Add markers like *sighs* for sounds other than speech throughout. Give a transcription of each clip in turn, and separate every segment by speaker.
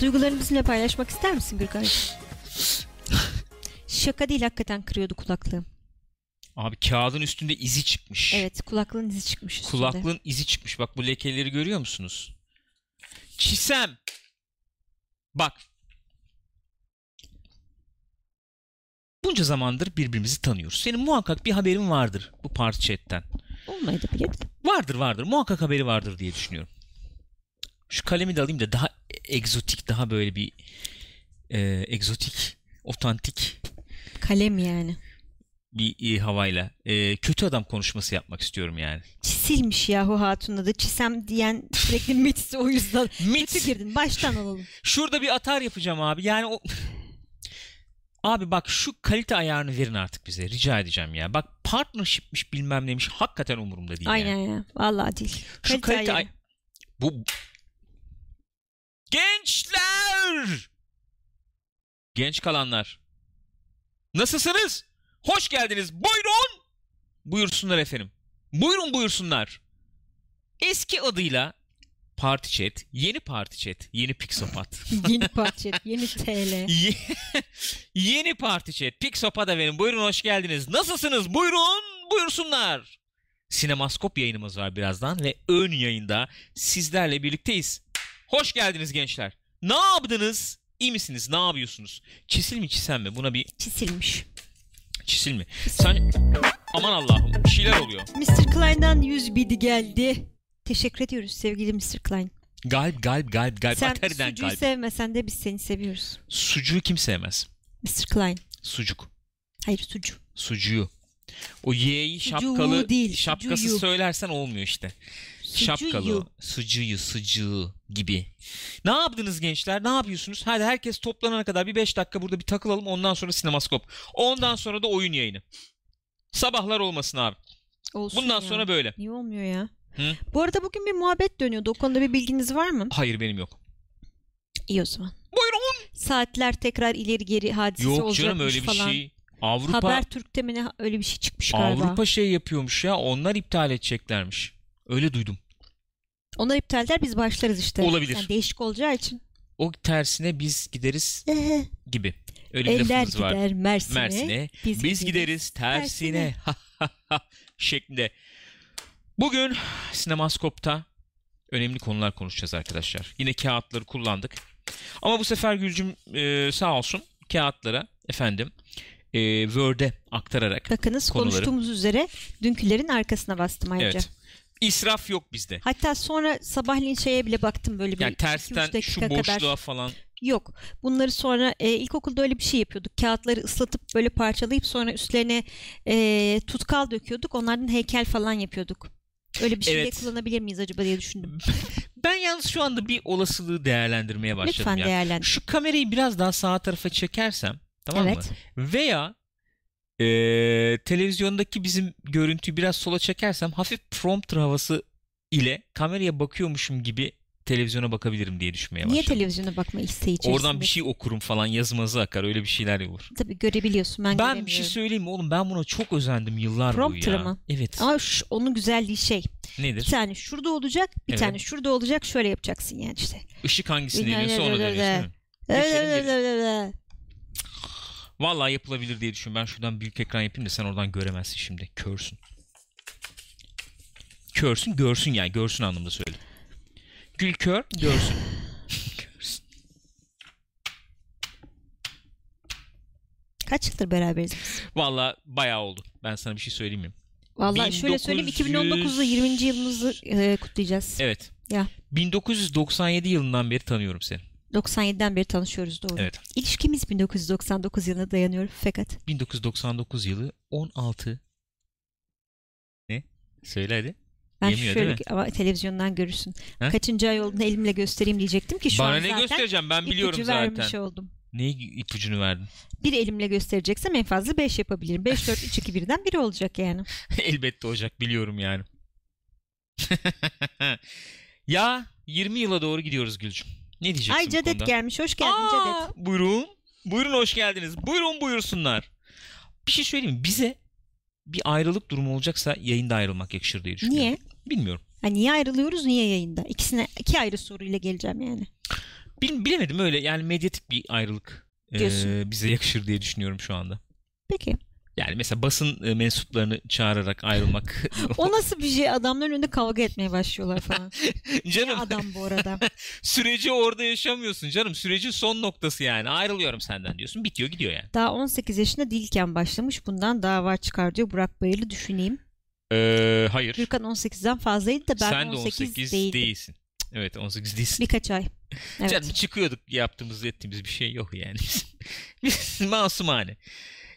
Speaker 1: Duygularını bizimle paylaşmak ister misin
Speaker 2: *laughs*
Speaker 1: Gürkan'cığım? Şaka değil hakikaten kırıyordu kulaklığım.
Speaker 2: Abi kağıdın üstünde izi çıkmış.
Speaker 1: Evet kulaklığın izi çıkmış üstünde.
Speaker 2: Kulaklığın izi çıkmış. Bak bu lekeleri görüyor musunuz? Çisem. Bak. Bunca zamandır birbirimizi tanıyoruz. Senin muhakkak bir haberin vardır bu parti chat'ten.
Speaker 1: Olmaydı bile.
Speaker 2: Vardır vardır. Muhakkak haberi vardır diye düşünüyorum. Şu kalemi de alayım da daha egzotik, daha böyle bir e, egzotik, otantik
Speaker 1: Kalem yani.
Speaker 2: bir e, havayla. E, kötü adam konuşması yapmak istiyorum yani.
Speaker 1: Çisilmiş yahu hatun adı. Çisem diyen sürekli Metis'i o *laughs* yüzden. Kötü
Speaker 2: Mit.
Speaker 1: girdin. Baştan alalım.
Speaker 2: Şurada bir atar yapacağım abi. Yani o... Abi bak şu kalite ayarını verin artık bize. Rica edeceğim ya. Bak partnershipmiş bilmem neymiş. Hakikaten umurumda değil yani.
Speaker 1: Aynen ya. Vallahi değil.
Speaker 2: Şu kalite
Speaker 1: Kalite
Speaker 2: ay-
Speaker 1: ayrı.
Speaker 2: Bu Gençler! Genç kalanlar. Nasılsınız? Hoş geldiniz. Buyurun. Buyursunlar efendim. Buyurun buyursunlar. Eski adıyla Party Chat, yeni Party Chat, yeni Pixopat.
Speaker 1: *laughs* yeni parça. Yeni
Speaker 2: *laughs*
Speaker 1: TL.
Speaker 2: Ye- yeni Party Chat, Pixopat efendim. Buyurun hoş geldiniz. Nasılsınız? Buyurun buyursunlar. Sinemaskop yayınımız var birazdan ve ön yayında sizlerle birlikteyiz. Hoş geldiniz gençler. Ne yaptınız? İyi misiniz? Ne yapıyorsunuz? Çisil mi çisem mi? Buna bir
Speaker 1: Çisilmiş.
Speaker 2: çisil mi? Sen... Aman Allah'ım bir şeyler oluyor.
Speaker 1: Mr. Klein'dan 100 bidi geldi. Teşekkür ediyoruz sevgili Mr. Klein.
Speaker 2: Galip galip galip galip.
Speaker 1: Sen
Speaker 2: Atari'den
Speaker 1: sucuğu
Speaker 2: galip.
Speaker 1: sevmesen de biz seni seviyoruz.
Speaker 2: Sucuğu kim sevmez?
Speaker 1: Mr. Klein.
Speaker 2: Sucuk.
Speaker 1: Hayır sucu.
Speaker 2: Sucuğu. O Y'yi
Speaker 1: Sucuğu
Speaker 2: şapkalı
Speaker 1: değil,
Speaker 2: şapkası
Speaker 1: sucuğu.
Speaker 2: söylersen olmuyor işte.
Speaker 1: Sucuğu.
Speaker 2: Şapkalı, sucuğu, sucuğu gibi. Ne yaptınız gençler? Ne yapıyorsunuz? Hadi herkes toplanana kadar bir 5 dakika burada bir takılalım. Ondan sonra sinemaskop. Ondan sonra da oyun yayını. Sabahlar olmasın abi.
Speaker 1: Olsun
Speaker 2: Bundan
Speaker 1: ya.
Speaker 2: sonra böyle.
Speaker 1: Niye olmuyor ya?
Speaker 2: Hı?
Speaker 1: Bu arada bugün bir muhabbet dönüyordu. O konuda bir bilginiz var mı?
Speaker 2: Hayır benim yok.
Speaker 1: İyi o zaman.
Speaker 2: Buyurun.
Speaker 1: Saatler tekrar ileri geri hadisesi
Speaker 2: Yok
Speaker 1: olacakmış
Speaker 2: canım öyle bir
Speaker 1: falan.
Speaker 2: şey. Avrupa
Speaker 1: Haber Türk'te mi ne öyle bir şey çıkmış galiba.
Speaker 2: Avrupa şey yapıyormuş ya. Onlar iptal edeceklermiş. Öyle duydum.
Speaker 1: Onlar iptal eder biz başlarız işte.
Speaker 2: Olabilir.
Speaker 1: Yani değişik olacağı *laughs* için.
Speaker 2: O tersine biz gideriz
Speaker 1: Eh,
Speaker 2: gibi. Öyle bir
Speaker 1: Eller
Speaker 2: lafımız var.
Speaker 1: gider Mersin'e.
Speaker 2: Mersin'e. Biz, gideriz tersine. *laughs* şeklinde. Bugün Sinemaskop'ta önemli konular konuşacağız arkadaşlar. Yine kağıtları kullandık. Ama bu sefer Gülcüm e, sağ olsun kağıtlara efendim e, Word'e aktararak.
Speaker 1: Bakınız
Speaker 2: Konuları.
Speaker 1: konuştuğumuz üzere dünkülerin arkasına bastım ayrıca.
Speaker 2: Evet. İsraf yok bizde.
Speaker 1: Hatta sonra sabahleyin şeye bile baktım böyle bir
Speaker 2: Yani
Speaker 1: iki, üç
Speaker 2: tersten
Speaker 1: dakika
Speaker 2: şu boşluğa
Speaker 1: kadar.
Speaker 2: falan.
Speaker 1: Yok. Bunları sonra e, ilkokulda öyle bir şey yapıyorduk. Kağıtları ıslatıp böyle parçalayıp sonra üstlerine e, tutkal döküyorduk. Onlardan heykel falan yapıyorduk. Öyle bir şey
Speaker 2: Evet.
Speaker 1: de kullanabilir miyiz acaba diye düşündüm.
Speaker 2: Ben yalnız şu anda bir olasılığı değerlendirmeye başladım.
Speaker 1: Lütfen
Speaker 2: yani.
Speaker 1: değerlendir.
Speaker 2: Şu kamerayı biraz daha sağ tarafa çekersem tamam mı?
Speaker 1: evet.
Speaker 2: Veya e, televizyondaki bizim görüntüyü biraz sola çekersem hafif prompter havası ile kameraya bakıyormuşum gibi televizyona bakabilirim diye düşünmeye
Speaker 1: Niye
Speaker 2: başladım.
Speaker 1: televizyona bakma isteği içerisinde?
Speaker 2: Oradan bir şey okurum falan yazmazı akar öyle bir şeyler olur.
Speaker 1: Tabii görebiliyorsun ben,
Speaker 2: Ben, bir şey
Speaker 1: göremiyorum.
Speaker 2: söyleyeyim mi oğlum ben buna çok özendim yıllar boyu
Speaker 1: Prompter'ı
Speaker 2: ya.
Speaker 1: mı?
Speaker 2: Evet.
Speaker 1: Ama şu- onun güzelliği şey. Bir
Speaker 2: Nedir?
Speaker 1: tane şurada olacak, bir
Speaker 2: Evet.
Speaker 1: tane şurada olacak. Şöyle yapacaksın yani işte.
Speaker 2: Işık hangisini
Speaker 1: Bilmem
Speaker 2: deniyorsa
Speaker 1: ne,
Speaker 2: onu
Speaker 1: ne,
Speaker 2: deniyorsun
Speaker 1: ne.
Speaker 2: değil mi? Geçelim geri. Vallahi yapılabilir diye düşünüyorum. Ben şuradan büyük ekran yapayım da sen oradan göremezsin şimdi. Körsün. Körsün, görsün yani. Görsün anlamında söyledim. Gül kör,
Speaker 1: *laughs*
Speaker 2: görsün. görsün.
Speaker 1: Kaç yıldır beraberiz biz?
Speaker 2: Vallahi bayağı oldu. Ben sana bir şey söyleyeyim mi?
Speaker 1: Valla şöyle söyleyeyim 2019'da 20. yılımızı e, kutlayacağız.
Speaker 2: Evet.
Speaker 1: Ya.
Speaker 2: 1997 yılından beri tanıyorum seni.
Speaker 1: 97'den beri tanışıyoruz doğru.
Speaker 2: Evet.
Speaker 1: İlişkimiz 1999 yılına dayanıyor fakat
Speaker 2: 1999 yılı 16 ne? Söyle hadi.
Speaker 1: ben
Speaker 2: Yemiyor,
Speaker 1: şöyle
Speaker 2: değil
Speaker 1: ama televizyondan görürsün.
Speaker 2: Ha?
Speaker 1: Kaçıncı ay olduğunu elimle göstereyim diyecektim ki E şu
Speaker 2: Bana
Speaker 1: an
Speaker 2: ne
Speaker 1: zaten
Speaker 2: göstereceğim? Ben
Speaker 1: ipucu
Speaker 2: biliyorum
Speaker 1: vermiş
Speaker 2: zaten.
Speaker 1: oldum.
Speaker 2: Ne ipucunu verdin?
Speaker 1: Bir elimle göstereceksem en fazla 5 yapabilirim. 5, 4, 3, 2, 1'den biri olacak yani.
Speaker 2: *laughs* Elbette olacak biliyorum yani. *laughs* ya 20 yıla doğru gidiyoruz Gülcüm. Ne diyeceksin
Speaker 1: Ay
Speaker 2: bu
Speaker 1: Cadet
Speaker 2: konuda?
Speaker 1: gelmiş. Hoş geldin
Speaker 2: Aa,
Speaker 1: Cadet.
Speaker 2: Buyurun. Buyurun hoş geldiniz. Buyurun buyursunlar. Bir şey söyleyeyim mi? Bize bir ayrılık durumu olacaksa yayında ayrılmak yakışır diye düşünüyorum.
Speaker 1: Niye?
Speaker 2: Bilmiyorum.
Speaker 1: Ha, niye ayrılıyoruz niye yayında? İkisine iki ayrı soruyla geleceğim yani.
Speaker 2: Bil- bilemedim öyle yani medyatik bir ayrılık e,
Speaker 1: Diyorsun.
Speaker 2: bize yakışır diye düşünüyorum şu anda.
Speaker 1: Peki.
Speaker 2: Yani mesela basın e, mensuplarını çağırarak ayrılmak.
Speaker 1: *laughs* O nasıl bir şey? Adamların önünde kavga etmeye başlıyorlar falan. Ne
Speaker 2: *laughs* canım
Speaker 1: adam bu arada.
Speaker 2: süreci orada yaşamıyorsun canım. Sürecin son noktası yani. Ayrılıyorum senden diyorsun. Bitiyor gidiyor yani.
Speaker 1: Daha 18 yaşında değilken başlamış. Bundan dava çıkar diyor Burak Bayırlı düşüneyim.
Speaker 2: Ee, hayır.
Speaker 1: Gürkan 18'den fazlaydı da ben
Speaker 2: Sen de
Speaker 1: 18,
Speaker 2: 18
Speaker 1: değildim.
Speaker 2: değilsin. Evet 18 değilsin.
Speaker 1: Birkaç ay. Evet.
Speaker 2: Canım çıkıyorduk yaptığımız ettiğimiz bir şey yok yani. *laughs* Biz masumane.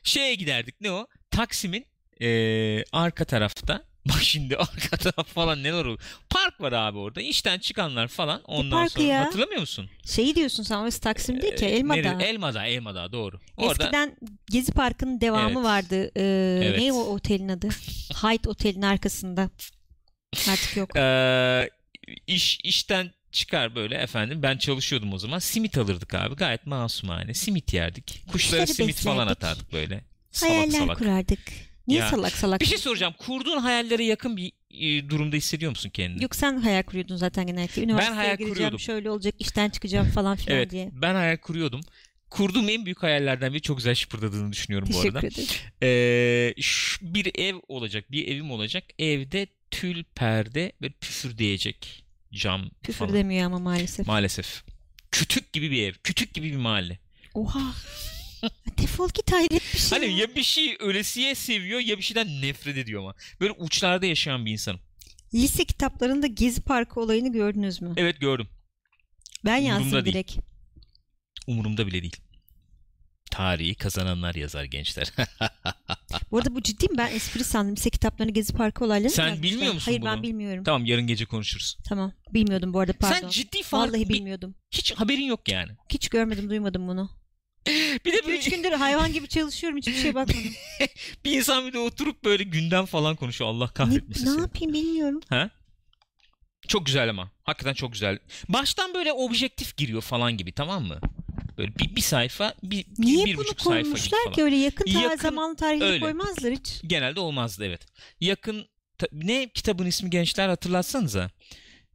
Speaker 2: Şeye giderdik ne o? Taksim'in eee, arka tarafta. *laughs* Bak şimdi arka taraf falan neler oluyor. Park var abi orada. İşten çıkanlar falan. Ondan
Speaker 1: parkı
Speaker 2: sonra
Speaker 1: ya?
Speaker 2: hatırlamıyor musun?
Speaker 1: Şeyi diyorsun sen orası Taksim değil ki
Speaker 2: Ee,
Speaker 1: Elmadağ.
Speaker 2: nere- Elmadağ, Elmadağ doğru. Orada
Speaker 1: Eskiden Gezi Parkı'nın devamı
Speaker 2: Evet.
Speaker 1: vardı. Ee,
Speaker 2: Evet.
Speaker 1: Ne o otelin adı? Hyde Otel'in arkasında. Artık yok.
Speaker 2: Ee, iş işten çıkar böyle efendim. Ben çalışıyordum o zaman. Simit alırdık abi. Gayet masumane. Simit yerdik. Kuşlara
Speaker 1: Kuşları
Speaker 2: simit falan
Speaker 1: beslerdik.
Speaker 2: atardık böyle. *laughs* Salak
Speaker 1: Hayaller
Speaker 2: salak.
Speaker 1: kurardık. Niye
Speaker 2: Ya,
Speaker 1: salak salak?
Speaker 2: Bir şey soracağım. Kurduğun hayallere yakın bir e, durumda hissediyor musun kendini?
Speaker 1: Yok sen hayal kuruyordun zaten genellikle. Üniversiteye
Speaker 2: hayal
Speaker 1: gireceğim,
Speaker 2: kuruyordum.
Speaker 1: şöyle olacak, işten çıkacağım falan filan
Speaker 2: Evet.
Speaker 1: diye.
Speaker 2: Ben hayal kuruyordum. Kurduğum en büyük hayallerden biri çok güzel şıpırdadığını düşünüyorum bu
Speaker 1: Teşekkür
Speaker 2: arada.
Speaker 1: ederim.
Speaker 2: Ee, şu- bir ev olacak. Bir evim olacak. Evde tül perde ve püfür diyecek cam
Speaker 1: Küfür
Speaker 2: falan.
Speaker 1: demiyor ama maalesef.
Speaker 2: Maalesef. Kütük gibi bir ev. Kütük gibi bir mahalle.
Speaker 1: Oha. Defol git hayret bir şey.
Speaker 2: Hani
Speaker 1: ya.
Speaker 2: ya bir şey ölesiye seviyor ya bir şeyden nefret ediyor ama. Böyle uçlarda yaşayan bir insanım.
Speaker 1: Lise kitaplarında Gezi Parkı olayını gördünüz mü?
Speaker 2: Evet gördüm.
Speaker 1: Ben yazdım
Speaker 2: umurumda değil.
Speaker 1: direkt.
Speaker 2: Umurumda bile değil. Tarihi kazananlar yazar gençler. *laughs*
Speaker 1: Bu arada bu ciddiyim ben espri sandım. Lise kitaplarını Gezi Parkı olaylarını
Speaker 2: Sen
Speaker 1: yazmışlar.
Speaker 2: bilmiyor musun
Speaker 1: Hayır ben
Speaker 2: bunu?
Speaker 1: bilmiyorum.
Speaker 2: tamam yarın gece konuşuruz.
Speaker 1: Tamam. Bilmiyordum bu arada pardon.
Speaker 2: Sen ciddi falan
Speaker 1: Vallahi
Speaker 2: bir-
Speaker 1: bilmiyordum.
Speaker 2: hiç haberin yok yani.
Speaker 1: Hiç görmedim, duymadım bunu.
Speaker 2: *laughs* Bir de
Speaker 1: Üç
Speaker 2: bir,
Speaker 1: gündür hayvan gibi çalışıyorum, hiçbir şeye bakmadım.
Speaker 2: bir insan bir de oturup böyle gündem falan konuşuyor. Allah
Speaker 1: ne,
Speaker 2: kahretmesin
Speaker 1: ne
Speaker 2: seni.
Speaker 1: yapayım bilmiyorum.
Speaker 2: Çok güzel ama. Hakikaten çok güzel. Baştan böyle objektif giriyor falan gibi tamam mı? Böyle bir, bir sayfa, bir, bir-
Speaker 1: Niye
Speaker 2: bir
Speaker 1: bunu
Speaker 2: buçuk sayfa gibi
Speaker 1: koymuşlar
Speaker 2: falan.
Speaker 1: ki öyle yakın, tarih,
Speaker 2: Yakın-
Speaker 1: zamanlı tarihleri
Speaker 2: öyle.
Speaker 1: koymazlar hiç.
Speaker 2: Genelde olmazdı evet. Yakın ta- ne kitabın ismi gençler hatırlatsanıza.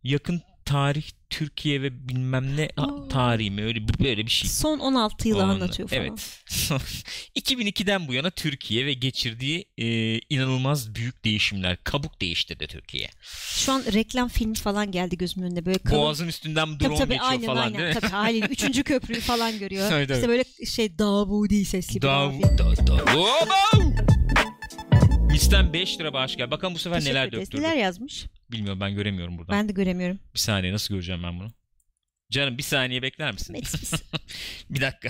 Speaker 2: Yakın tarih Türkiye ve bilmem ne ha-
Speaker 1: Aa.
Speaker 2: tarihi mi öyle bir- böyle bir şey.
Speaker 1: Son 16 yılı
Speaker 2: Onunla-
Speaker 1: anlatıyor falan.
Speaker 2: Evet. *laughs* 2002'den bu yana Türkiye ve geçirdiği e, inanılmaz büyük değişimler. Kabuk değiştirdi Türkiye.
Speaker 1: Şu an reklam filmi falan geldi gözümün önünde böyle kalın.
Speaker 2: Boğazın üstünden drone
Speaker 1: Tabii tabii
Speaker 2: geçiyor
Speaker 1: aynen
Speaker 2: falan
Speaker 1: aynen.
Speaker 2: değil mi?
Speaker 1: Tabii aynen. Üçüncü köprüyü falan
Speaker 2: *laughs*
Speaker 1: görüyor.
Speaker 2: Tabii,
Speaker 1: işte
Speaker 2: tabii.
Speaker 1: böyle şey Davudi sesli bir
Speaker 2: Dav-
Speaker 1: abi.
Speaker 2: da- da- Oba! Misten 5 lira bağış gel. Bakalım bu sefer
Speaker 1: Teşekkür
Speaker 2: neler
Speaker 1: ederiz.
Speaker 2: döktürdü.
Speaker 1: Neler yazmış?
Speaker 2: Bilmiyorum ben göremiyorum buradan.
Speaker 1: Ben de göremiyorum.
Speaker 2: Bir saniye nasıl göreceğim ben bunu? Canım bir saniye bekler misin?
Speaker 1: Neyse
Speaker 2: *laughs*
Speaker 1: biz-
Speaker 2: Bir dakika.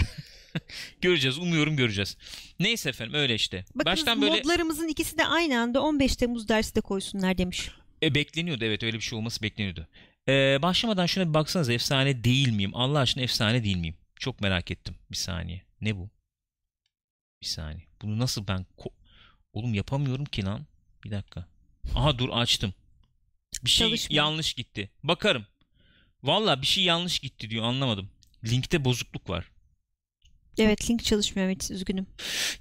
Speaker 2: *laughs* göreceğiz. Umuyorum göreceğiz. Neyse efendim öyle işte.
Speaker 1: Bakın
Speaker 2: Baştan böyle
Speaker 1: modlarımızın ikisi de aynı anda 15 Temmuz dersi de koysunlar demiş.
Speaker 2: E, bekleniyordu evet öyle bir şey olması bekleniyordu. E, başlamadan şuna bir baksanız efsane değil miyim? Allah aşkına efsane değil miyim? Çok merak ettim. Bir saniye. Ne bu? Bir saniye. Bunu nasıl ben... ko- Oğlum yapamıyorum ki lan. Bir dakika. Aha dur açtım. Bir şey
Speaker 1: Çalışmıyor.
Speaker 2: yanlış gitti. Bakarım. Valla bir şey yanlış gitti diyor anlamadım. Linkte bozukluk var.
Speaker 1: Evet link çalışmıyor Metis üzgünüm.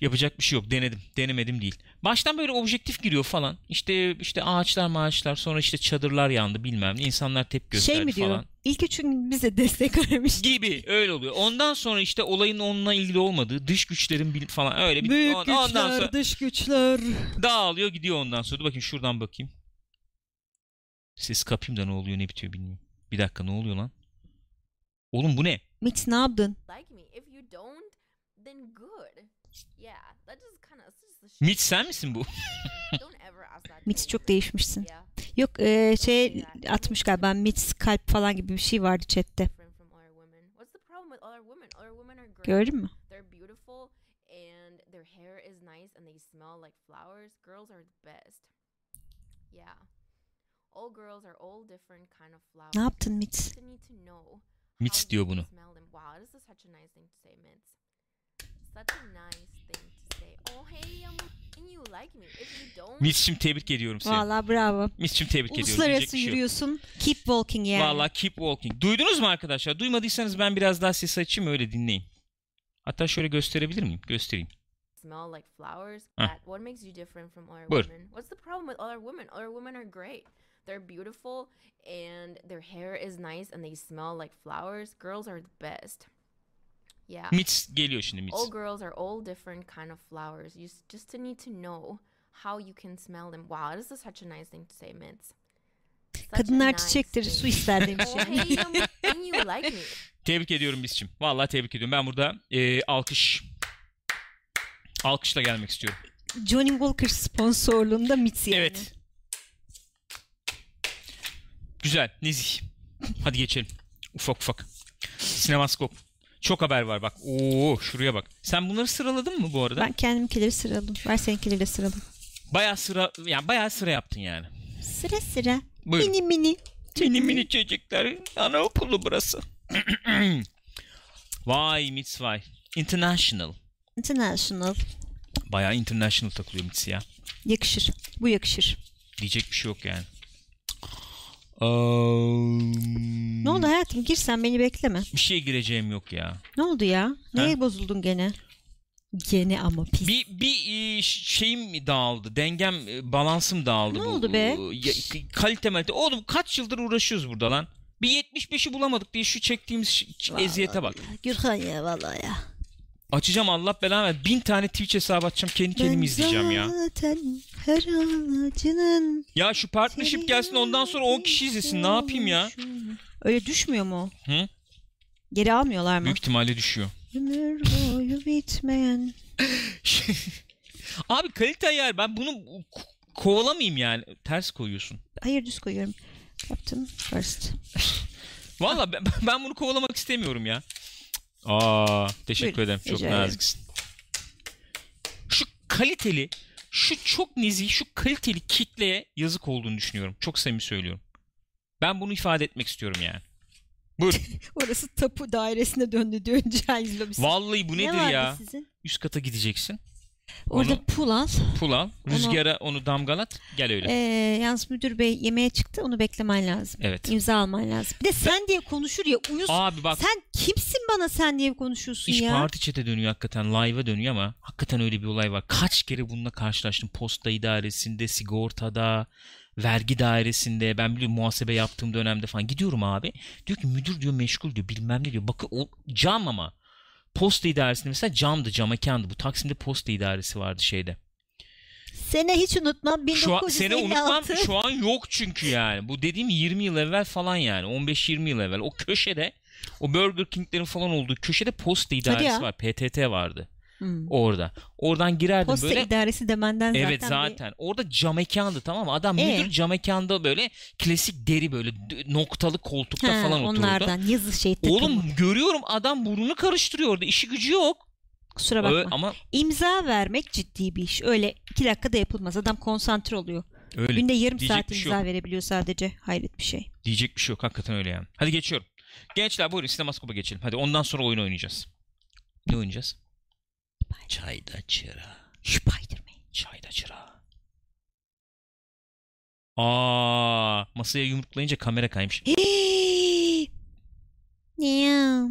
Speaker 2: Yapacak bir şey yok. Denedim. Denemedim değil. Baştan böyle objektif giriyor falan. İşte işte ağaçlar maaçlar sonra işte çadırlar yandı bilmem ne. İnsanlar tepki gösterdi
Speaker 1: şey mi diyor?
Speaker 2: falan.
Speaker 1: İlk üç gün bize destek aramış.
Speaker 2: Gibi öyle oluyor. Ondan sonra işte olayın onunla ilgili olmadığı dış güçlerin bil- falan öyle bir
Speaker 1: Büyük
Speaker 2: on-
Speaker 1: güçler,
Speaker 2: ondan sonra
Speaker 1: dış güçler.
Speaker 2: dağılıyor gidiyor ondan sonra. Dur bakayım şuradan bakayım. Ses kapayım da ne oluyor ne bitiyor bilmiyorum. Bir dakika ne oluyor lan? Oğlum bu ne?
Speaker 1: Metis ne yaptın?
Speaker 3: like me. If you don't, then good. Yeah, that just kind of just the shit.
Speaker 2: Mitch sen misin bu? *laughs*
Speaker 3: *laughs* Don't ever ask that. to
Speaker 1: Metis
Speaker 3: a
Speaker 1: çok
Speaker 3: woman.
Speaker 1: değişmişsin.
Speaker 3: Yeah,
Speaker 1: Yok e, şey atmış galiba Metis kalp falan gibi bir şey vardı chatte.
Speaker 3: different from all our women. What's the problem with all our women? All our women are great.
Speaker 1: Gördün mü?
Speaker 3: They're beautiful and their hair is nice and they smell like flowers. Girls are the best. Yeah. All girls are all different kind of flowers.
Speaker 1: Ne yaptın Metis?
Speaker 3: You need to know
Speaker 2: Mitch
Speaker 3: how
Speaker 2: diyor
Speaker 3: you can
Speaker 2: bunu.
Speaker 3: smell them. Wow, this is such a nice thing to say, Mitch. Such a nice thing to say. Oh, hey, I'm and you like me. If you don't,
Speaker 2: Mitch'im tebrik ediyorum seni. Vallahi...
Speaker 1: Valla bravo.
Speaker 2: Mitch'im tebrik ediyorum. Diyecek
Speaker 1: Uluslararası
Speaker 2: bir şey yok.
Speaker 1: yürüyorsun. Keep walking yani.
Speaker 2: Valla keep walking. Duydunuz mu arkadaşlar? Duymadıysanız ben biraz daha ses açayım öyle dinleyin. Hatta şöyle gösterebilir miyim? Göstereyim.
Speaker 3: smell like flowers.
Speaker 2: Huh.
Speaker 3: That what makes you different from other
Speaker 2: Buyur.
Speaker 3: women? What's the problem with other women? Other women are great. They're beautiful and their hair is nice and they smell like flowers. Girls are the best. Yeah.
Speaker 2: Mitz geliyor şimdi
Speaker 3: All
Speaker 2: Mitz.
Speaker 3: girls are all different kind of flowers. You s- just to need to know how you can smell them. Wow, this is such a nice thing to say, Mids. Such a
Speaker 1: Kadınlar
Speaker 3: nice
Speaker 1: çiçektir,
Speaker 3: thing.
Speaker 1: su ister şey. demiş *laughs*
Speaker 3: Oh, *laughs*
Speaker 1: yani.
Speaker 3: hey, you- and you like me.
Speaker 2: Tebrik ediyorum Mitz'cim. Vallahi tebrik ediyorum. Ben burada e, alkış alkışla gelmek istiyorum.
Speaker 1: Johnny Walker sponsorluğunda Mitzi yani.
Speaker 2: Evet. Güzel. Nezih. Hadi geçelim. Ufak ufak. Sinemaskop. Çok haber var bak. Oo şuraya bak. Sen bunları sıraladın mı bu arada?
Speaker 1: Ben kendimkileri sıraladım. Ver seninkileri de sıraladım.
Speaker 2: Bayağı sıra yani bayağı sıra yaptın yani.
Speaker 1: Sıra sıra.
Speaker 2: Buyurun.
Speaker 1: Mini mini.
Speaker 2: Mini mini çocuklar. Anaokulu burası. *clears throat* vay Mitz vay. International.
Speaker 1: International.
Speaker 2: Bayağı international takılıyor Mitz ya.
Speaker 1: Yakışır. Bu yakışır.
Speaker 2: Diyecek bir şey yok yani. Um,
Speaker 1: Ne oldu hayatım? Gir sen beni bekleme.
Speaker 2: Bir şey gireceğim yok ya.
Speaker 1: Ne oldu ya? Neye bozuldun gene? Gene ama pis.
Speaker 2: Bir, bir e, ş- şeyim mi dağıldı? Dengem, e, balansım dağıldı.
Speaker 1: Ne
Speaker 2: bu,
Speaker 1: oldu be?
Speaker 2: e, ya- k- kalite malite. Oğlum kaç yıldır uğraşıyoruz burada lan. Bir 75'i bulamadık diye şu çektiğimiz ş- ç- eziyete bak.
Speaker 1: Gürhan ya vallahi ya.
Speaker 2: Açacağım Allah belanı ver. Bin tane Twitch hesabı açacağım. Kendi kendimi izleyeceğim ya.
Speaker 1: zaten her ağacının...
Speaker 2: Ya şu partnership gelsin ondan sonra 10 kişi izlesin. Ne yapayım ya?
Speaker 1: Öyle düşmüyor mu?
Speaker 2: Hı?
Speaker 1: Geri almıyorlar mı?
Speaker 2: Büyük ihtimalle düşüyor. *laughs*
Speaker 1: Ömür boyu bitmeyen.
Speaker 2: Abi kalite ayar. Ben bunu ko- kovalamayayım yani. Ters koyuyorsun.
Speaker 1: Hayır düz koyuyorum. Captain first.
Speaker 2: Valla ben, ben bunu kovalamak istemiyorum ya. Aa, teşekkür
Speaker 1: Buyurun,
Speaker 2: ederim. Çok
Speaker 1: rica ederim.
Speaker 2: naziksin. Şu kaliteli, şu çok nezih, şu kaliteli kitleye yazık olduğunu düşünüyorum. Çok samimi söylüyorum. Ben bunu ifade etmek istiyorum yani. Buyurun.
Speaker 1: Orası tapu dairesine döndü diyor *laughs* Cahil lobisi.
Speaker 2: Vallahi bu
Speaker 1: Ne
Speaker 2: nedir
Speaker 1: vardı
Speaker 2: ya?
Speaker 1: sizin?
Speaker 2: Üst kata gideceksin.
Speaker 1: Orada
Speaker 2: Onu-
Speaker 1: pul al.
Speaker 2: Pul al.
Speaker 1: Onu-
Speaker 2: Rüzgara onu damgalat. Gel öyle.
Speaker 1: Ee, yalnız müdür bey yemeğe çıktı onu beklemen lazım.
Speaker 2: Evet.
Speaker 1: İmza alman lazım. Bir de sen diye konuşur ya uyuz.
Speaker 2: Abi bak
Speaker 1: Sen kimsin bana sen diye konuşuyorsun
Speaker 2: iş
Speaker 1: ya?
Speaker 2: parti çete dönüyor hakikaten. Live'a dönüyor ama hakikaten öyle bir olay var. Kaç kere bununla karşılaştım. Posta idaresinde, sigortada, vergi dairesinde. Ben biliyorum muhasebe yaptığım dönemde falan. Gidiyorum abi. Diyor ki müdür diyor meşgul diyor bilmem ne diyor. Bakın o cam ama. Posta idaresinde mesela camdı, camekandı. Bu Taksim'de posta idaresi vardı şeyde.
Speaker 1: Seni hiç unutmam. 1956.
Speaker 2: Şu an, seni unutmam şu an yok çünkü yani. Bu dediğim 20 yıl evvel falan yani. 15-20 yıl evvel. O köşede o Burger King'lerin falan olduğu köşede posta
Speaker 1: ya.
Speaker 2: idaresi var. PTT vardı
Speaker 1: Hmm.
Speaker 2: orada. Oradan girerdim
Speaker 1: Posta
Speaker 2: böyle.
Speaker 1: idaresi demenden zaten.
Speaker 2: evet zaten. Orada cam mekandı tamam mı? Adam
Speaker 1: Ee?
Speaker 2: müdür cam mekanda böyle klasik deri böyle d- noktalı
Speaker 1: bir-
Speaker 2: koltukta
Speaker 1: Ha,
Speaker 2: falan otururdu.
Speaker 1: Onlardan yazı şey takımı.
Speaker 2: Oğlum görüyorum adam burnunu karıştırıyor orada. İşi gücü yok.
Speaker 1: Kusura bakma.
Speaker 2: Ö- ama
Speaker 1: İmza vermek ciddi bir iş. Öyle iki dakikada yapılmaz. Adam konsantre oluyor.
Speaker 2: öyle.
Speaker 1: Günde yarım
Speaker 2: Diyecek
Speaker 1: saat
Speaker 2: bir şey
Speaker 1: imza
Speaker 2: yok.
Speaker 1: verebiliyor sadece. Hayret bir şey.
Speaker 2: Diyecek bir şey yok hakikaten öyle yani. Hadi geçiyorum. Gençler buyurun sinemaskopa geçelim. Hadi ondan sonra oyun oynayacağız. Ne oynayacağız? Çayda çıra.
Speaker 1: Spiderman.
Speaker 2: Çayda çıra. Aa, masaya yumruklayınca kamera kaymış.
Speaker 1: ne?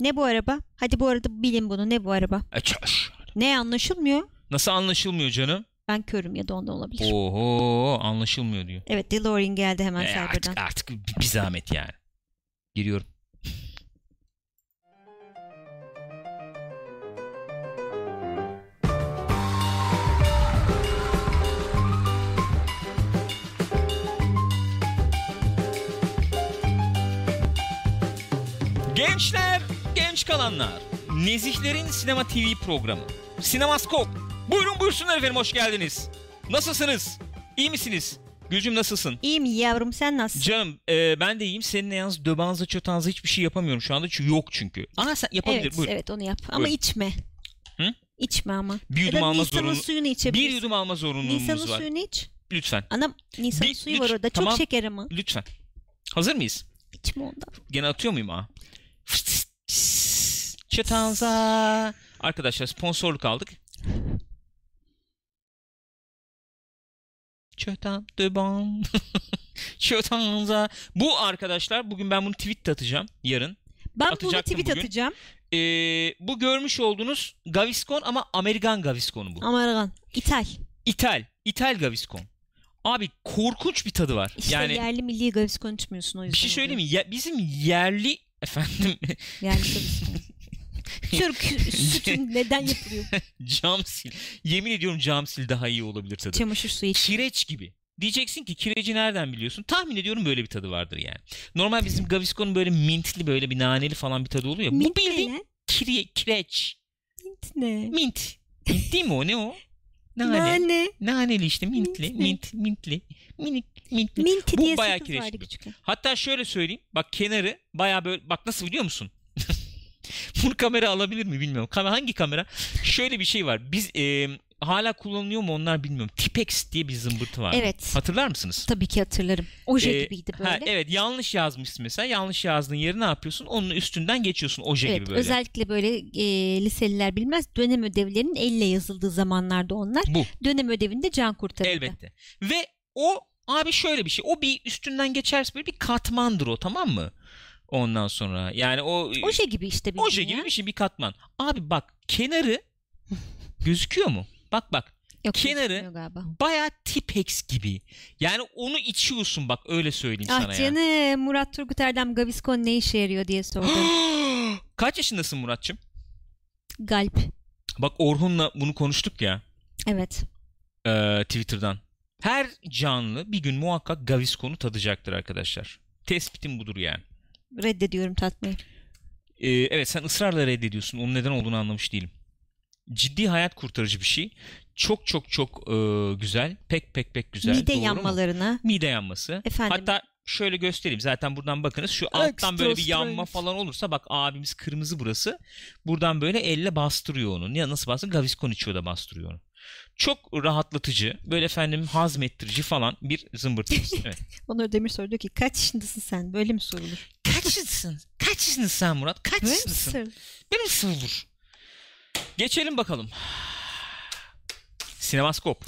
Speaker 1: Ne bu araba? Hadi bu arada bilin bunu. Ne bu araba?
Speaker 2: E, Açar.
Speaker 1: Ne anlaşılmıyor?
Speaker 2: Nasıl anlaşılmıyor canım?
Speaker 1: Ben körüm ya da ondan olabilir.
Speaker 2: Oho anlaşılmıyor diyor.
Speaker 1: Evet DeLorean geldi hemen
Speaker 2: E,
Speaker 1: Cyber'dan.
Speaker 2: artık, artık bir zahmet yani. Giriyorum. Gençler, genç kalanlar. Nezihlerin Sinema TV programı. Sinemaskop. Buyurun buyursunlar efendim hoş geldiniz. Nasılsınız? İyi misiniz? Gülcüm nasılsın?
Speaker 1: İyiyim yavrum sen nasılsın?
Speaker 2: Canım e, ben de iyiyim. Seninle yalnız döbanza çötanza hiçbir şey yapamıyorum şu anda. Çünkü yok çünkü. Ana sen yapabilir.
Speaker 1: evet,
Speaker 2: buyur.
Speaker 1: evet onu yap. Ama
Speaker 2: Buyur.
Speaker 1: içme.
Speaker 2: Hı?
Speaker 1: İçme ama.
Speaker 2: Bir
Speaker 1: Ya
Speaker 2: yudum
Speaker 1: da
Speaker 2: alma
Speaker 1: Nisan'ın
Speaker 2: zorunlu.
Speaker 1: suyunu
Speaker 2: Bir
Speaker 1: içebilirsin.
Speaker 2: yudum alma
Speaker 1: Nisan'ın
Speaker 2: zorunluluğumuz var.
Speaker 1: suyunu iç.
Speaker 2: Lütfen.
Speaker 1: Anam Nisan'ın
Speaker 2: Bir-
Speaker 1: suyu
Speaker 2: bir-
Speaker 1: var orada.
Speaker 2: tamam.
Speaker 1: Çok şeker ama.
Speaker 2: Lütfen. Hazır mıyız?
Speaker 1: İçme ondan.
Speaker 2: Gene atıyor muyum ha? Çötanza. Arkadaşlar sponsorluk aldık. Çötan döban. *laughs* Çötanza. Bu arkadaşlar bugün ben bunu tweet atacağım yarın.
Speaker 1: Ben bunu
Speaker 2: Atacaktım
Speaker 1: tweet
Speaker 2: bugün.
Speaker 1: atacağım.
Speaker 2: Ee, bu görmüş olduğunuz Gaviscon ama Amerikan Gaviscon'u bu.
Speaker 1: Amargan. İthal.
Speaker 2: İthal. İthal Gaviscon. Abi korkunç bir tadı var.
Speaker 1: İşte
Speaker 2: yani
Speaker 1: yerli milli gavis konuşmuyorsun o yüzden.
Speaker 2: bir şey söyleyeyim
Speaker 1: oluyor.
Speaker 2: mi? Ya, bizim yerli efendim *laughs*
Speaker 1: Yerli gavis. Türk sütün neden
Speaker 2: *laughs*
Speaker 1: yapılıyor?
Speaker 2: camsil. Yemin ediyorum camsil daha iyi olabilir tadı.
Speaker 1: Çamaşır suyu için.
Speaker 2: Kireç gibi. Diyeceksin ki kireci nereden biliyorsun? Tahmin ediyorum böyle bir tadı vardır yani. Normal bizim Gaviscon'un böyle mintli böyle bir naneli falan bir tadı oluyor. Bu
Speaker 1: Mint ne
Speaker 2: bildiğin
Speaker 1: lan?
Speaker 2: kire, kireç.
Speaker 1: Mint ne?
Speaker 2: Mint. Mint değil mi o? Ne o? Nane.
Speaker 1: Nane.
Speaker 2: Naneli işte mintli.
Speaker 1: Mintli.
Speaker 2: Mint, mintli. Minik, mintli.
Speaker 1: Minti
Speaker 2: Bu
Speaker 1: diye
Speaker 2: bayağı
Speaker 1: sakız
Speaker 2: kireç
Speaker 1: vardı
Speaker 2: gibi.
Speaker 1: küçükken.
Speaker 2: Hatta şöyle söyleyeyim. Bak kenarı bayağı böyle bak nasıl biliyor musun? *laughs* Bunu kamera alabilir mi bilmiyorum. Kam- hangi kamera? Şöyle bir şey var. Biz e, hala kullanılıyor mu onlar bilmiyorum. Tipex diye bir zımbırtı var.
Speaker 1: Evet.
Speaker 2: Hatırlar mısınız?
Speaker 1: Tabii ki hatırlarım. Oje
Speaker 2: Ee,
Speaker 1: gibiydi
Speaker 2: ha,
Speaker 1: böyle.
Speaker 2: evet yanlış yazmışsın mesela. Yanlış yazdığın yeri ne yapıyorsun? Onun üstünden geçiyorsun oje
Speaker 1: Evet,
Speaker 2: gibi böyle.
Speaker 1: özellikle böyle e, liseliler bilmez dönem ödevlerinin elle yazıldığı zamanlarda onlar.
Speaker 2: Bu.
Speaker 1: Dönem ödevinde can kurtarırdı.
Speaker 2: Elbette. Ve o abi şöyle bir şey. O bir üstünden geçerse böyle bir katmandır o tamam mı? Ondan sonra yani o
Speaker 1: Oje gibi işte şey bildiğin
Speaker 2: oje
Speaker 1: ya.
Speaker 2: gibi bir şey bir katman. Abi bak
Speaker 1: *laughs*
Speaker 2: kenarı gözüküyor mu? Bak bak
Speaker 1: Yok,
Speaker 2: kenarı-
Speaker 1: gözükmüyor Galiba.
Speaker 2: baya tipex gibi. Yani onu içiyorsun bak öyle söyleyeyim sana
Speaker 1: Ah
Speaker 2: ya.
Speaker 1: canım Murat Turgut Erdem Gaviscon ne işe yarıyor diye
Speaker 2: *gasps*
Speaker 1: sordum.
Speaker 2: Kaç yaşındasın Muratçım?
Speaker 1: Galp.
Speaker 2: Bak Orhun'la bunu konuştuk ya
Speaker 1: Evet.
Speaker 2: e, Twitter'dan. Her canlı bir gün muhakkak Gaviscon'u tadacaktır arkadaşlar. Tespitim budur yani.
Speaker 1: Reddediyorum tatmayı.
Speaker 2: Ee, evet sen ısrarla reddediyorsun. Onun neden olduğunu anlamış değilim. Ciddi hayat kurtarıcı bir şey. Çok çok çok e, güzel. Pek pek pek güzel.
Speaker 1: Mide
Speaker 2: Doğru mu?
Speaker 1: yanmalarına.
Speaker 2: Mide yanması.
Speaker 1: Efendim.
Speaker 2: Hatta şöyle göstereyim. Zaten buradan bakınız. Şu
Speaker 1: Extra
Speaker 2: alttan böyle bir yanma
Speaker 1: strength.
Speaker 2: falan olursa bak abimiz kırmızı burası. Buradan böyle elle bastırıyor onu. Ya nasıl bastırıyor? Gaviscon içiyor da bastırıyor onu. Çok rahatlatıcı, böyle efendim hazmettirici falan bir zımbırtısı. Evet.
Speaker 1: Onur Demir soruyor diyor ki kaç yaşındasın sen? Böyle mi sorulur?
Speaker 2: Kaç yaşındasın? Kaç yaşındasın sen Murat? Kaç
Speaker 1: Böyle mi
Speaker 2: yaşındasın?
Speaker 1: sorulur?
Speaker 2: Benim sıvır. Geçelim bakalım. Sinemaskop.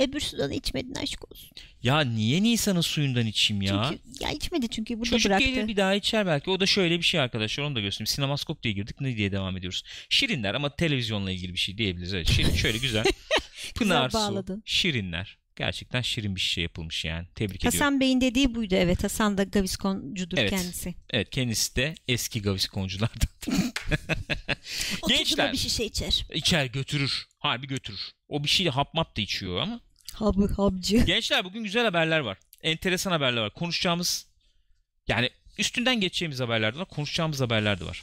Speaker 1: Öbürsüden içmedin aşk olsun.
Speaker 2: Ya niye Nisan'ın suyundan içeyim ya?
Speaker 1: Çünkü ya içmedi çünkü burada
Speaker 2: Çocuk
Speaker 1: bıraktı.
Speaker 2: gelir bir daha içer belki. O da şöyle bir şey arkadaşlar onu da göstereyim. Sinemaskop diye girdik ne diye devam ediyoruz. Şirinler ama televizyonla ilgili bir şey diyebiliriz. Evet, şirin
Speaker 1: *laughs*
Speaker 2: şöyle güzel. Pınar su,
Speaker 1: bağladın.
Speaker 2: şirinler. Gerçekten şirin bir şey yapılmış yani. Tebrik ediyorum.
Speaker 1: Hasan Bey'in dediği buydu evet. Hasan da Gavisconcudur
Speaker 2: Evet.
Speaker 1: kendisi.
Speaker 2: Evet kendisi de eski gaviskonculardan.
Speaker 1: Gençler.
Speaker 2: Gençler.
Speaker 1: bir şişe içer.
Speaker 2: *laughs* İçer götürür. Harbi götürür. O bir şey hap map da içiyor ama
Speaker 1: Habı habcı.
Speaker 2: Gençler bugün güzel haberler var. Enteresan haberler var. Konuşacağımız yani üstünden geçeceğimiz haberler de var. Konuşacağımız haberler de var.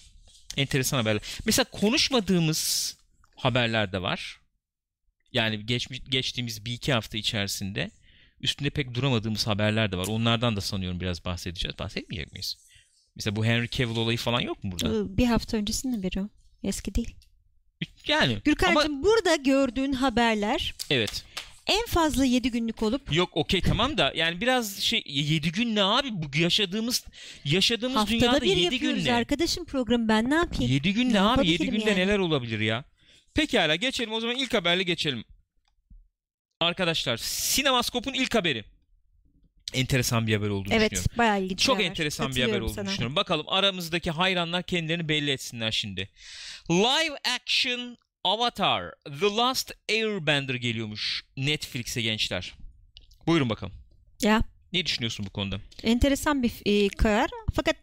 Speaker 2: Enteresan haberler. Mesela konuşmadığımız haberler de var. Yani geçmiş, geçtiğimiz bir iki hafta içerisinde üstünde pek duramadığımız haberler de var. Onlardan da sanıyorum biraz bahsedeceğiz. Bahsetmeyecek miyiz? Mesela bu Henry Cavill olayı falan yok mu burada?
Speaker 1: Ee, bir hafta öncesinde haberi o. Eski değil.
Speaker 2: Yani. Ama
Speaker 1: Gürkan'cığım burada gördüğün haberler
Speaker 2: evet.
Speaker 1: en fazla 7 günlük olup
Speaker 2: Yok okey tamam da yani biraz şey 7 gün ne abi bu yaşadığımız yaşadığımız dünyada
Speaker 1: haftada bir
Speaker 2: 7 gün
Speaker 1: yapıyoruz
Speaker 2: ne?
Speaker 1: arkadaşım programı ben ne yapayım?
Speaker 2: 7 gün ne abi?
Speaker 1: Yapabilirim
Speaker 2: 7 günde
Speaker 1: yani.
Speaker 2: neler olabilir ya? Pekala geçelim o zaman ilk haberle geçelim. Arkadaşlar Sinemaskop'un ilk haberi. Enteresan bir haber olduğunu
Speaker 1: evet
Speaker 2: düşünüyorum.
Speaker 1: bayağı ilginç. bir
Speaker 2: Çok
Speaker 1: haber.
Speaker 2: enteresan bir haber
Speaker 1: Katılıyorum
Speaker 2: olduğunu
Speaker 1: sana.
Speaker 2: düşünüyorum. Bakalım aramızdaki hayranlar kendilerini belli etsinler şimdi. Live action Avatar The Last Airbender geliyormuş Netflix'e gençler. Buyurun bakalım.
Speaker 1: Ya
Speaker 2: Ne düşünüyorsun bu konuda?
Speaker 1: enteresan bir e, karar fakat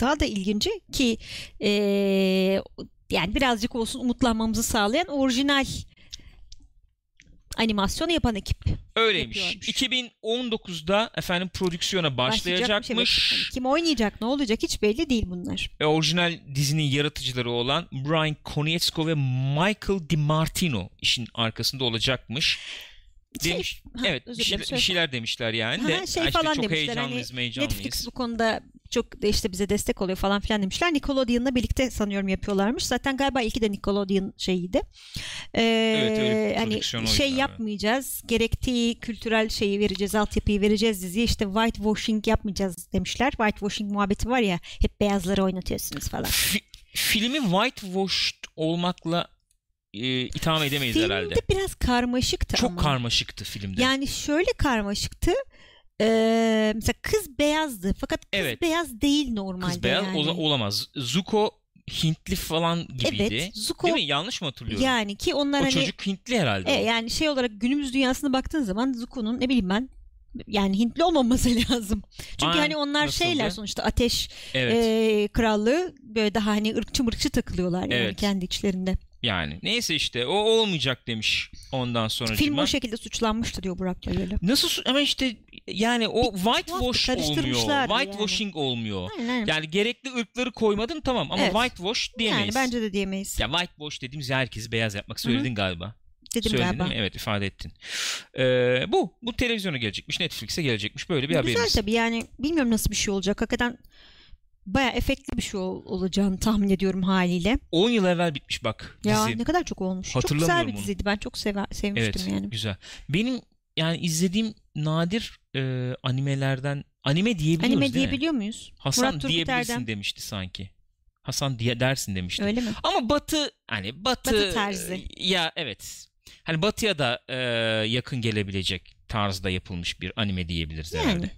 Speaker 1: daha da ilginci ki e, yani birazcık olsun umutlanmamızı sağlayan orijinal animasyonu yapan ekip
Speaker 2: Öyleymiş.
Speaker 1: Yapıyormuş.
Speaker 2: 2019'da efendim prodüksiyona başlayacakmış.
Speaker 1: evet. Hani kim oynayacak ne olacak hiç belli değil bunlar.
Speaker 2: ve orijinal dizinin yaratıcıları olan Brian Konietzko ve Michael DiMartino işin arkasında olacakmış.
Speaker 1: Şey-
Speaker 2: Demiş,
Speaker 1: Ha,
Speaker 2: evet
Speaker 1: özür
Speaker 2: bir, şey-
Speaker 1: dilerim, söyle.
Speaker 2: bir şeyler demişler yani
Speaker 1: Ha,
Speaker 2: de.
Speaker 1: şey
Speaker 2: Ha, işte
Speaker 1: falan
Speaker 2: çok
Speaker 1: demişler,
Speaker 2: heyecanlıyız, heyecanlıyız.
Speaker 1: Netflix bu konuda çok da işte bize destek oluyor falan filan demişler. Nickelodeon'la birlikte sanıyorum yapıyorlarmış. Zaten galiba ilki de Nickelodeon şeyiydi. Ee,
Speaker 2: Evet, öyle bir
Speaker 1: hani
Speaker 2: prodüksiyon o
Speaker 1: şey
Speaker 2: yüzden,
Speaker 1: yapmayacağız. Gerektiği kültürel şeyi vereceğiz, altyapıyı vereceğiz diziye. İşte whitewashing yapmayacağız demişler. Whitewashing muhabbeti var ya hep beyazları oynatıyorsunuz falan.
Speaker 2: Fi- filmi whitewashed olmakla e, itham edemeyiz
Speaker 1: Filmde
Speaker 2: herhalde.
Speaker 1: biraz karmaşıktı
Speaker 2: Çok
Speaker 1: ama.
Speaker 2: karmaşıktı filmde.
Speaker 1: Yani şöyle karmaşıktı. Ee, mesela kız beyazdı fakat kız
Speaker 2: Evet.
Speaker 1: beyaz değil normalde
Speaker 2: Kız beyaz
Speaker 1: yani.
Speaker 2: ola- olamaz. Zuko Hintli falan gibiydi.
Speaker 1: Evet, Zuko-
Speaker 2: Değil mi? Yanlış mı hatırlıyorum?
Speaker 1: Yani ki
Speaker 2: o
Speaker 1: onlar hani
Speaker 2: çocuk Hintli herhalde.
Speaker 1: e, yani şey olarak günümüz dünyasına baktığın zaman Zuko'nun ne bileyim ben yani Hintli olmaması *laughs* lazım. Çünkü
Speaker 2: Ay,
Speaker 1: hani onlar
Speaker 2: nasıldı?
Speaker 1: şeyler sonuçta ateş
Speaker 2: Evet.
Speaker 1: e, krallığı böyle daha hani ırkçı mırkçı takılıyorlar yani
Speaker 2: Evet.
Speaker 1: kendi içlerinde.
Speaker 2: Yani neyse işte o olmayacak demiş ondan sonra.
Speaker 1: Film o şekilde suçlanmıştı diyor Burak Demirel.
Speaker 2: Nasıl su- ama işte yani o whitewash olmuyor.
Speaker 1: karıştırmışlardı yani.
Speaker 2: Whitewashing olmuyor.
Speaker 1: Aynen aynen.
Speaker 2: Yani gerekli ırkları koymadın tamam ama
Speaker 1: Evet.
Speaker 2: whitewash diyemeyiz.
Speaker 1: Yani bence de diyemeyiz.
Speaker 2: Ya whitewash dediğimiz herkesi beyaz
Speaker 1: Hı
Speaker 2: yapmak
Speaker 1: hı.
Speaker 2: söyledin galiba.
Speaker 1: Dedim
Speaker 2: Söyledin
Speaker 1: galiba.
Speaker 2: değil mi? Evet ifade ettin. Ee, bu. Bu televizyona gelecekmiş. Netflix'e gelecekmiş. Böyle bir
Speaker 1: Güzel
Speaker 2: haberimiz.
Speaker 1: tabii yani bilmiyorum nasıl bir şey olacak. Hakikaten bayağı efektli bir şey ol- olacağını tahmin ediyorum haliyle.
Speaker 2: 10 yıl evvel bitmiş bak dizi.
Speaker 1: Ya ne kadar çok olmuş. Çok güzel
Speaker 2: Hatırlamıyorum
Speaker 1: bir
Speaker 2: onu.
Speaker 1: diziydi. Ben çok sever, sevmiştim
Speaker 2: evet
Speaker 1: yani.
Speaker 2: güzel. Benim yani izlediğim nadir e, animelerden anime diyebiliyoruz
Speaker 1: Anime
Speaker 2: değil mi?
Speaker 1: diyebiliyor muyuz?
Speaker 2: Hasan
Speaker 1: Murat Turgut
Speaker 2: diyebilirsin
Speaker 1: Erdem.
Speaker 2: demişti sanki. Hasan diye dersin demişti.
Speaker 1: Öyle mi?
Speaker 2: Ama Batı hani Batı,
Speaker 1: Batı tarzı.
Speaker 2: e, Ya evet. Hani Batı'ya da e, yakın gelebilecek tarzda yapılmış bir anime diyebiliriz
Speaker 1: Yani.
Speaker 2: herhalde.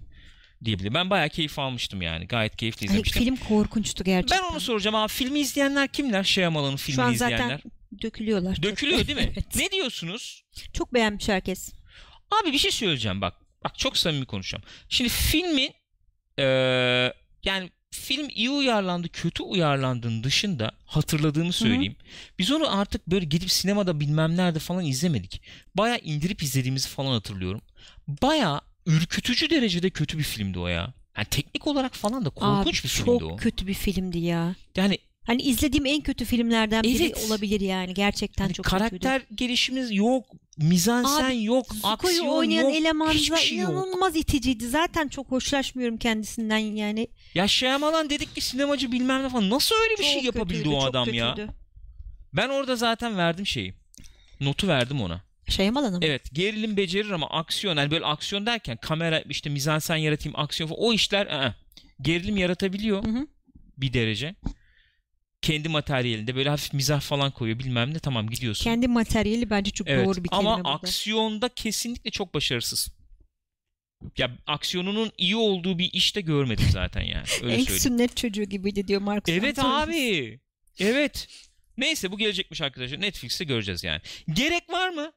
Speaker 2: Diyebilirim. Ben bayağı keyif almıştım yani. Gayet keyifli
Speaker 1: Ay,
Speaker 2: izlemiştim.
Speaker 1: film korkunçtu
Speaker 2: ben
Speaker 1: gerçekten.
Speaker 2: onu soracağım abi. Filmi izleyenler kimler? Şey Amal'ın filmi
Speaker 1: Şu an zaten *laughs*
Speaker 2: izleyenler.
Speaker 1: dökülüyorlar. çok.
Speaker 2: Dökülüyor değil mi?
Speaker 1: *laughs* evet.
Speaker 2: Ne diyorsunuz?
Speaker 1: Çok beğenmiş herkes.
Speaker 2: Abi bir şey söyleyeceğim bak. Bak çok samimi konuşacağım. Şimdi filmin eee, yani film iyi uyarlandı, kötü uyarlandığının dışında hatırladığımı söyleyeyim. Biz onu artık böyle gidip sinemada bilmem nerede falan izlemedik. Baya indirip izlediğimizi falan hatırlıyorum. Baya ürkütücü derecede kötü bir filmdi o ya. Yani teknik olarak falan da korkunç
Speaker 1: Abi,
Speaker 2: bir filmdi
Speaker 1: çok
Speaker 2: o.
Speaker 1: kötü bir filmdi ya.
Speaker 2: Yani
Speaker 1: Hani izlediğim en kötü filmlerden biri
Speaker 2: Evet.
Speaker 1: olabilir yani. Gerçekten
Speaker 2: hani
Speaker 1: çok kötüydü.
Speaker 2: karakter gelişimiz yok, mizansen yok,
Speaker 1: Zuko'yu
Speaker 2: aksiyon
Speaker 1: oynayan
Speaker 2: yok,
Speaker 1: eleman
Speaker 2: hiçbir
Speaker 1: za-
Speaker 2: şey yok.
Speaker 1: inanılmaz iticiydi. Zaten çok hoşlaşmıyorum kendisinden yani.
Speaker 2: Ya Şemalan dedik ki sinemacı bilmem ne falan. Nasıl öyle bir
Speaker 1: Çok
Speaker 2: şey yapabildi
Speaker 1: kötüydü,
Speaker 2: o
Speaker 1: çok
Speaker 2: adam ya?
Speaker 1: kötüydü.
Speaker 2: Ben orada zaten verdim şeyi. Notu verdim ona.
Speaker 1: Şemal Hanım.
Speaker 2: Evet gerilim becerir ama aksiyon yani böyle aksiyon derken kamera işte mizansen yaratayım aksiyon falan o işler ı-ı. gerilim yaratabiliyor
Speaker 1: Hı hı.
Speaker 2: bir derece. Kendi materyalinde böyle hafif mizah falan koyuyor bilmem ne tamam gidiyorsun.
Speaker 1: Kendi materyali bence çok
Speaker 2: evet
Speaker 1: doğru bir kelime
Speaker 2: ama
Speaker 1: burada.
Speaker 2: aksiyonda kesinlikle çok başarısız. Ya aksiyonunun iyi olduğu bir işte görmedim zaten yani öyle
Speaker 1: *laughs* en
Speaker 2: söyleyeyim.
Speaker 1: sünnet çocuğu gibiydi diyor Marcus
Speaker 2: Evet
Speaker 1: Antonius.
Speaker 2: abi. Evet. Neyse bu gelecekmiş arkadaşlar. Netflix'te göreceğiz yani. Gerek var mı?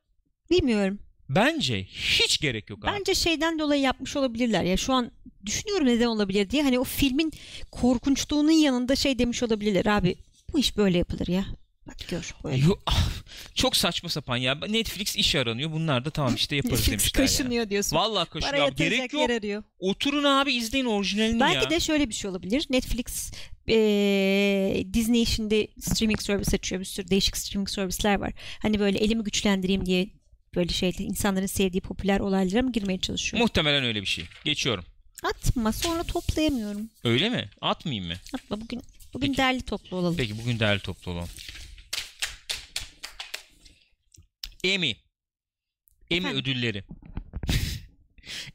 Speaker 1: Bilmiyorum.
Speaker 2: Bence hiç gerek yok abi.
Speaker 1: Bence şeyden dolayı yapmış olabilirler. Ya şu an düşünüyorum neden olabilir diye. Hani o filmin korkunçluğunun yanında şey demiş olabilirler abi. Bu iş böyle yapılır ya. Bak gör böyle.
Speaker 2: Yo- ah, çok saçma sapan ya. Netflix iş aranıyor. Bunlar da tamam işte yaparız
Speaker 1: Netflix
Speaker 2: demişler ya.
Speaker 1: kaşınıyor diyorsun.
Speaker 2: Vallahi
Speaker 1: Para
Speaker 2: kaşınıyor abi.
Speaker 1: yatıracak
Speaker 2: Gerek yok.
Speaker 1: yer arıyor.
Speaker 2: Oturun abi izleyin orijinalini
Speaker 1: Belki
Speaker 2: ya.
Speaker 1: de şöyle bir şey olabilir. Netflix eee, Disney şimdi streaming servis açıyor. Bir sürü değişik streaming servisler var. Hani böyle elimi güçlendireyim diye böyle şey insanların sevdiği popüler olaylara mı girmeye çalışıyor?
Speaker 2: Muhtemelen öyle bir şey. Geçiyorum.
Speaker 1: Atma sonra toplayamıyorum.
Speaker 2: Öyle mi? Atmayayım mı?
Speaker 1: Atma bugün bugün derli toplu olalım.
Speaker 2: Peki bugün değerli toplu olalım. Emmy. Emmy
Speaker 1: Efendim?
Speaker 2: ödülleri. *laughs*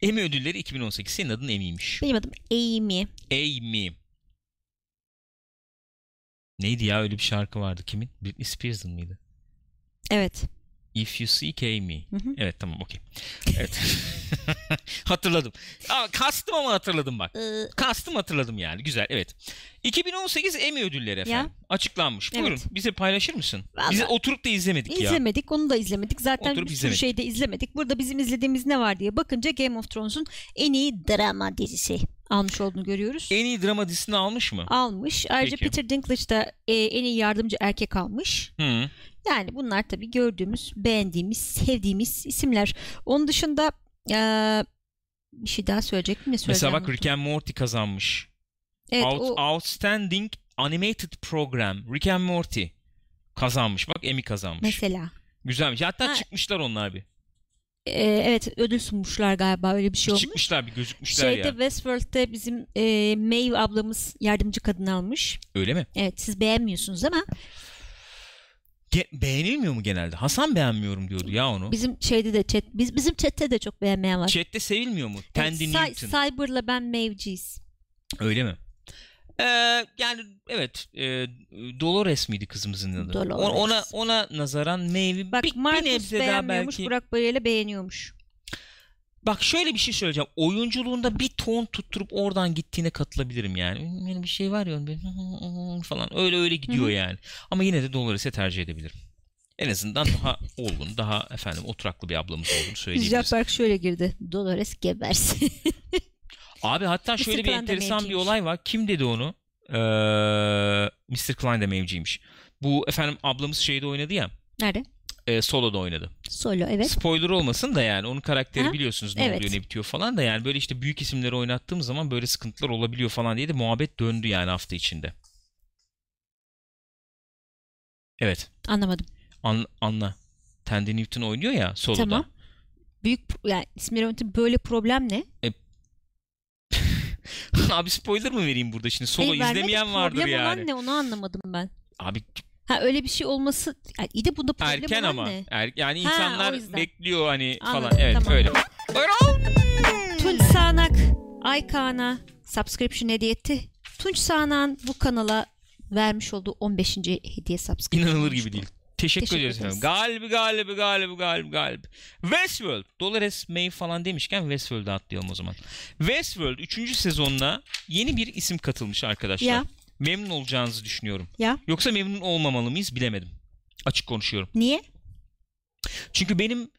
Speaker 2: Emmy ödülleri 2018. Senin adın Emmy'miş.
Speaker 1: Benim adım Amy.
Speaker 2: Amy. Neydi ya öyle bir şarkı vardı kimin? Britney Spears'ın mıydı?
Speaker 1: Evet.
Speaker 2: If you seek Amy.
Speaker 1: Hı hı.
Speaker 2: Evet tamam okey. Evet. *laughs* hatırladım. Aa, kastım ama hatırladım bak.
Speaker 1: Ee,
Speaker 2: Kastım hatırladım yani. Güzel evet. 2018 Emmy ödülleri efendim. Açıklanmış.
Speaker 1: Evet.
Speaker 2: Buyurun bize paylaşır mısın?
Speaker 1: Vallahi-
Speaker 2: Biz oturup da izlemedik ya.
Speaker 1: İzlemedik. Onu da izlemedik. Zaten
Speaker 2: Oturup
Speaker 1: bir sürü
Speaker 2: izlemedik.
Speaker 1: şey de izlemedik. Burada bizim izlediğimiz ne var diye bakınca Game of Thrones'un en iyi drama dizisi almış olduğunu görüyoruz.
Speaker 2: En iyi drama dizisini almış mı?
Speaker 1: almış. Ayrıca
Speaker 2: E- Peki.
Speaker 1: Peter Dinklage da e, en iyi yardımcı erkek almış.
Speaker 2: Hı.
Speaker 1: Yani bunlar tabii gördüğümüz, beğendiğimiz, sevdiğimiz isimler. Onun dışında e, bir şey daha söyleyecek mi? Ne
Speaker 2: Mesela
Speaker 1: söyleyeceğim?
Speaker 2: bak Rick and Morty kazanmış.
Speaker 1: Evet,
Speaker 2: Out-
Speaker 1: o,
Speaker 2: Outstanding Animated Program Rick and Morty kazanmış. Bak Emmy kazanmış.
Speaker 1: mesela.
Speaker 2: Güzelmiş. Hatta
Speaker 1: Ha.
Speaker 2: çıkmışlar onlar bir.
Speaker 1: E, evet ödül sunmuşlar galiba öyle bir şey olmuş.
Speaker 2: Çıkmışlar bir gözükmüşler
Speaker 1: Şeyde
Speaker 2: ya.
Speaker 1: Westworld'de bizim e, Maeve ablamız yardımcı kadın almış.
Speaker 2: Öyle mi?
Speaker 1: Evet siz beğenmiyorsunuz ama
Speaker 2: Ge- beğenilmiyor mu genelde? Hasan beğenmiyorum diyordu ya onu.
Speaker 1: bizim şeyde de chat biz bizim chatte de çok beğenmeyen var.
Speaker 2: Chat'te sevilmiyor mu?
Speaker 1: Evet,
Speaker 2: Tandy
Speaker 1: Cy-
Speaker 2: Şey, Newton.
Speaker 1: Cyber'la ben Maeve'ciyiz.
Speaker 2: Öyle mi? Ee, yani evet e, Dolores miydi kızımızın adı?
Speaker 1: Dolores.
Speaker 2: O- Ona ona nazaran meyve
Speaker 1: Bak
Speaker 2: bir, bir
Speaker 1: Marcus
Speaker 2: nebze daha
Speaker 1: beğenmiyormuş
Speaker 2: belki.
Speaker 1: Burak Bayır'la beğeniyormuş.
Speaker 2: Bak şöyle bir şey söyleyeceğim. Oyunculuğunda bir ton tutturup oradan gittiğine katılabilirim yani. Benim bir şey var ya onun böyle *laughs* falan öyle öyle gidiyor
Speaker 1: Hı hı.
Speaker 2: yani. Ama yine de Dolores'e tercih edebilirim. En azından
Speaker 1: *laughs*
Speaker 2: daha olgun, daha efendim oturaklı bir ablamız olduğunu söyleyebiliriz.
Speaker 1: Jack Berg şöyle girdi. Dolores gebersin.
Speaker 2: Abi hatta
Speaker 1: Mr.
Speaker 2: şöyle bir
Speaker 1: Klein de
Speaker 2: enteresan bir
Speaker 1: mevciymiş.
Speaker 2: olay var. Kim dedi onu? Ee, Mr. Klein de mevciymiş. Bu efendim ablamız şeyde oynadı ya.
Speaker 1: *laughs* Nerede?
Speaker 2: E, solo'da oynadı.
Speaker 1: Solo evet.
Speaker 2: Spoiler olmasın da yani onun karakteri
Speaker 1: Aha.
Speaker 2: biliyorsunuz ne
Speaker 1: Evet.
Speaker 2: oluyor ne bitiyor falan da yani böyle işte büyük isimleri oynattığım zaman böyle sıkıntılar olabiliyor falan diye de muhabbet döndü yani hafta içinde. Evet.
Speaker 1: Anlamadım.
Speaker 2: An- Anna. Tandy Newton oynuyor ya solo'da.
Speaker 1: Tamam. Büyük pro- yani İsmail Ömer'in böyle problem ne?
Speaker 2: *laughs* Abi spoiler mı vereyim burada şimdi? Solo
Speaker 1: Hayır, vermedik.
Speaker 2: izlemeyen vardır
Speaker 1: problem
Speaker 2: yani.
Speaker 1: olan ne onu anlamadım ben.
Speaker 2: Abi
Speaker 1: Ha öyle bir şey olması yani iyi de bunda problem
Speaker 2: erken
Speaker 1: olan
Speaker 2: ama.
Speaker 1: ne?
Speaker 2: Er- yani
Speaker 1: Ha,
Speaker 2: insanlar
Speaker 1: o yüzden.
Speaker 2: bekliyor hani
Speaker 1: Anladım,
Speaker 2: falan. Evet
Speaker 1: tamam.
Speaker 2: öyle. Buyurun.
Speaker 1: Tunç Sağanak Aykan'a subscription hediye etti. Tunç Sağanak'ın bu kanala vermiş olduğu 15. hediye subscription.
Speaker 2: İnanılır gibi değil. Teşekkür,
Speaker 1: Teşekkür
Speaker 2: ediyoruz
Speaker 1: ederiz.
Speaker 2: efendim. Galibi galibi galibi galibi galibi. Westworld. Dolores May falan demişken Westworld'a atlayalım o zaman. Westworld 3. sezonuna yeni bir isim katılmış arkadaşlar.
Speaker 1: Ya.
Speaker 2: Memnun olacağınızı düşünüyorum.
Speaker 1: Ya
Speaker 2: Yoksa memnun olmamalı mıyız bilemedim. Açık konuşuyorum.
Speaker 1: niye?
Speaker 2: Çünkü benim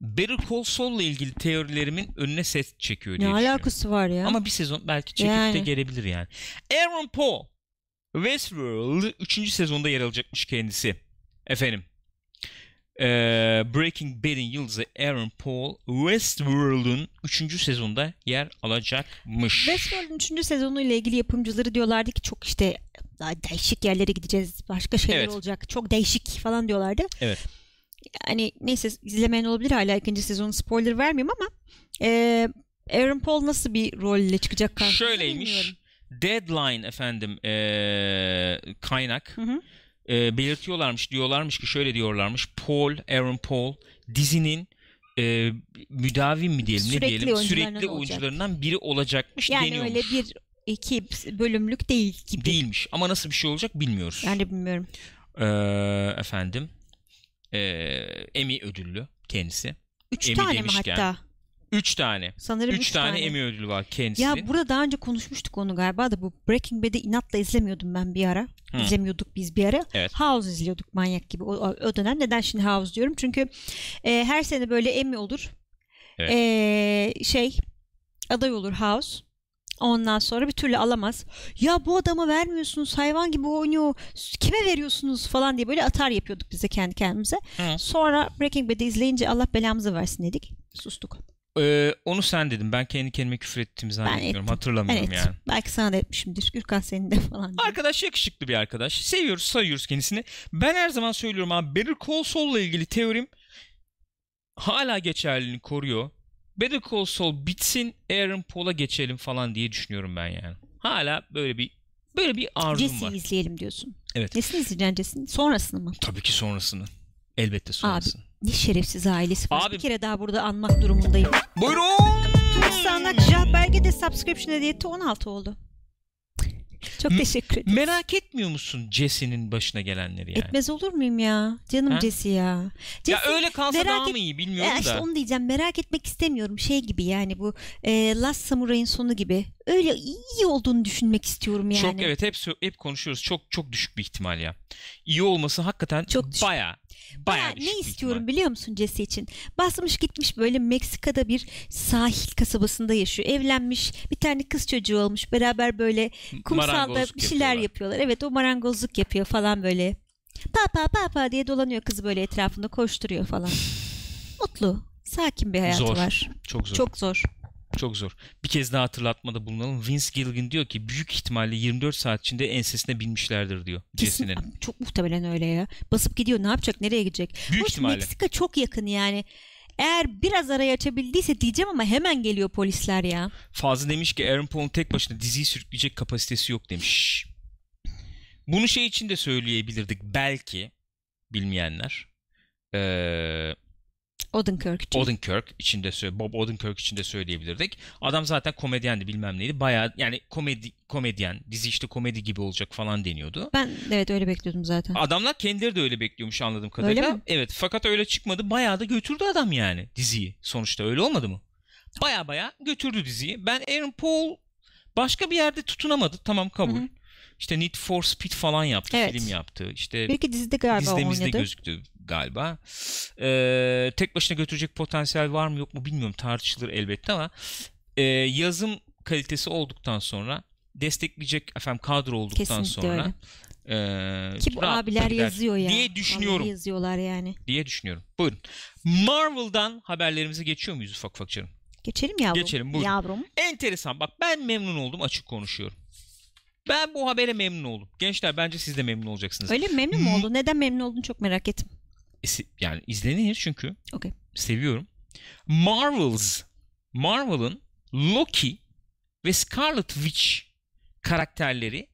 Speaker 2: Better Call Saul'la ilgili teorilerimin önüne ses çekiyor diye
Speaker 1: ne
Speaker 2: düşünüyorum.
Speaker 1: alakası var ya?
Speaker 2: şey. Ama bir sezon belki çekip de
Speaker 1: Yani.
Speaker 2: gelebilir yani. Aaron Paul Westworld 3. sezonda yer alacakmış kendisi. Efendim. Ee, Breaking Bad'in yıldızı Aaron Paul Westworld'un 3. sezonda yer alacakmış.
Speaker 1: Westworld'un 3. sezonuyla ilgili yapımcıları diyorlardı ki çok işte daha değişik yerlere gideceğiz. Başka şeyler
Speaker 2: Evet.
Speaker 1: olacak. Çok değişik falan diyorlardı.
Speaker 2: Evet.
Speaker 1: Yani neyse izlemeyen olabilir hala ikinci sezonun spoiler vermeyeyim ama e, Aaron Paul nasıl bir rolle çıkacak karşımıza
Speaker 2: Şöyleymiş.
Speaker 1: bilmiyorum.
Speaker 2: Deadline efendim ee, kaynak
Speaker 1: Hı hı.
Speaker 2: e, belirtiyorlarmış diyorlarmış ki şöyle diyorlarmış Paul Aaron Paul dizinin e, müdavim mi diyelim
Speaker 1: Sürekli
Speaker 2: ne diyelim
Speaker 1: oyuncularından
Speaker 2: sürekli
Speaker 1: olacak.
Speaker 2: oyuncularından biri olacakmış
Speaker 1: Yani
Speaker 2: deniyormuş.
Speaker 1: öyle bir iki bölümlük değil gibi.
Speaker 2: Değilmiş ama nasıl bir şey olacak bilmiyoruz.
Speaker 1: Yani bilmiyorum.
Speaker 2: Ee, efendim e, Emmy ödüllü kendisi.
Speaker 1: Üç
Speaker 2: Emmy
Speaker 1: tane mi
Speaker 2: demişken.
Speaker 1: hatta?
Speaker 2: Üç tane.
Speaker 1: Sanırım
Speaker 2: üç tane, Emmy ödülü var kendisi.
Speaker 1: Ya burada daha önce konuşmuştuk onu galiba da bu Breaking Bad'i inatla izlemiyordum ben bir ara.
Speaker 2: Hı.
Speaker 1: İzlemiyorduk biz bir ara.
Speaker 2: Evet.
Speaker 1: House izliyorduk manyak gibi o, o- o dönem. Neden şimdi House diyorum? Çünkü e, her sene böyle Emmy olur.
Speaker 2: Evet.
Speaker 1: E, şey aday olur House. Ondan sonra bir türlü alamaz. Ya bu adama vermiyorsunuz hayvan gibi oynuyor. Kime veriyorsunuz falan diye böyle atar yapıyorduk bize kendi kendimize.
Speaker 2: Hı.
Speaker 1: Sonra Breaking Bad'i izleyince Allah belamızı versin dedik. Sustuk.
Speaker 2: Ee, onu sen dedin. Ben kendi kendime küfür ettiğimi zannetmiyorum.
Speaker 1: ettim.
Speaker 2: Hatırlamıyorum
Speaker 1: Evet.
Speaker 2: yani.
Speaker 1: Belki sana da etmişimdir. Gürkan senin de falan. diye.
Speaker 2: Arkadaş yakışıklı bir arkadaş. Seviyoruz, sayıyoruz kendisini. Ben her zaman söylüyorum abi Better Call Saul'la ilgili teorim hala geçerliliğini koruyor. Better Call Saul bitsin, Aaron Paul'a geçelim falan diye düşünüyorum ben yani. Hala böyle bir böyle bir arzum
Speaker 1: Jesse'yi
Speaker 2: var.
Speaker 1: izleyelim diyorsun.
Speaker 2: Evet.
Speaker 1: Nesini izleyeceksin Jesse'nin? Sonrasını mı?
Speaker 2: Tabii ki sonrasını. Elbette sonrasını.
Speaker 1: Ne şerefsiz ailesi var.
Speaker 2: Abi-
Speaker 1: Bir kere daha burada anmak durumundayım.
Speaker 2: Buyurun.
Speaker 1: Sanat Jah Belge de subscription hediyeti 16 oldu. Çok
Speaker 2: M-
Speaker 1: teşekkür ederim.
Speaker 2: Merak etmiyor musun Jesse'nin başına gelenleri yani?
Speaker 1: Etmez olur muyum ya? Canım
Speaker 2: Ha?
Speaker 1: Jesse ya.
Speaker 2: Ya
Speaker 1: Jesse-
Speaker 2: öyle kalsa
Speaker 1: merak
Speaker 2: daha
Speaker 1: et-
Speaker 2: mı iyi bilmiyorum
Speaker 1: Ya işte
Speaker 2: da.
Speaker 1: onu diyeceğim. Merak etmek istemiyorum. Şey gibi yani bu e, Last Samurai'ın sonu gibi. Öyle iyi olduğunu düşünmek istiyorum yani.
Speaker 2: Çok evet hep sö- hep konuşuyoruz. Çok çok düşük bir ihtimal ya. İyi olması hakikaten
Speaker 1: Çok düşük.
Speaker 2: baya baya
Speaker 1: Ya
Speaker 2: düşük
Speaker 1: ne
Speaker 2: bir
Speaker 1: istiyorum biliyor musun Jesse için? Basmış gitmiş böyle Meksika'da bir sahil kasabasında yaşıyor. Evlenmiş bir tane kız çocuğu olmuş. Beraber böyle
Speaker 2: ihtimal.
Speaker 1: kumsalda
Speaker 2: Marangozluk
Speaker 1: bir şeyler
Speaker 2: yapıyorlar.
Speaker 1: yapıyorlar. Evet o marangozluk yapıyor falan böyle. Pa pa pa pa diye dolanıyor kızı böyle etrafında koşturuyor
Speaker 2: *sighs*
Speaker 1: falan. Mutlu, sakin bir hayatı
Speaker 2: Zor.
Speaker 1: var.
Speaker 2: Çok zor. Çok...
Speaker 1: Çok zor.
Speaker 2: zor. Bir kez daha hatırlatmada bulunalım. Vince Gilligan diyor ki büyük ihtimalle 24 saat içinde ensesine binmişlerdir diyor
Speaker 1: Kesin,
Speaker 2: Jesse'nin.
Speaker 1: çok muhtemelen öyle ya. Basıp gidiyor ne yapacak nereye gidecek?
Speaker 2: Büyük
Speaker 1: Hoş,
Speaker 2: ihtimalle.
Speaker 1: Meksika çok yakın yani. Eğer biraz arayı açabildiyse diyeceğim ama hemen geliyor polisler ya.
Speaker 2: Fazla demiş ki Aaron Paul'un tek başına diziyi sürükleyecek kapasitesi yok demiş. Bunu şey için de söyleyebilirdik belki bilmeyenler. Ee,
Speaker 1: Odenkirk için.
Speaker 2: Odenkirk için de söyle Bob Odenkirk için de söyleyebilirdik. Adam zaten komedyendi bilmem neydi. Bayağı yani komedi komedyen dizi işte komedi gibi olacak falan deniyordu.
Speaker 1: Ben evet öyle bekliyordum zaten.
Speaker 2: Adamlar kendileri de öyle bekliyormuş anladığım kadarıyla.
Speaker 1: Öyle mi?
Speaker 2: Evet fakat öyle çıkmadı. Bayağı da götürdü adam yani diziyi. Sonuçta öyle olmadı mı? Bayağı bayağı götürdü diziyi. Ben Aaron Paul başka bir yerde tutunamadı. Tamam kabul.
Speaker 1: Hı hı.
Speaker 2: İşte Need for Speed falan yaptı.
Speaker 1: Evet.
Speaker 2: Film yaptı. İşte
Speaker 1: Bir iki dizide galiba
Speaker 2: dizide mizde
Speaker 1: oynadı.
Speaker 2: gözüktü. galiba. Ee, tek başına götürecek potansiyel var mı yok mu bilmiyorum tartışılır elbette ama e, yazım kalitesi olduktan sonra destekleyecek efendim kadro olduktan
Speaker 1: Kesinlikle
Speaker 2: sonra e,
Speaker 1: Ki bu
Speaker 2: rahatlıkla
Speaker 1: abiler
Speaker 2: gider
Speaker 1: yazıyor ya.
Speaker 2: diye düşünüyorum.
Speaker 1: Vallahi yazıyorlar yani.
Speaker 2: diye düşünüyorum. Buyurun. Marvel'dan haberlerimize geçiyor muyuz ufak ufak canım?
Speaker 1: Geçelim yavrum.
Speaker 2: Geçelim, buyurun.
Speaker 1: Yavrum.
Speaker 2: Enteresan. Bak ben memnun oldum açık konuşuyorum. Ben bu habere memnun oldum. Gençler bence siz de memnun olacaksınız.
Speaker 1: Öyle mi? memnun
Speaker 2: Hmm.
Speaker 1: mu oldun? Neden memnun oldun çok merak ettim.
Speaker 2: E, Yani izlenir çünkü.
Speaker 1: Okey.
Speaker 2: Seviyorum. Marvel's Marvel'ın Loki ve Scarlet Witch karakterleri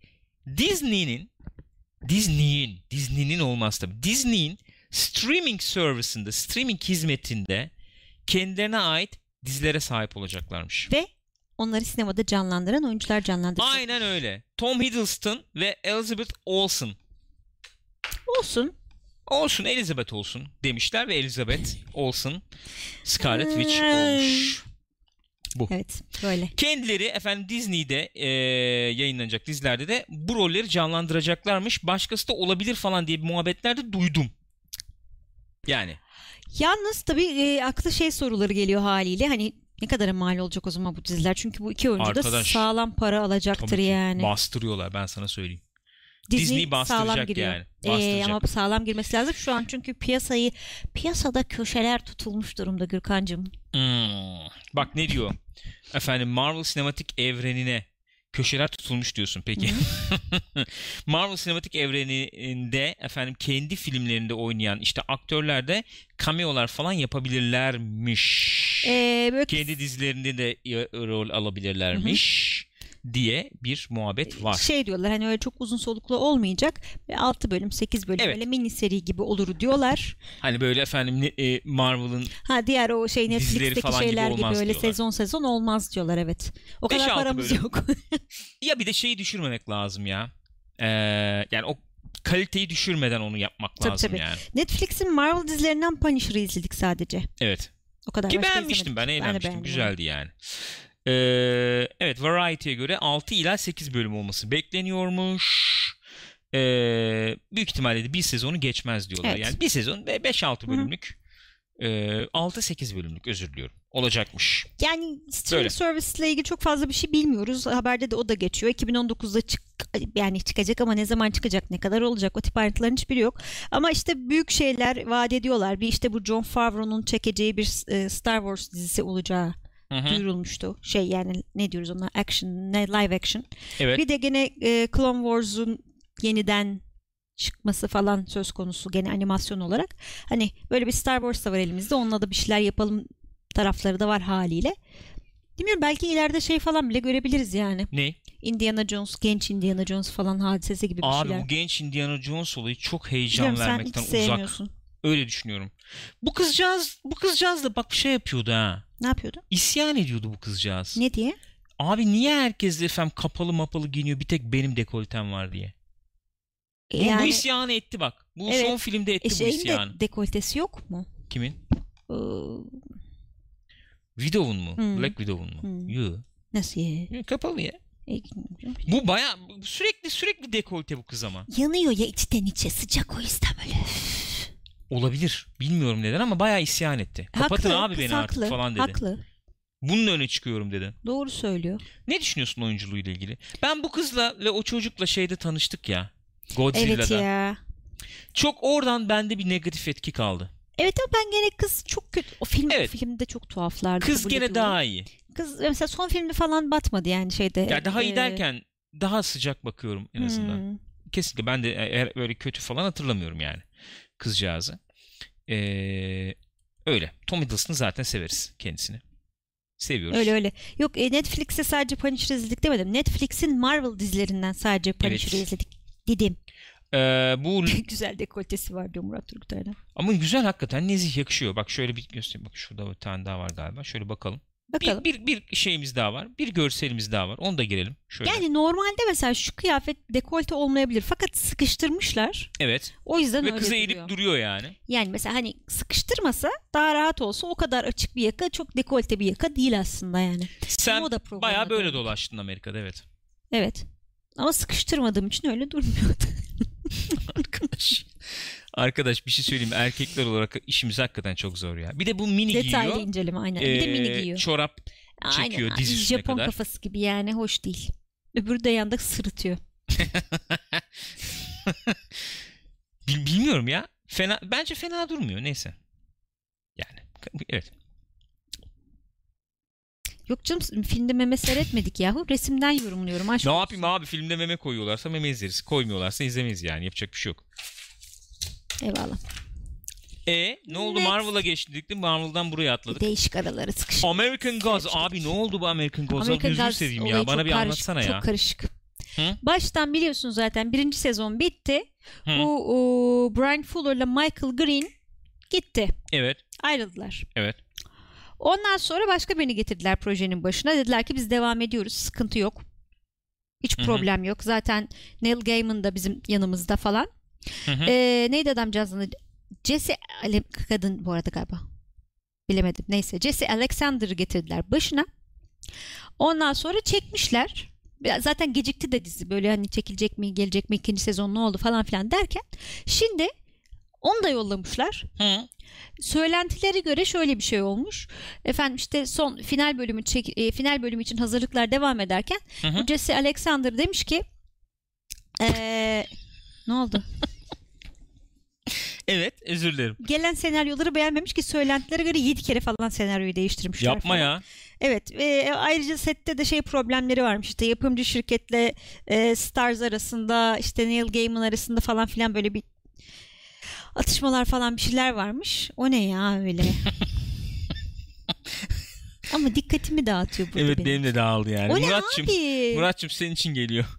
Speaker 2: Disney'nin Disney'in Disney'nin olmaz tabii. Disney'in streaming servisinde, streaming hizmetinde kendilerine ait dizilere sahip olacaklarmış.
Speaker 1: Ve onları sinemada canlandıran oyuncular canlandıracak.
Speaker 2: Aynen öyle. Tom Hiddleston ve Elizabeth Olsen.
Speaker 1: Olsun.
Speaker 2: Olsun Elizabeth olsun demişler ve Elizabeth olsun Scarlet Witch
Speaker 1: Hmm.
Speaker 2: olmuş.
Speaker 1: Evet böyle.
Speaker 2: Kendileri efendim Disney'de e, yayınlanacak dizilerde de bu rolleri canlandıracaklarmış. Başkası da olabilir falan diye bir muhabbetlerde duydum. Yani
Speaker 1: Yalnız tabii e, aklı şey soruları geliyor haliyle. Hani ne kadara mal olacak o zaman bu diziler? Çünkü bu iki oyuncu da
Speaker 2: Arkadaş,
Speaker 1: sağlam para
Speaker 2: tabii
Speaker 1: alacaktır
Speaker 2: ki
Speaker 1: yani.
Speaker 2: bastırıyorlar ben sana söyleyeyim.
Speaker 1: Disney,
Speaker 2: Disney bastıracak
Speaker 1: sağlam giriyor.
Speaker 2: yani.
Speaker 1: Ee,
Speaker 2: Bastıracak.
Speaker 1: ama sağlam girmesi lazım şu an çünkü piyasayı piyasada köşeler tutulmuş durumda Gürkan'cığım.
Speaker 2: Hmm. Bak ne diyor? Efendim Marvel sinematik evrenine köşeler tutulmuş diyorsun peki. *laughs* Marvel sinematik evreninde efendim kendi filmlerinde oynayan işte aktörler de cameo'lar falan yapabilirlermiş.
Speaker 1: Ee, böyle
Speaker 2: kendi dizilerinde de y- rol alabilirlermiş diye bir muhabbet var.
Speaker 1: şey diyorlar hani öyle çok uzun soluklu olmayacak. Ve 6 bölüm 8 bölüm
Speaker 2: Evet.
Speaker 1: böyle mini seri gibi olur diyorlar.
Speaker 2: Hani böyle efendim ne- e, Marvel'ın
Speaker 1: Ha diğer o şey
Speaker 2: Dizileri
Speaker 1: Netflix'teki
Speaker 2: falan gibi
Speaker 1: şeyler gibi,
Speaker 2: olmaz
Speaker 1: öyle
Speaker 2: diyorlar.
Speaker 1: sezon sezon olmaz diyorlar evet. O
Speaker 2: Beş,
Speaker 1: kadar
Speaker 2: altı
Speaker 1: paramız
Speaker 2: bölüm.
Speaker 1: yok. *laughs*
Speaker 2: ya bir de şeyi düşürmemek lazım ya. Ee, yani o kaliteyi düşürmeden onu yapmak
Speaker 1: Tabii,
Speaker 2: lazım
Speaker 1: tabii.
Speaker 2: yani.
Speaker 1: Netflix'in Marvel dizilerinden Punisher'ı izledik sadece.
Speaker 2: Evet.
Speaker 1: O kadar
Speaker 2: Ki
Speaker 1: başka
Speaker 2: beğenmiştim
Speaker 1: izlemedik.
Speaker 2: ben
Speaker 1: de
Speaker 2: eğlenmiştim.
Speaker 1: beğendim.
Speaker 2: Güzeldi yani. Ee, evet Variety'ye göre 6 ila 8 bölüm olması bekleniyormuş. Ee, büyük ihtimalle de bir sezonu geçmez diyorlar.
Speaker 1: Evet.
Speaker 2: Yani bir sezon 5-6
Speaker 1: Hı hı.
Speaker 2: bölümlük e, 6-8 bölümlük özür diliyorum. Olacakmış.
Speaker 1: Yani streaming
Speaker 2: Böyle.
Speaker 1: service ile ilgili çok fazla bir şey bilmiyoruz. Haberde de o da geçiyor. 2019'da çık yani çıkacak ama ne zaman çıkacak, ne kadar olacak o tip ayrıntıların hiçbiri yok. Ama işte büyük şeyler vaat ediyorlar. Bir işte bu John Favreau'nun çekeceği bir e, Star Wars dizisi olacağı
Speaker 2: Hı hı.
Speaker 1: duyurulmuştu. Şey yani ne diyoruz ona action, ne live action.
Speaker 2: Evet.
Speaker 1: Bir de gene e, Clone Wars'un yeniden çıkması falan söz konusu gene animasyon olarak. Hani böyle bir Star Wars da var elimizde. Onunla da bir şeyler yapalım tarafları da var haliyle. Bilmiyorum belki ileride şey falan bile görebiliriz yani.
Speaker 2: Ne?
Speaker 1: Indiana Jones, genç Indiana Jones falan hadisesi gibi bir
Speaker 2: Abi
Speaker 1: şeyler.
Speaker 2: bu genç Indiana Jones olayı çok heyecan
Speaker 1: Biliyorum sen hiç
Speaker 2: vermekten uzak.
Speaker 1: sevmiyorsun.
Speaker 2: Öyle düşünüyorum. Bu kızcağız bu kızcağız da bak şey yapıyordu ha.
Speaker 1: Ne yapıyordu?
Speaker 2: İsyan ediyordu bu kızcağız.
Speaker 1: Ne diye?
Speaker 2: Abi niye herkes efendim kapalı mapalı giyiniyor bir tek benim dekoltem var diye. Bu, bu
Speaker 1: yani
Speaker 2: isyanı etti bak. Bu
Speaker 1: Evet.
Speaker 2: son filmde etti bu
Speaker 1: eşeğin
Speaker 2: isyanı.
Speaker 1: de dekoltesi yok mu?
Speaker 2: Kimin?
Speaker 1: Ee,
Speaker 2: Widow'un mu?
Speaker 1: Hmm.
Speaker 2: Black Widow'un mu?
Speaker 1: Hmm.
Speaker 2: Yo.
Speaker 1: nasıl ya?
Speaker 2: Yo, Kapalı ya.
Speaker 1: E,
Speaker 2: Bu baya sürekli sürekli dekolte bu kız ama.
Speaker 1: Yanıyor ya içten içe sıcak o yüzden böyle.
Speaker 2: Olabilir. Bilmiyorum neden ama bayağı isyan etti. Kapatın
Speaker 1: haklı,
Speaker 2: abi
Speaker 1: kız
Speaker 2: beni
Speaker 1: haklı,
Speaker 2: artık falan dedi.
Speaker 1: Haklı.
Speaker 2: Bunun öne çıkıyorum dedi.
Speaker 1: Doğru söylüyor.
Speaker 2: Ne düşünüyorsun oyunculuğuyla ilgili? Ben bu kızla ve o çocukla şeyde tanıştık ya. Godzilla'da.
Speaker 1: Evet ya.
Speaker 2: Çok oradan bende bir negatif etki kaldı.
Speaker 1: Evet ama ben gene kız çok kötü. O film
Speaker 2: Evet.
Speaker 1: o filmde çok tuhaflardı.
Speaker 2: Kız
Speaker 1: kabul
Speaker 2: gene
Speaker 1: ediyorum.
Speaker 2: daha iyi.
Speaker 1: Kız mesela son filmi falan batmadı yani şeyde.
Speaker 2: Ya daha iyi
Speaker 1: e,
Speaker 2: derken daha sıcak bakıyorum en azından.
Speaker 1: hmm.
Speaker 2: Kesinlikle ben de e, eğer böyle kötü falan hatırlamıyorum yani kızcağızı. Ee, öyle. Tom Hiddleston'ı zaten severiz kendisini. Seviyoruz.
Speaker 1: Öyle öyle. Yok e, Netflix'te sadece Punisher'ı izledik demedim. Netflix'in Marvel dizilerinden sadece Punisher'ı
Speaker 2: Evet.
Speaker 1: izledik. Dedim. *laughs*
Speaker 2: Ee, bu
Speaker 1: Güzel dekoltesi var diyor Murat Turgutay'dan.
Speaker 2: ama güzel hakikaten nezih yakışıyor. Bak şöyle bir göstereyim. Bak şurada bir tane daha var galiba. Şöyle bakalım. Bir-
Speaker 1: Bakalım.
Speaker 2: Bir, bir, şeyimiz daha var. Bir görselimiz daha var. Onu da girelim. Şöyle.
Speaker 1: yani normalde mesela şu kıyafet dekolte olmayabilir. Fakat sıkıştırmışlar.
Speaker 2: evet.
Speaker 1: O yüzden
Speaker 2: Ve
Speaker 1: öyle
Speaker 2: kız
Speaker 1: duruyor.
Speaker 2: eğilip duruyor yani.
Speaker 1: Yani mesela hani sıkıştırmasa daha rahat olsa o kadar açık bir yaka çok dekolte bir yaka değil aslında yani.
Speaker 2: Sen
Speaker 1: Moda programına
Speaker 2: bayağı böyle
Speaker 1: döndük.
Speaker 2: dolaştın Amerika'da evet.
Speaker 1: *laughs* Evet. Ama sıkıştırmadığım için öyle durmuyordu.
Speaker 2: arkadaş. Arkadaş bir şey söyleyeyim mi? erkekler olarak işimiz hakikaten çok zor ya. Bir de bu mini
Speaker 1: Detaylı
Speaker 2: giyiyor.
Speaker 1: inceleme aynen. bir de
Speaker 2: Ee,
Speaker 1: mini giyiyor.
Speaker 2: Çorap *laughs* çekiyor
Speaker 1: aynen.
Speaker 2: diz üstüne
Speaker 1: Japon
Speaker 2: kadar.
Speaker 1: kafası gibi yani hoş değil. Öbürü de yanda sırıtıyor.
Speaker 2: Bil- bilmiyorum ya. Fena bence fena durmuyor neyse. Yani evet.
Speaker 1: Yok canım filmde meme seyretmedik yahu. Resimden yorumluyorum. Aşk
Speaker 2: Ne
Speaker 1: olsun.
Speaker 2: yapayım abi filmde meme koyuyorlarsa meme izleriz. Koymuyorlarsa izlemeyiz yani yapacak bir şey yok.
Speaker 1: Eyvallah.
Speaker 2: E ne oldu
Speaker 1: Next.
Speaker 2: Marvel'a geçtik de Marvel'dan buraya atladık.
Speaker 1: Değişik araları sıkışık.
Speaker 2: American Gods abi ne oldu bu American Gods?
Speaker 1: American
Speaker 2: Gözünü
Speaker 1: Gods
Speaker 2: seveyim
Speaker 1: olayı
Speaker 2: ya bana
Speaker 1: çok
Speaker 2: bir
Speaker 1: karışık,
Speaker 2: anlatsana ya.
Speaker 1: Çok karışık.
Speaker 2: Hı?
Speaker 1: Baştan biliyorsun zaten birinci sezon bitti.
Speaker 2: Hı.
Speaker 1: Bu o, Brian Fuller'la Michael Green gitti.
Speaker 2: Evet
Speaker 1: Ayrıldılar.
Speaker 2: evet.
Speaker 1: Ondan sonra başka birini getirdiler projenin başına. Dediler ki biz devam ediyoruz. Sıkıntı yok. Hiç
Speaker 2: Hı hı.
Speaker 1: problem yok. Zaten Neil Gaiman da bizim yanımızda falan.
Speaker 2: Hı hı.
Speaker 1: Ee, neydi adamcağızın adı? Jesse Ale- kadın bu arada galiba. Bilemedim. Neyse Jesse Alexander'ı getirdiler başına. Ondan sonra çekmişler. Ya Zaten gecikti de dizi. Böyle hani çekilecek mi, gelecek mi, ikinci sezon ne oldu falan filan derken. Şimdi onu da yollamışlar.
Speaker 2: Hı.
Speaker 1: Söylentilere göre şöyle bir şey olmuş. Efendim işte son final bölümü çek- e, final bölümü için hazırlıklar devam ederken
Speaker 2: Hı hı.
Speaker 1: bu Jesse Alexander demiş ki eee, ne oldu?
Speaker 2: Evet özür dilerim.
Speaker 1: Gelen senaryoları beğenmemiş ki söylentilere göre 7 kere falan senaryoyu değiştirmişler.
Speaker 2: Yapma
Speaker 1: falan.
Speaker 2: ya.
Speaker 1: Evet. e, ayrıca sette de şey problemleri varmış. İşte yapımcı şirketle e, Stars arasında işte Neil Gaiman arasında falan filan böyle bir atışmalar falan bir şeyler varmış. O ne ya
Speaker 2: *laughs*
Speaker 1: öyle? Ama dikkatimi dağıtıyor burada
Speaker 2: Evet
Speaker 1: benim.
Speaker 2: benim de dağıldı yani.
Speaker 1: O ne
Speaker 2: Muratçım,
Speaker 1: abi?
Speaker 2: Muratçım senin için geliyor. *laughs*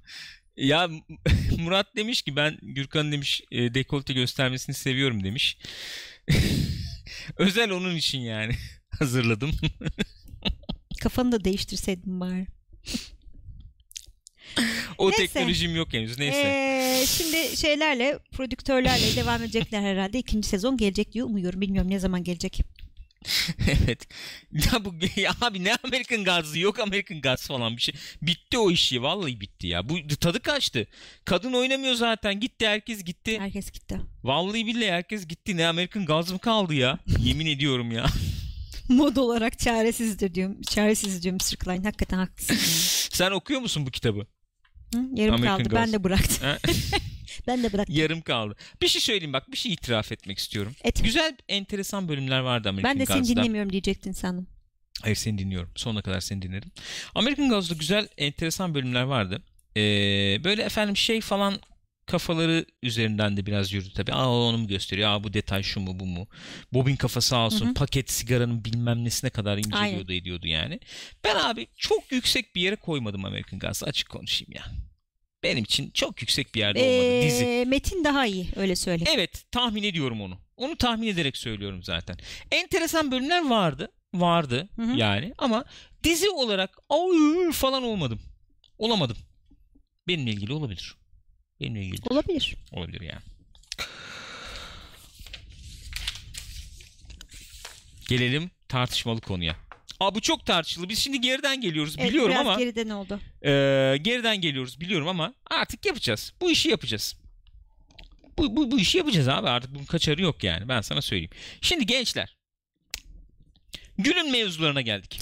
Speaker 2: Ya *laughs* Murat demiş ki ben Gürkan demiş e, dekolte göstermesini seviyorum demiş. *laughs* Özel onun için yani *laughs* hazırladım.
Speaker 1: Kafanı da değiştirseydin bari.
Speaker 2: o
Speaker 1: Neyse.
Speaker 2: teknolojim yok henüz neyse.
Speaker 1: Ee, şimdi şeylerle prodüktörlerle devam edecekler herhalde. İkinci sezon gelecek diye umuyorum. Bilmiyorum ne zaman gelecek.
Speaker 2: *laughs* evet. Ya bu *laughs* ya abi ne American Gods'ı yok American Gods falan bir şey. Bitti o işi vallahi bitti ya. Bu tadı kaçtı. Kadın oynamıyor zaten. Gitti herkes gitti.
Speaker 1: Herkes gitti.
Speaker 2: Vallahi billahi herkes gitti. Ne American Gods mı kaldı ya? Yemin *laughs* ediyorum ya.
Speaker 1: mod olarak çaresizdir diyorum. Çaresiz diyorum Mr. Klein. Hakikaten haklısın. yani.
Speaker 2: Sen okuyor musun bu kitabı?
Speaker 1: Hı? Yarım
Speaker 2: American
Speaker 1: kaldı.
Speaker 2: Gods.
Speaker 1: Ben de bıraktım. *laughs*
Speaker 2: Ha?
Speaker 1: Ben de bıraktım.
Speaker 2: Yarım kaldı. Bir şey söyleyeyim bak. Bir şey itiraf etmek istiyorum.
Speaker 1: Et.
Speaker 2: Güzel, enteresan bölümler vardı American
Speaker 1: Ben de seni
Speaker 2: Gods'da.
Speaker 1: dinlemiyorum diyecektin sandım.
Speaker 2: Hayır seni dinliyorum. Sonuna kadar seni dinlerim. American Gods'da güzel, enteresan bölümler vardı. Ee, böyle efendim şey falan kafaları üzerinden de biraz yürüdü tabii. Aa onu mu gösteriyor? Aa bu detay şu mu bu mu? Bobin kafası sağ olsun.
Speaker 1: Hı hı.
Speaker 2: Paket sigaranın bilmem nesine kadar inceliyordu ediyordu yani. Ben abi çok yüksek bir yere koymadım American Gods'ı açık konuşayım ya. Benim için çok yüksek bir yerde olmadı dizi.
Speaker 1: Ee, Metin daha iyi öyle söyle.
Speaker 2: Evet tahmin ediyorum onu. Onu tahmin ederek söylüyorum zaten. Enteresan bölümler vardı. Vardı
Speaker 1: Hı hı.
Speaker 2: yani ama dizi olarak "Ay!" falan olmadım. Olamadım. Benimle ilgili olabilir. Benimle ilgili
Speaker 1: Olabilir.
Speaker 2: olabilir yani. Gelelim tartışmalı konuya. Aa bu çok tartışılı. Biz şimdi geriden geliyoruz
Speaker 1: Evet,
Speaker 2: biliyorum
Speaker 1: biraz
Speaker 2: ama
Speaker 1: geride ne oldu?
Speaker 2: ee, geriden geliyoruz biliyorum ama artık yapacağız. Bu işi yapacağız. Bu, bu, bu işi yapacağız abi artık bunun kaçarı yok yani ben sana söyleyeyim. Şimdi gençler günün mevzularına geldik.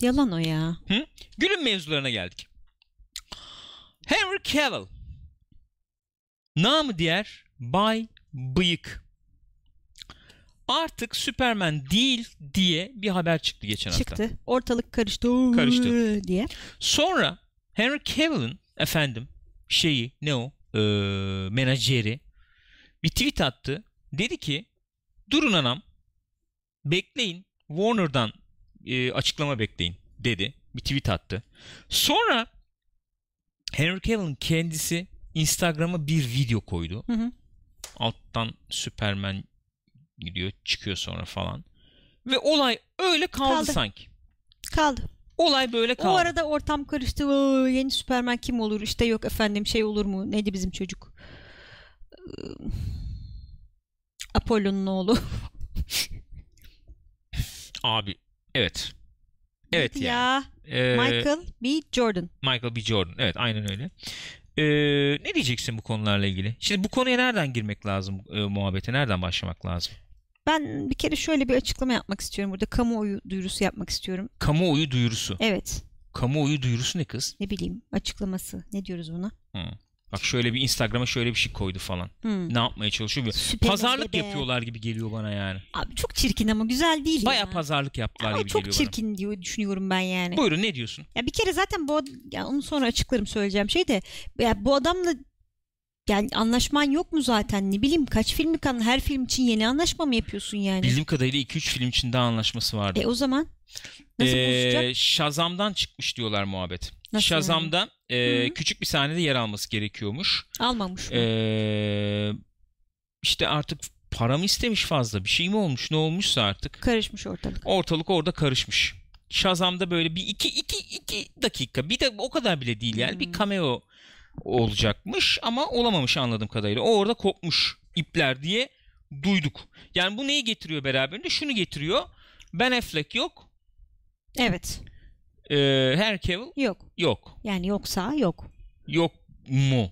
Speaker 1: Yalan o ya.
Speaker 2: Günün mevzularına geldik. Henry Cavill namı diğer Bay Bıyık artık Superman değil diye bir haber çıktı geçen hafta.
Speaker 1: Çıktı. Ortalık karıştı.
Speaker 2: Karıştı.
Speaker 1: Diye.
Speaker 2: Sonra Henry Cavill'ın efendim şeyi ne o Ee, menajeri bir tweet attı. Dedi ki durun anam bekleyin Warner'dan e, açıklama bekleyin dedi. Bir tweet attı. Sonra Henry Cavill'ın kendisi Instagram'a bir video koydu.
Speaker 1: Hı hı.
Speaker 2: Alttan Superman gidiyor çıkıyor sonra falan. Ve olay öyle kaldı,
Speaker 1: Kaldı.
Speaker 2: sanki.
Speaker 1: Kaldı.
Speaker 2: Olay böyle kaldı.
Speaker 1: O arada ortam karıştı. Oo, yeni Superman kim olur? İşte yok efendim şey olur mu? Neydi bizim çocuk? Ee, Apollo'nun oğlu.
Speaker 2: Abi evet. Evet
Speaker 1: Neydi
Speaker 2: yani.
Speaker 1: *laughs* ya.
Speaker 2: Ee,
Speaker 1: Michael B. Jordan.
Speaker 2: Michael B. Jordan. Evet aynen öyle. Ee, ne diyeceksin bu konularla ilgili? Şimdi bu konuya nereden girmek lazım e, muhabbete? Nereden başlamak lazım?
Speaker 1: Ben bir kere şöyle bir açıklama yapmak istiyorum burada. Kamuoyu duyurusu yapmak istiyorum.
Speaker 2: Kamuoyu duyurusu.
Speaker 1: Evet.
Speaker 2: Kamuoyu duyurusu ne kız?
Speaker 1: Ne bileyim açıklaması. Ne diyoruz buna?
Speaker 2: Bak şöyle bir Instagram'a şöyle bir şey koydu falan.
Speaker 1: Hmm.
Speaker 2: Ne yapmaya çalışıyor? Bir...
Speaker 1: Süper
Speaker 2: Pazarlık
Speaker 1: bebe.
Speaker 2: yapıyorlar gibi geliyor bana yani.
Speaker 1: Abi çok çirkin ama güzel değil
Speaker 2: Baya
Speaker 1: ya.
Speaker 2: pazarlık yaptılar
Speaker 1: Ama
Speaker 2: gibi
Speaker 1: çok
Speaker 2: geliyor
Speaker 1: çirkin diyor düşünüyorum ben yani.
Speaker 2: bana. Buyurun ne diyorsun?
Speaker 1: Ya bir kere zaten bu ad- ya onu sonra açıklarım söyleyeceğim şey de ya bu adamla yani anlaşman yok mu zaten ne bileyim kaç filmi kan her film için yeni anlaşma mı yapıyorsun yani?
Speaker 2: Bildiğim kadarıyla 2-3 film için daha anlaşması vardı.
Speaker 1: E o zaman nasıl bozacak?
Speaker 2: Ee, Shazam'dan çıkmış diyorlar muhabbet.
Speaker 1: Nasıl
Speaker 2: Shazam'da e,
Speaker 1: Hı hı.
Speaker 2: küçük bir sahnede yer alması gerekiyormuş.
Speaker 1: Almamış mı?
Speaker 2: e- Ee, işte artık para mı istemiş fazla bir şey mi olmuş ne olmuşsa artık.
Speaker 1: Karışmış ortalık.
Speaker 2: Ortalık orada karışmış. Shazam'da böyle bir iki, iki, iki dakika bir de o kadar bile değil yani bir
Speaker 1: Hmm.
Speaker 2: cameo olacakmış ama olamamış anladığım kadarıyla. O orada kopmuş ipler diye duyduk. Yani bu neyi getiriyor beraberinde? Şunu getiriyor. Ben Affleck yok.
Speaker 1: Evet.
Speaker 2: Ee, Her Cavill
Speaker 1: Yok.
Speaker 2: yok.
Speaker 1: Yani yoksa yok.
Speaker 2: Yok mu?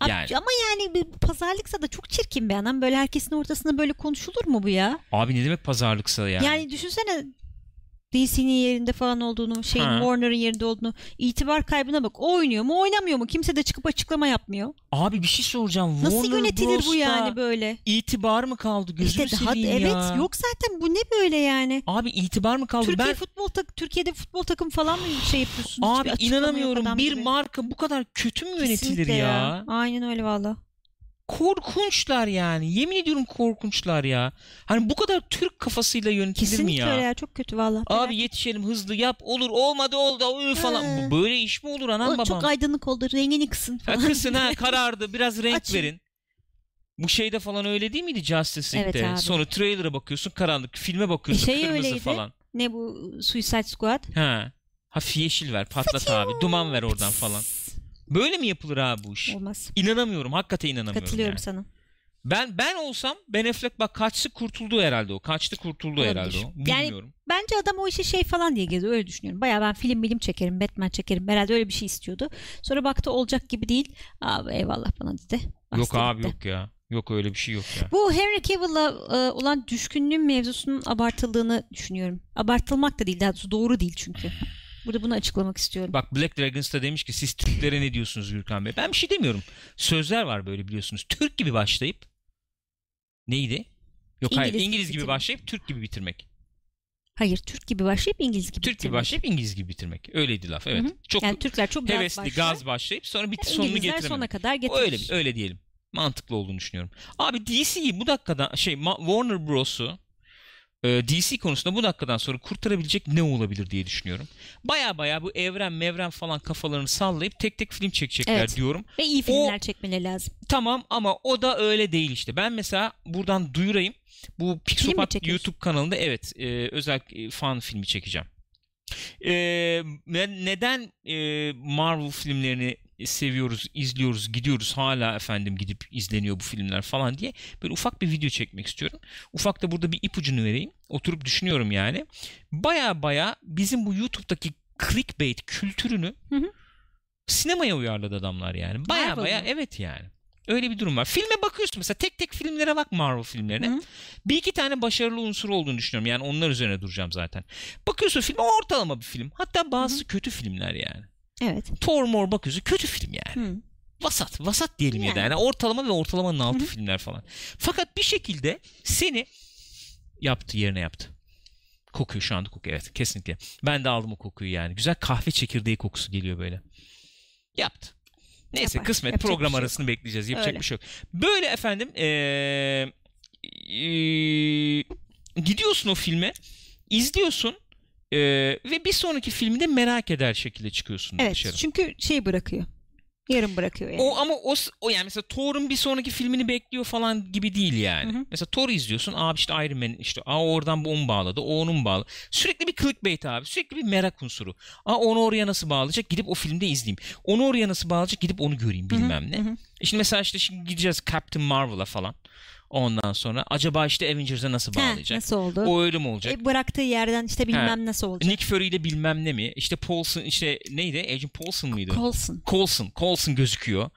Speaker 1: Abi-
Speaker 2: Yani.
Speaker 1: Ama yani bir pazarlıksa da çok çirkin bir adam. Böyle herkesin ortasında böyle konuşulur mu bu ya?
Speaker 2: Abi ne demek pazarlıksa yani?
Speaker 1: Yani, düşünsene DC'nin yerinde falan olduğunu, şeyin
Speaker 2: Ha.
Speaker 1: Warner'ın yerinde olduğunu, itibar kaybına bak. O oynuyor mu, oynamıyor mu? Kimse de çıkıp açıklama yapmıyor.
Speaker 2: Abi bir şey soracağım.
Speaker 1: Nasıl
Speaker 2: Warner
Speaker 1: yönetilir bu
Speaker 2: Bros'ta
Speaker 1: yani böyle?
Speaker 2: İtibar mı kaldı gözünü
Speaker 1: işte daha
Speaker 2: seveyim ya.
Speaker 1: evet yok zaten bu ne böyle yani?
Speaker 2: Abi itibar mı kaldı?
Speaker 1: Türkiye
Speaker 2: ben
Speaker 1: futbol tak Türkiye'de futbol takım falan mı şey yapıyorsun? Hiçbir
Speaker 2: abi
Speaker 1: açıklama yok
Speaker 2: inanamıyorum.
Speaker 1: adam
Speaker 2: Bir
Speaker 1: gibi.
Speaker 2: marka bu kadar kötü mü yönetilir
Speaker 1: Kesinlikle
Speaker 2: ya?
Speaker 1: Aynen öyle valla.
Speaker 2: Korkunçlar yani. Yemin ediyorum korkunçlar ya. Hani bu kadar Türk kafasıyla yönetilir mi
Speaker 1: Kesinlikle
Speaker 2: ya?
Speaker 1: öyle ya çok kötü valla.
Speaker 2: Abi yetişelim hızlı yap olur olmadı oldu ıı falan.
Speaker 1: Ha.
Speaker 2: Bu- Böyle iş mi olur anam
Speaker 1: O
Speaker 2: babam?
Speaker 1: çok aydınlık oldu rengini kısın falan.
Speaker 2: Ha,
Speaker 1: *laughs*
Speaker 2: kısın ha karardı biraz renk
Speaker 1: Açın.
Speaker 2: verin. Bu şeyde falan öyle değil miydi Justice
Speaker 1: Evet
Speaker 2: League'de?
Speaker 1: abi.
Speaker 2: Sonra trailer'a bakıyorsun karanlık, filme bakıyorsun
Speaker 1: Şey
Speaker 2: kırmızı
Speaker 1: öyleydi.
Speaker 2: falan.
Speaker 1: Ne bu ıı, Suicide Squad?
Speaker 2: Ha. Hafif yeşil ver, patlat abi, duman ver oradan falan. Böyle mi yapılır abi bu iş?
Speaker 1: Olmaz.
Speaker 2: İnanamıyorum, hakikaten inanamıyorum.
Speaker 1: Katılıyorum
Speaker 2: yani.
Speaker 1: sana.
Speaker 2: Ben ben olsam Ben Affleck bak kaçtı kurtuldu herhalde o. Kaçtı kurtuldu
Speaker 1: Olabilir.
Speaker 2: herhalde o.
Speaker 1: Yani-
Speaker 2: Bilmiyorum.
Speaker 1: Bence adam o işe şey falan diye geziyor öyle düşünüyorum. Baya ben film bilim çekerim, Batman çekerim. Herhalde öyle bir şey istiyordu. Sonra baktı olacak gibi değil. Abi eyvallah bana dedi. Bastı
Speaker 2: yok abi
Speaker 1: gitti.
Speaker 2: yok ya. Yok öyle bir şey yok ya.
Speaker 1: Bu Henry Cavill'a e, olan düşkünlüğün mevzusunun abartıldığını düşünüyorum. Abartılmak da değil daha doğrusu doğru değil çünkü. Burada bunu açıklamak istiyorum.
Speaker 2: Bak Black Dragons da demiş ki siz Türklere ne diyorsunuz Gürkan Bey? Ben bir şey demiyorum. Sözler var böyle biliyorsunuz. Türk gibi başlayıp neydi? Yok hayır
Speaker 1: İngiliz gibi
Speaker 2: İngiliz gibi
Speaker 1: bitirmek.
Speaker 2: başlayıp Türk gibi bitirmek.
Speaker 1: Hayır Türk gibi başlayıp İngiliz gibi
Speaker 2: Türk gibi
Speaker 1: bitirmek.
Speaker 2: başlayıp İngiliz gibi bitirmek. Öyleydi laf evet.
Speaker 1: Hı hı.
Speaker 2: Çok
Speaker 1: Yani Türkler çok gaz
Speaker 2: hevesli
Speaker 1: başlar.
Speaker 2: gaz başlayıp sonra bitir sonunu
Speaker 1: İngilizler sona
Speaker 2: getirememek.
Speaker 1: kadar
Speaker 2: O
Speaker 1: getirir.
Speaker 2: Öyle öyle diyelim. Mantıklı olduğunu düşünüyorum. Abi DC'yi bu dakikadan şey Ma- Warner Bros'u e, DC konusunda bu dakikadan sonra kurtarabilecek ne olabilir diye düşünüyorum. Baya baya bu evren mevren falan kafalarını sallayıp tek tek film çekecekler
Speaker 1: Evet.
Speaker 2: diyorum.
Speaker 1: Ve iyi filmler çekmeleri lazım.
Speaker 2: Tamam ama o da öyle değil işte. Ben mesela buradan duyurayım. Bu Pixopat
Speaker 1: çekiyorsun?
Speaker 2: YouTube kanalında evet e, özel e, fan filmi çekeceğim. E, ne- neden e, Marvel filmlerini seviyoruz, izliyoruz, gidiyoruz hala efendim gidip izleniyor bu filmler falan diye böyle ufak bir video çekmek istiyorum. Ufak da burada bir ipucunu vereyim. Oturup düşünüyorum yani. Baya baya bizim bu YouTube'daki clickbait kültürünü
Speaker 1: Hı hı.
Speaker 2: sinemaya uyarladı adamlar yani. Baya
Speaker 1: Marvel
Speaker 2: baya
Speaker 1: mı?
Speaker 2: evet yani. Öyle bir durum var. Filme bakıyorsun mesela tek tek filmlere bak Marvel filmlerine.
Speaker 1: Hı.
Speaker 2: Bir iki tane başarılı unsur olduğunu düşünüyorum. Yani onlar üzerine duracağım zaten. Bakıyorsun filme ortalama bir film. Hatta bazı kötü filmler yani.
Speaker 1: Evet.
Speaker 2: Thor Mor Baküzü kötü film yani.
Speaker 1: Hı.
Speaker 2: Vasat, vasat diyelim ya da
Speaker 1: Yani.
Speaker 2: yani ortalama ve ortalamanın altı
Speaker 1: Hı hı.
Speaker 2: filmler falan. Fakat bir şekilde seni yaptı yerine yaptı. Kokuyor şu anda kokuyor evet kesinlikle. Ben de aldım o kokuyu yani. Güzel kahve çekirdeği kokusu geliyor böyle. Yaptı. Neyse
Speaker 1: Yapar.
Speaker 2: kısmet
Speaker 1: Yapacak bir
Speaker 2: program
Speaker 1: şey yok.
Speaker 2: arasını bekleyeceğiz. Yapacak
Speaker 1: Öyle.
Speaker 2: bir şey yok. Böyle efendim ee, ee, gidiyorsun o filme izliyorsun ee, ve bir sonraki filmde merak eder şekilde çıkıyorsun
Speaker 1: Evet.
Speaker 2: dışarı.
Speaker 1: Çünkü şey bırakıyor. Yarım bırakıyor yani.
Speaker 2: O ama o, s- o yani mesela Thor'un bir sonraki filmini bekliyor falan gibi değil yani.
Speaker 1: Hı hı.
Speaker 2: Mesela Thor'u izliyorsun. Abi işte Iron Man işte aa oradan bu onu bağladı. O onun bağlı. Sürekli bir clickbait abi. Sürekli bir merak unsuru. Aa onu oraya nasıl bağlayacak? Gidip o filmde izleyeyim. Onu oraya nasıl bağlayacak? Gidip onu göreyim
Speaker 1: Hı hı,
Speaker 2: bilmem ne.
Speaker 1: hı hı.
Speaker 2: Şimdi mesela işte şimdi gideceğiz Captain Marvel'a falan. Ondan sonra acaba işte Avengers'a nasıl
Speaker 1: Ha,
Speaker 2: bağlayacak?
Speaker 1: nasıl oldu?
Speaker 2: O öyle mi olacak?
Speaker 1: E, bıraktığı yerden işte bilmem nasıl olacak.
Speaker 2: Nick Fury ile bilmem ne mi? İşte Paulson işte neydi? Agent Paulson mıydı?
Speaker 1: Colson.
Speaker 2: Colson. Colson gözüküyor.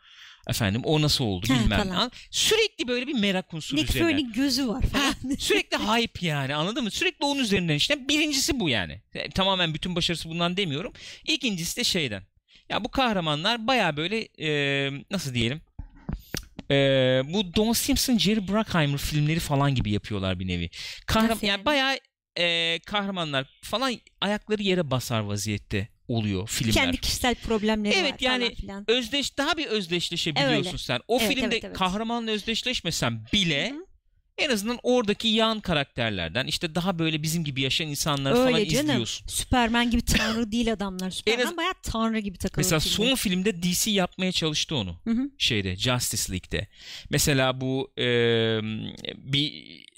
Speaker 2: Efendim o nasıl oldu
Speaker 1: Ha,
Speaker 2: bilmem ne.
Speaker 1: falan.
Speaker 2: An- Sürekli böyle bir merak unsuru
Speaker 1: Nick
Speaker 2: üzerine.
Speaker 1: Fury'nin gözü var falan. *laughs*
Speaker 2: Sürekli hype yani anladın mı? Sürekli onun üzerinden işte. Birincisi bu yani. E, Tamamen bütün başarısı bundan demiyorum. İkincisi de şeyden. Ya bu kahramanlar baya böyle e, nasıl diyelim? E, bu Don Simpson, Jerry Bruckheimer filmleri falan gibi yapıyorlar bir nevi. Kahram
Speaker 3: Nasıl
Speaker 2: yani
Speaker 3: yani?
Speaker 2: baya kahramanlar falan ayakları yere basar vaziyette oluyor filmler.
Speaker 1: Kendi kişisel problemleri
Speaker 2: Evet,
Speaker 1: var
Speaker 2: yani-
Speaker 1: falan filan.
Speaker 2: Özdeş daha bir özdeşleşebiliyorsun
Speaker 1: Öyle.
Speaker 2: sen. O
Speaker 1: Evet,
Speaker 2: filmde
Speaker 1: evet, evet.
Speaker 2: kahramanla özdeşleşmesen bile
Speaker 1: Hı hı.
Speaker 2: en azından oradaki yan karakterlerden işte daha böyle bizim gibi yaşayan insanlar falan
Speaker 1: Öyle canım.
Speaker 2: izliyorsun.
Speaker 1: Süpermen gibi tanrı değil
Speaker 2: *laughs*
Speaker 1: adamlar. Süpermen
Speaker 2: az-
Speaker 1: bayağı tanrı gibi takılıyor.
Speaker 2: Mesela
Speaker 1: filmde.
Speaker 2: son filmde DC yapmaya çalıştı onu.
Speaker 1: Hı hı.
Speaker 2: Şeyde Justice League'de. Mesela bu e, bir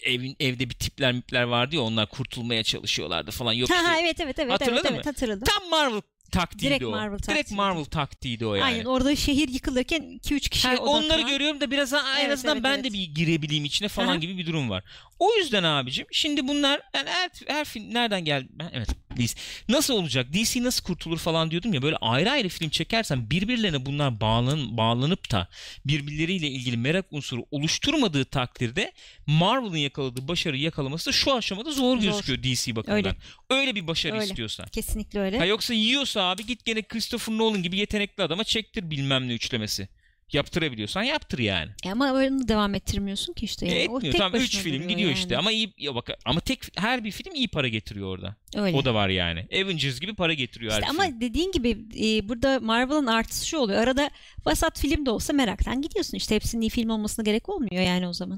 Speaker 2: evin evde bir tipler mipler vardı ya onlar kurtulmaya çalışıyorlardı falan. Yok
Speaker 1: Ha,
Speaker 2: işte-
Speaker 1: ha, evet evet evet.
Speaker 2: Hatırladın
Speaker 1: evet,
Speaker 2: mı?
Speaker 1: evet, hatırladım.
Speaker 2: Tam Marvel taktiğiydi
Speaker 1: Direkt
Speaker 2: o.
Speaker 1: Marvel
Speaker 2: Direkt
Speaker 1: taktiğiydi.
Speaker 2: Marvel taktiğiydi o yani.
Speaker 1: Aynen orada şehir yıkılırken 2-3 kişiye
Speaker 2: Yani onları
Speaker 1: odaklanan-
Speaker 2: görüyorum da biraz ha- en
Speaker 1: Evet,
Speaker 2: azından
Speaker 1: evet,
Speaker 2: ben
Speaker 1: evet.
Speaker 2: de bir girebileyim içine falan
Speaker 1: Aha.
Speaker 2: gibi bir durum var. O yüzden abicim şimdi bunlar yani her, her film nereden geldi? Ben- Evet DC. Nasıl olacak? DC nasıl kurtulur falan diyordum ya böyle ayrı ayrı film çekersen birbirlerine bunlar bağlan, bağlanıp da birbirleriyle ilgili merak unsuru oluşturmadığı takdirde Marvel'ın yakaladığı başarıyı yakalaması da şu aşamada zor,
Speaker 1: Zor.
Speaker 2: gözüküyor DC bakımından. Öyle,
Speaker 1: Öyle.
Speaker 2: bir başarı
Speaker 1: Öyle.
Speaker 2: istiyorsan.
Speaker 1: Kesinlikle öyle.
Speaker 2: Ha yoksa yiyorsa abi git gene Christopher Nolan gibi yetenekli adama çektir bilmem ne üçlemesi. Yaptırabiliyorsan yaptır yani.
Speaker 1: E ama onu devam ettirmiyorsun ki işte. Yani.
Speaker 2: E,
Speaker 1: o
Speaker 2: etmiyor.
Speaker 1: tek
Speaker 2: Tamam 3
Speaker 1: başına
Speaker 2: film
Speaker 1: duruyor
Speaker 2: gidiyor
Speaker 1: yani.
Speaker 2: işte ama iyi ya bak ama tek her bir film iyi para getiriyor orada.
Speaker 1: Öyle.
Speaker 2: O da var yani. Avengers gibi para getiriyor
Speaker 1: İşte
Speaker 2: her film.
Speaker 1: ama dediğin gibi e, burada Marvel'ın artısı şu oluyor. Arada vasat film de olsa meraktan gidiyorsun. İşte hepsinin iyi film olmasına gerek olmuyor yani o zaman.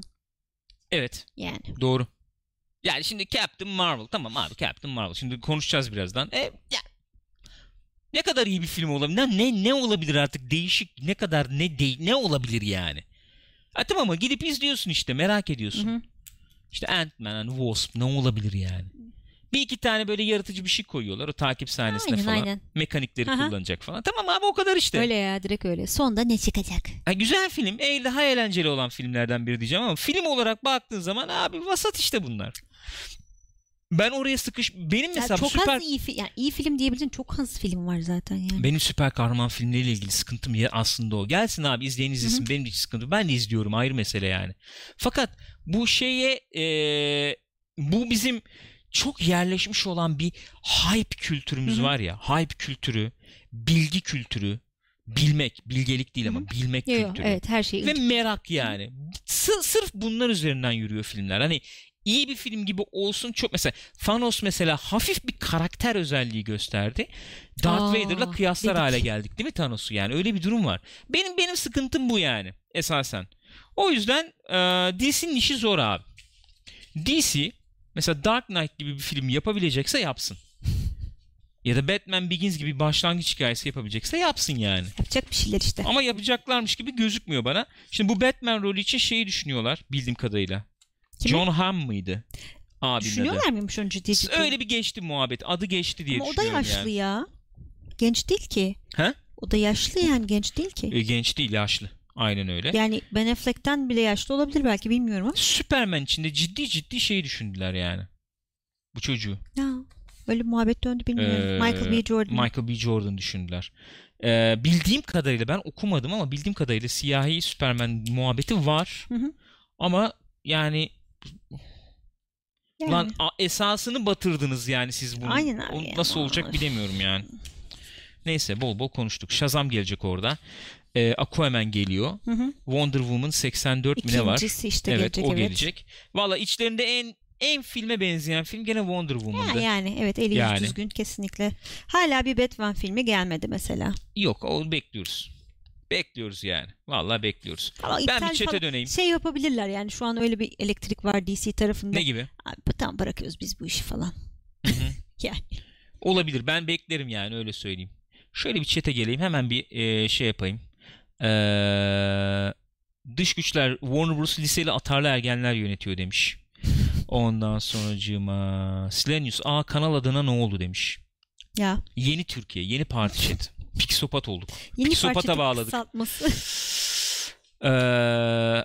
Speaker 2: Evet,
Speaker 1: Yani.
Speaker 2: doğru. Yani şimdi Captain Marvel tamam abi Captain Marvel. Şimdi konuşacağız birazdan. E, ya, ne kadar iyi bir film olabilir? Ne ne, ne olabilir artık değişik ne kadar ne de, ne olabilir yani? Ha, tamam ama gidip izliyorsun işte merak ediyorsun.
Speaker 1: Hı hı.
Speaker 2: İşte Ant-Man hani Wasp ne olabilir yani? Bir iki tane böyle yaratıcı bir şey koyuyorlar o takip sahnesine
Speaker 1: Aynen,
Speaker 2: falan. Şey-
Speaker 1: aynen.
Speaker 2: Mekanikleri
Speaker 1: Aha.
Speaker 2: kullanacak falan. Tamam abi o kadar işte.
Speaker 1: Öyle ya direkt öyle. Sonda ne çıkacak?
Speaker 2: Ha, güzel film. E, daha eğlenceli olan filmlerden biri diyeceğim ama film olarak baktığın zaman abi vasat işte bunlar. Ben oraya sıkış... Benim
Speaker 1: Yani
Speaker 2: mesela bu
Speaker 1: çok
Speaker 2: süper...
Speaker 1: az iyi, fi- yani iyi film diyebileceğin çok az film var zaten yani.
Speaker 2: Benim süper kahraman filmleriyle ilgili sıkıntım ya aslında o. Gelsin abi izleyen izlesin. Benim de hiç sıkıntım. Ben de izliyorum ayrı mesele yani. Fakat bu şeye e, bu bizim çok yerleşmiş olan bir hype kültürümüz
Speaker 1: Hı hı.
Speaker 2: var ya. Hype kültürü, bilgi kültürü, bilmek, bilgelik değil ama
Speaker 1: Hı
Speaker 2: bilmek
Speaker 1: Yo, yo,
Speaker 2: kültürü.
Speaker 1: evet her şey şeyi
Speaker 2: Ve merak yani. Sı- sırf bunlar üzerinden yürüyor filmler. Hani iyi bir film gibi olsun çok mesela Thanos mesela hafif bir karakter özelliği gösterdi. Darth
Speaker 1: Aa,
Speaker 2: Vader'la kıyaslar
Speaker 1: dedik.
Speaker 2: hale geldik değil mi Thanos'u yani öyle bir durum var. Benim benim sıkıntım bu yani esasen. O yüzden e, DC'nin işi zor abi. DC mesela Dark Knight gibi bir film yapabilecekse yapsın. Ya da Batman Begins gibi bir başlangıç hikayesi yapabilecekse yapsın yani.
Speaker 1: yapacak bir şeyler işte.
Speaker 2: Ama yapacaklarmış gibi gözükmüyor bana. Şimdi bu Batman rolü için şeyi düşünüyorlar bildiğim kadarıyla.
Speaker 1: Kimi?
Speaker 2: John Hamm mıydı? Abinin adı.
Speaker 1: Düşünüyorlar mıymış onu ciddi ciddi?
Speaker 2: Öyle bir geçti muhabbet. Adı geçti diye
Speaker 1: Ama o da
Speaker 2: düşünüyorum
Speaker 1: yaşlı
Speaker 2: yani.
Speaker 1: ya. Genç değil ki.
Speaker 2: He?
Speaker 1: O da yaşlı yani genç değil ki.
Speaker 2: E, genç değil yaşlı. Aynen öyle.
Speaker 1: Yani Ben Affleck'ten bile yaşlı olabilir belki bilmiyorum ama.
Speaker 2: Superman içinde ciddi ciddi şey düşündüler yani. Bu çocuğu.
Speaker 1: Ya, öyle bir muhabbet döndü bilmiyorum.
Speaker 2: Ee,
Speaker 1: Michael B. Jordan.
Speaker 2: Michael B. Jordan düşündüler. Ee, bildiğim kadarıyla ben okumadım ama bildiğim kadarıyla siyahi Superman muhabbeti var.
Speaker 1: Hı hı.
Speaker 2: Ama yani
Speaker 1: Yani.
Speaker 2: Lan a- esasını batırdınız yani siz bunu.
Speaker 1: Aynen abi
Speaker 2: O
Speaker 1: ya.
Speaker 2: Nasıl olacak bilemiyorum yani. Neyse bol bol konuştuk. Shazam gelecek orada. Ee, Aquaman geliyor.
Speaker 1: Hı hı.
Speaker 2: Wonder Woman 84 mi ne var?
Speaker 1: İkincisi işte
Speaker 2: evet
Speaker 1: gelecek
Speaker 2: o
Speaker 1: evet.
Speaker 2: gelecek. Valla içlerinde en en filme benzeyen film gene Wonder Woman'dı.
Speaker 1: Ha, yani evet eli yüzü
Speaker 2: Yani.
Speaker 1: düzgün kesinlikle. Hala bir Batman filmi gelmedi mesela.
Speaker 2: Yok onu bekliyoruz. Bekliyoruz yani. Valla bekliyoruz.
Speaker 1: Ama
Speaker 2: ben
Speaker 1: iptal
Speaker 2: bir çete
Speaker 1: falan-
Speaker 2: döneyim.
Speaker 1: Şey yapabilirler yani şu an öyle bir elektrik var DC tarafında.
Speaker 2: Ne gibi?
Speaker 1: Abi bu- tamam bırakıyoruz biz bu işi falan. yani
Speaker 2: Olabilir. Ben beklerim yani öyle söyleyeyim. Şöyle bir çete geleyim. Hemen bir e, şey yapayım. Ee, dış güçler Warner Bros. liseli atarlı ergenler yönetiyor demiş. Ondan sonracığıma Slenius A kanal adına ne oldu demiş.
Speaker 1: ya
Speaker 2: Yeni *laughs* Türkiye, yeni parti chat. Pixopat olduk.
Speaker 1: yeni
Speaker 2: Pixopata
Speaker 1: parçada
Speaker 2: bağladık.
Speaker 1: kısaltması.
Speaker 2: Ee, E,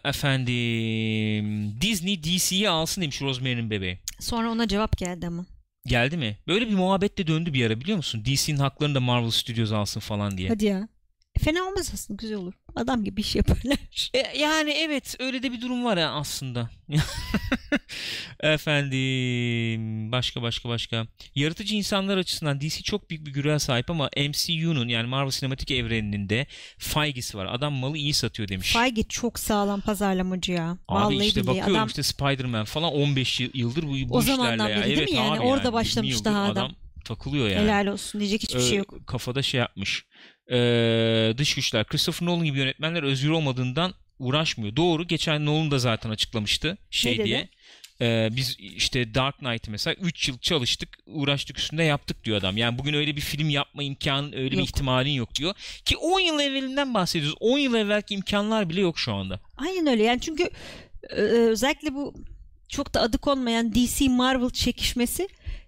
Speaker 2: efendim Disney DC'yi alsın demiş Rosemary'nin bebeği.
Speaker 1: *laughs* Sonra ona cevap geldi ama.
Speaker 2: Geldi mi? Böyle bir muhabbet de döndü bir ara biliyor musun? DC'nin haklarını da Marvel Studios alsın falan diye.
Speaker 1: Hadi ya. E, Fena olmaz aslında güzel olur. Adam gibi iş yaparlar.
Speaker 2: E, yani evet öyle de bir durum var ya aslında. *laughs* Efendim başka başka başka. Yaratıcı insanlar açısından DC çok büyük bir güreğe sahip ama MCU'nun yani Marvel Sinematik Evreni'nin de faygisi var. Adam malı iyi satıyor demiş.
Speaker 1: Feige çok sağlam pazarlamacı ya.
Speaker 2: Abi
Speaker 1: Vallahi
Speaker 2: işte
Speaker 1: billahi.
Speaker 2: bakıyorum
Speaker 1: Adam
Speaker 2: işte Spider-Man falan 15 yıl- yıldır bu, bu
Speaker 1: O
Speaker 2: işlerle
Speaker 1: zamandan
Speaker 2: ya.
Speaker 1: beri değil
Speaker 2: evet,
Speaker 1: mi yani?
Speaker 2: abi
Speaker 1: Orada
Speaker 2: 20
Speaker 1: başlamış
Speaker 2: yıldır
Speaker 1: daha
Speaker 2: adam.
Speaker 1: adam.
Speaker 2: takılıyor yani.
Speaker 1: helal olsun diyecek hiçbir
Speaker 2: Ee,
Speaker 1: şey yok.
Speaker 2: Kafada şey yapmış. Ee, dış güçler. Christopher Nolan gibi yönetmenler özgür olmadığından uğraşmıyor. Doğru. Geçen Nolan da zaten açıklamıştı. Şey
Speaker 1: dedi?
Speaker 2: diye. Ee, biz işte Dark Knight mesela 3 yıl çalıştık, uğraştık üstünde yaptık diyor adam. Yani bugün öyle bir film yapma imkanın, öyle bir
Speaker 1: Yok.
Speaker 2: ihtimalin yok diyor. Ki 10 yıl evvelinden bahsediyoruz. 10 yıl evvelki imkanlar bile yok şu anda.
Speaker 1: Aynen öyle yani çünkü e, özellikle bu çok da adı konmayan DC Marvel çekişmesi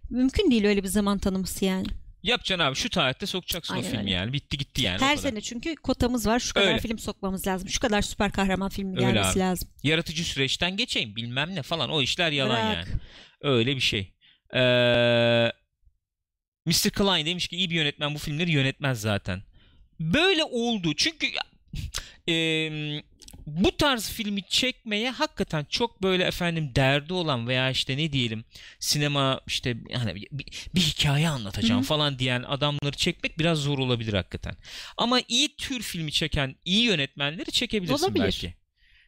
Speaker 1: mümkün değil öyle bir zaman tanıması yani.
Speaker 2: Yapacaksın abi şu tarihte sokacaksın o
Speaker 1: Aynen
Speaker 2: filmi
Speaker 1: öyle.
Speaker 2: yani. Bitti gitti yani. o
Speaker 1: Her
Speaker 2: kadar.
Speaker 1: sene çünkü kotamız var şu kadar
Speaker 2: Öyle.
Speaker 1: film sokmamız lazım. Şu kadar süper kahraman filmi
Speaker 2: Öyle
Speaker 1: gelmesi
Speaker 2: abi.
Speaker 1: lazım.
Speaker 2: Yaratıcı süreçten geçeyim bilmem ne falan o işler yalan
Speaker 1: Bırak.
Speaker 2: yani. Öyle bir şey. Ee, Mr. Klein demiş ki iyi bir yönetmen bu filmleri yönetmez zaten. Böyle oldu çünkü *sniffs* Eee, bu tarz filmi çekmeye hakikaten çok böyle efendim derdi olan veya işte ne diyelim sinema işte hani bir, bir hikaye anlatacağım
Speaker 1: Hı hı.
Speaker 2: falan diyen adamları çekmek biraz zor olabilir hakikaten. Ama iyi tür filmi çeken iyi yönetmenleri çekebilirsin
Speaker 1: Olabilir.
Speaker 2: belki.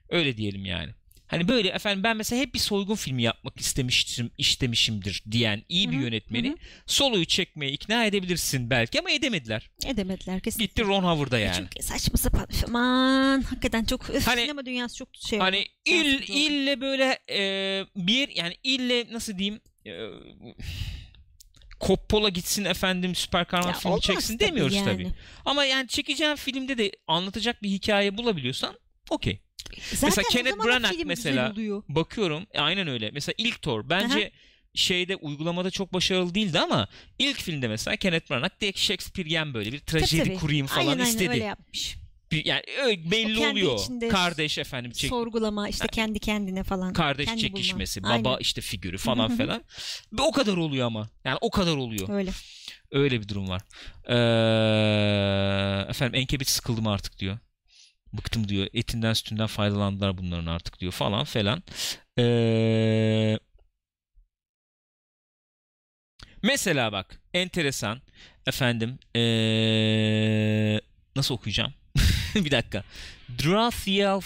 Speaker 2: Öyle diyelim yani. Hani böyle efendim ben mesela hep bir soygun filmi yapmak istemiştim, istemişimdir diyen iyi bir
Speaker 1: Hı hı,
Speaker 2: yönetmeni
Speaker 1: hı hı.
Speaker 2: soluyu çekmeye ikna edebilirsin belki ama edemediler.
Speaker 1: Edemediler kesin.
Speaker 2: Gitti Ron Howard'a yani.
Speaker 1: Çünkü saçma sapan. Aman hakikaten çok öf,
Speaker 2: Hani-
Speaker 1: sinema dünyası çok şey.
Speaker 2: Hani il
Speaker 1: Rahatsız oldum.
Speaker 2: ille böyle e, bir yani ille nasıl diyeyim e, Coppola gitsin efendim süper kahraman
Speaker 1: Ya
Speaker 2: filmi
Speaker 1: olmaz
Speaker 2: çeksin
Speaker 1: tabii
Speaker 2: demiyoruz
Speaker 1: yani.
Speaker 2: tabii. Ama yani çekeceğin filmde de anlatacak bir hikaye bulabiliyorsan okey.
Speaker 1: Zaten
Speaker 2: Mesela
Speaker 1: o
Speaker 2: Kenneth
Speaker 1: zaman da
Speaker 2: Branagh
Speaker 1: film
Speaker 2: mesela-
Speaker 1: güzel oluyor.
Speaker 2: Bakıyorum e, aynen öyle. Mesela ilk Thor bence şeyde uygulamada çok başarılı değildi ama ilk filmde mesela Kenneth Branagh direkt Shakespeare'yen böyle bir
Speaker 1: Tabii,
Speaker 2: trajedi
Speaker 1: tabii.
Speaker 2: kurayım falan
Speaker 1: aynen, aynen,
Speaker 2: istedi.
Speaker 1: öyle yapmış.
Speaker 2: Bir- yani ö- belli
Speaker 1: O kendi
Speaker 2: oluyor.
Speaker 1: içinde
Speaker 2: Kardeş efendim çek,
Speaker 1: Sorgulama işte kendi kendine falan.
Speaker 2: kardeş
Speaker 1: kendi bulma.
Speaker 2: çekişmesi,
Speaker 1: Aynen,
Speaker 2: baba işte
Speaker 1: *laughs*
Speaker 2: figürü falan
Speaker 1: hı.
Speaker 2: falan. Ve o kadar oluyor ama. Yani o kadar oluyor.
Speaker 1: Öyle.
Speaker 2: Öyle bir durum var. Ee, efendim Enkebiç sıkıldım artık diyor. Bıktım diyor. Etinden sütünden faydalandılar bunların artık diyor falan falan. Ee, mesela bak enteresan efendim ee, nasıl okuyacağım? *laughs* bir dakika. Drathiel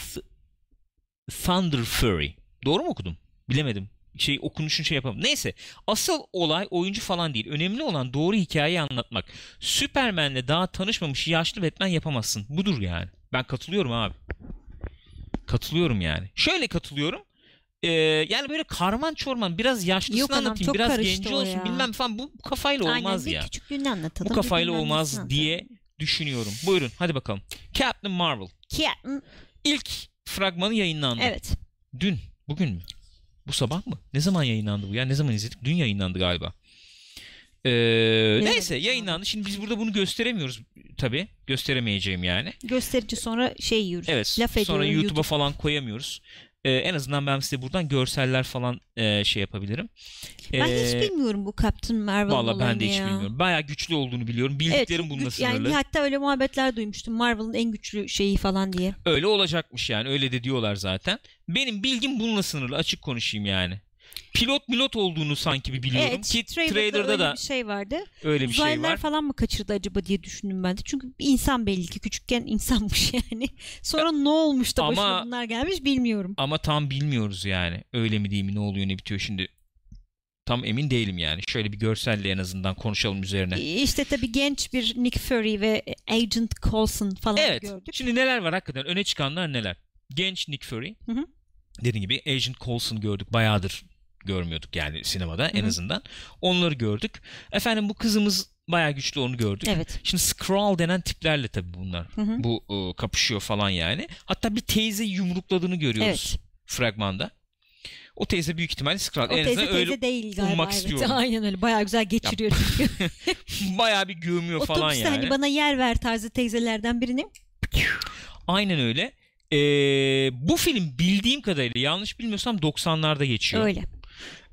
Speaker 2: Thunder Fury. Doğru mu okudum? Bilemedim. Şey okunuşunu şey yapamadım. Neyse. Asıl olay oyuncu falan değil. Önemli olan doğru hikayeyi anlatmak. Superman'le daha tanışmamış yaşlı Batman yapamazsın. Budur yani. Ben katılıyorum abi. Katılıyorum yani. Şöyle katılıyorum. Ee, yani böyle karman çorman biraz yaşlısını
Speaker 1: Yok anam,
Speaker 2: anlatayım
Speaker 1: çok
Speaker 2: biraz
Speaker 1: karıştı
Speaker 2: genci
Speaker 1: o
Speaker 2: olsun
Speaker 1: ya.
Speaker 2: bilmem falan bu bu kafayla olmaz
Speaker 1: Aynen,
Speaker 2: ya
Speaker 1: Bir küçüklüğünü anlatalım.
Speaker 2: Bu
Speaker 1: bir
Speaker 2: kafayla
Speaker 1: bilmem
Speaker 2: olmaz
Speaker 1: nesini
Speaker 2: diye
Speaker 1: anlatalım.
Speaker 2: düşünüyorum. Buyurun hadi bakalım. Captain Marvel
Speaker 1: Ki, hı,
Speaker 2: ilk fragmanı yayınlandı.
Speaker 1: evet.
Speaker 2: Dün, bugün mü? Bu sabah mı? Ne zaman yayınlandı bu ya? Ne zaman izledik? Dün yayınlandı galiba. Ee, neyse
Speaker 1: demek
Speaker 2: yayınlandı. Şimdi biz burada bunu gösteremiyoruz tabii. Gösteremeyeceğim yani.
Speaker 1: Gösterici sonra şey yiyoruz.
Speaker 2: Evet.
Speaker 1: Laf ediyorum
Speaker 2: sonra YouTube'a
Speaker 1: YouTube.
Speaker 2: falan koyamıyoruz. Ee, en azından ben size buradan görseller falan e, şey yapabilirim.
Speaker 1: Ben
Speaker 2: Ee,
Speaker 1: hiç bilmiyorum bu Captain Marvel
Speaker 2: Valla ben de
Speaker 1: olayını
Speaker 2: hiç
Speaker 1: ya.
Speaker 2: bilmiyorum. Bayağı güçlü olduğunu biliyorum.
Speaker 1: Evet,
Speaker 2: Bildiklerim bununla
Speaker 1: güç- yani
Speaker 2: sınırlı.
Speaker 1: hatta öyle muhabbetler duymuştum. Marvel'ın en güçlü şeyi falan diye.
Speaker 2: Öyle olacakmış yani. Öyle de diyorlar zaten. Benim bilgim bununla sınırlı. Açık konuşayım yani. Pilot pilot olduğunu sanki bir biliyorum
Speaker 1: E, evet,
Speaker 2: ki
Speaker 1: trailer'da,
Speaker 2: trailer'da
Speaker 1: öyle
Speaker 2: da
Speaker 1: bir şey vardı.
Speaker 2: öyle bir şey
Speaker 1: Uzaylılar
Speaker 2: var.
Speaker 1: falan mı kaçırdı acaba diye düşündüm ben de. Çünkü bir insan belli ki küçükken insanmış *laughs* yani. Sonra ne olmuş da başına
Speaker 2: Ama-
Speaker 1: bunlar gelmiş bilmiyorum.
Speaker 2: Ama tam bilmiyoruz yani. Öyle mi değil mi ne oluyor ne bitiyor şimdi. Tam emin değilim yani. Şöyle bir görselle en azından konuşalım üzerine.
Speaker 1: İşte tabii genç bir Nick Fury ve Agent Coulson falan
Speaker 2: Evet.
Speaker 1: gördük.
Speaker 2: Şimdi neler var hakikaten? Öne çıkanlar neler? Genç Nick Fury.
Speaker 1: Hı hı.
Speaker 2: Dediğim gibi Agent Coulson gördük. Bayağıdır görmüyorduk yani sinemada en
Speaker 1: Hı hı.
Speaker 2: azından. Onları gördük. Efendim bu kızımız bayağı güçlü onu gördük.
Speaker 1: Evet.
Speaker 2: Şimdi Skrull denen tiplerle tabii bunlar.
Speaker 1: Hı hı.
Speaker 2: Bu e, kapışıyor falan yani. Hatta bir teyze yumrukladığını görüyoruz
Speaker 1: Evet.
Speaker 2: fragmanda. O teyze büyük ihtimalle Skrull.
Speaker 1: O
Speaker 2: En
Speaker 1: teyze
Speaker 2: azından
Speaker 1: teyze
Speaker 2: öyle
Speaker 1: değil galiba.
Speaker 2: ummak
Speaker 1: evet.
Speaker 2: istiyorum.
Speaker 1: *laughs* Aynen öyle. Bayağı güzel geçiriyor
Speaker 2: *laughs*
Speaker 1: çünkü.
Speaker 2: bayağı bir gömüyor falan
Speaker 1: hani Otobüste
Speaker 2: yani.
Speaker 1: hani bana yer ver tarzı teyzelerden birini.
Speaker 2: Aynen öyle. Ee, bu film bildiğim kadarıyla yanlış bilmiyorsam 90'larda geçiyor.
Speaker 1: Öyle.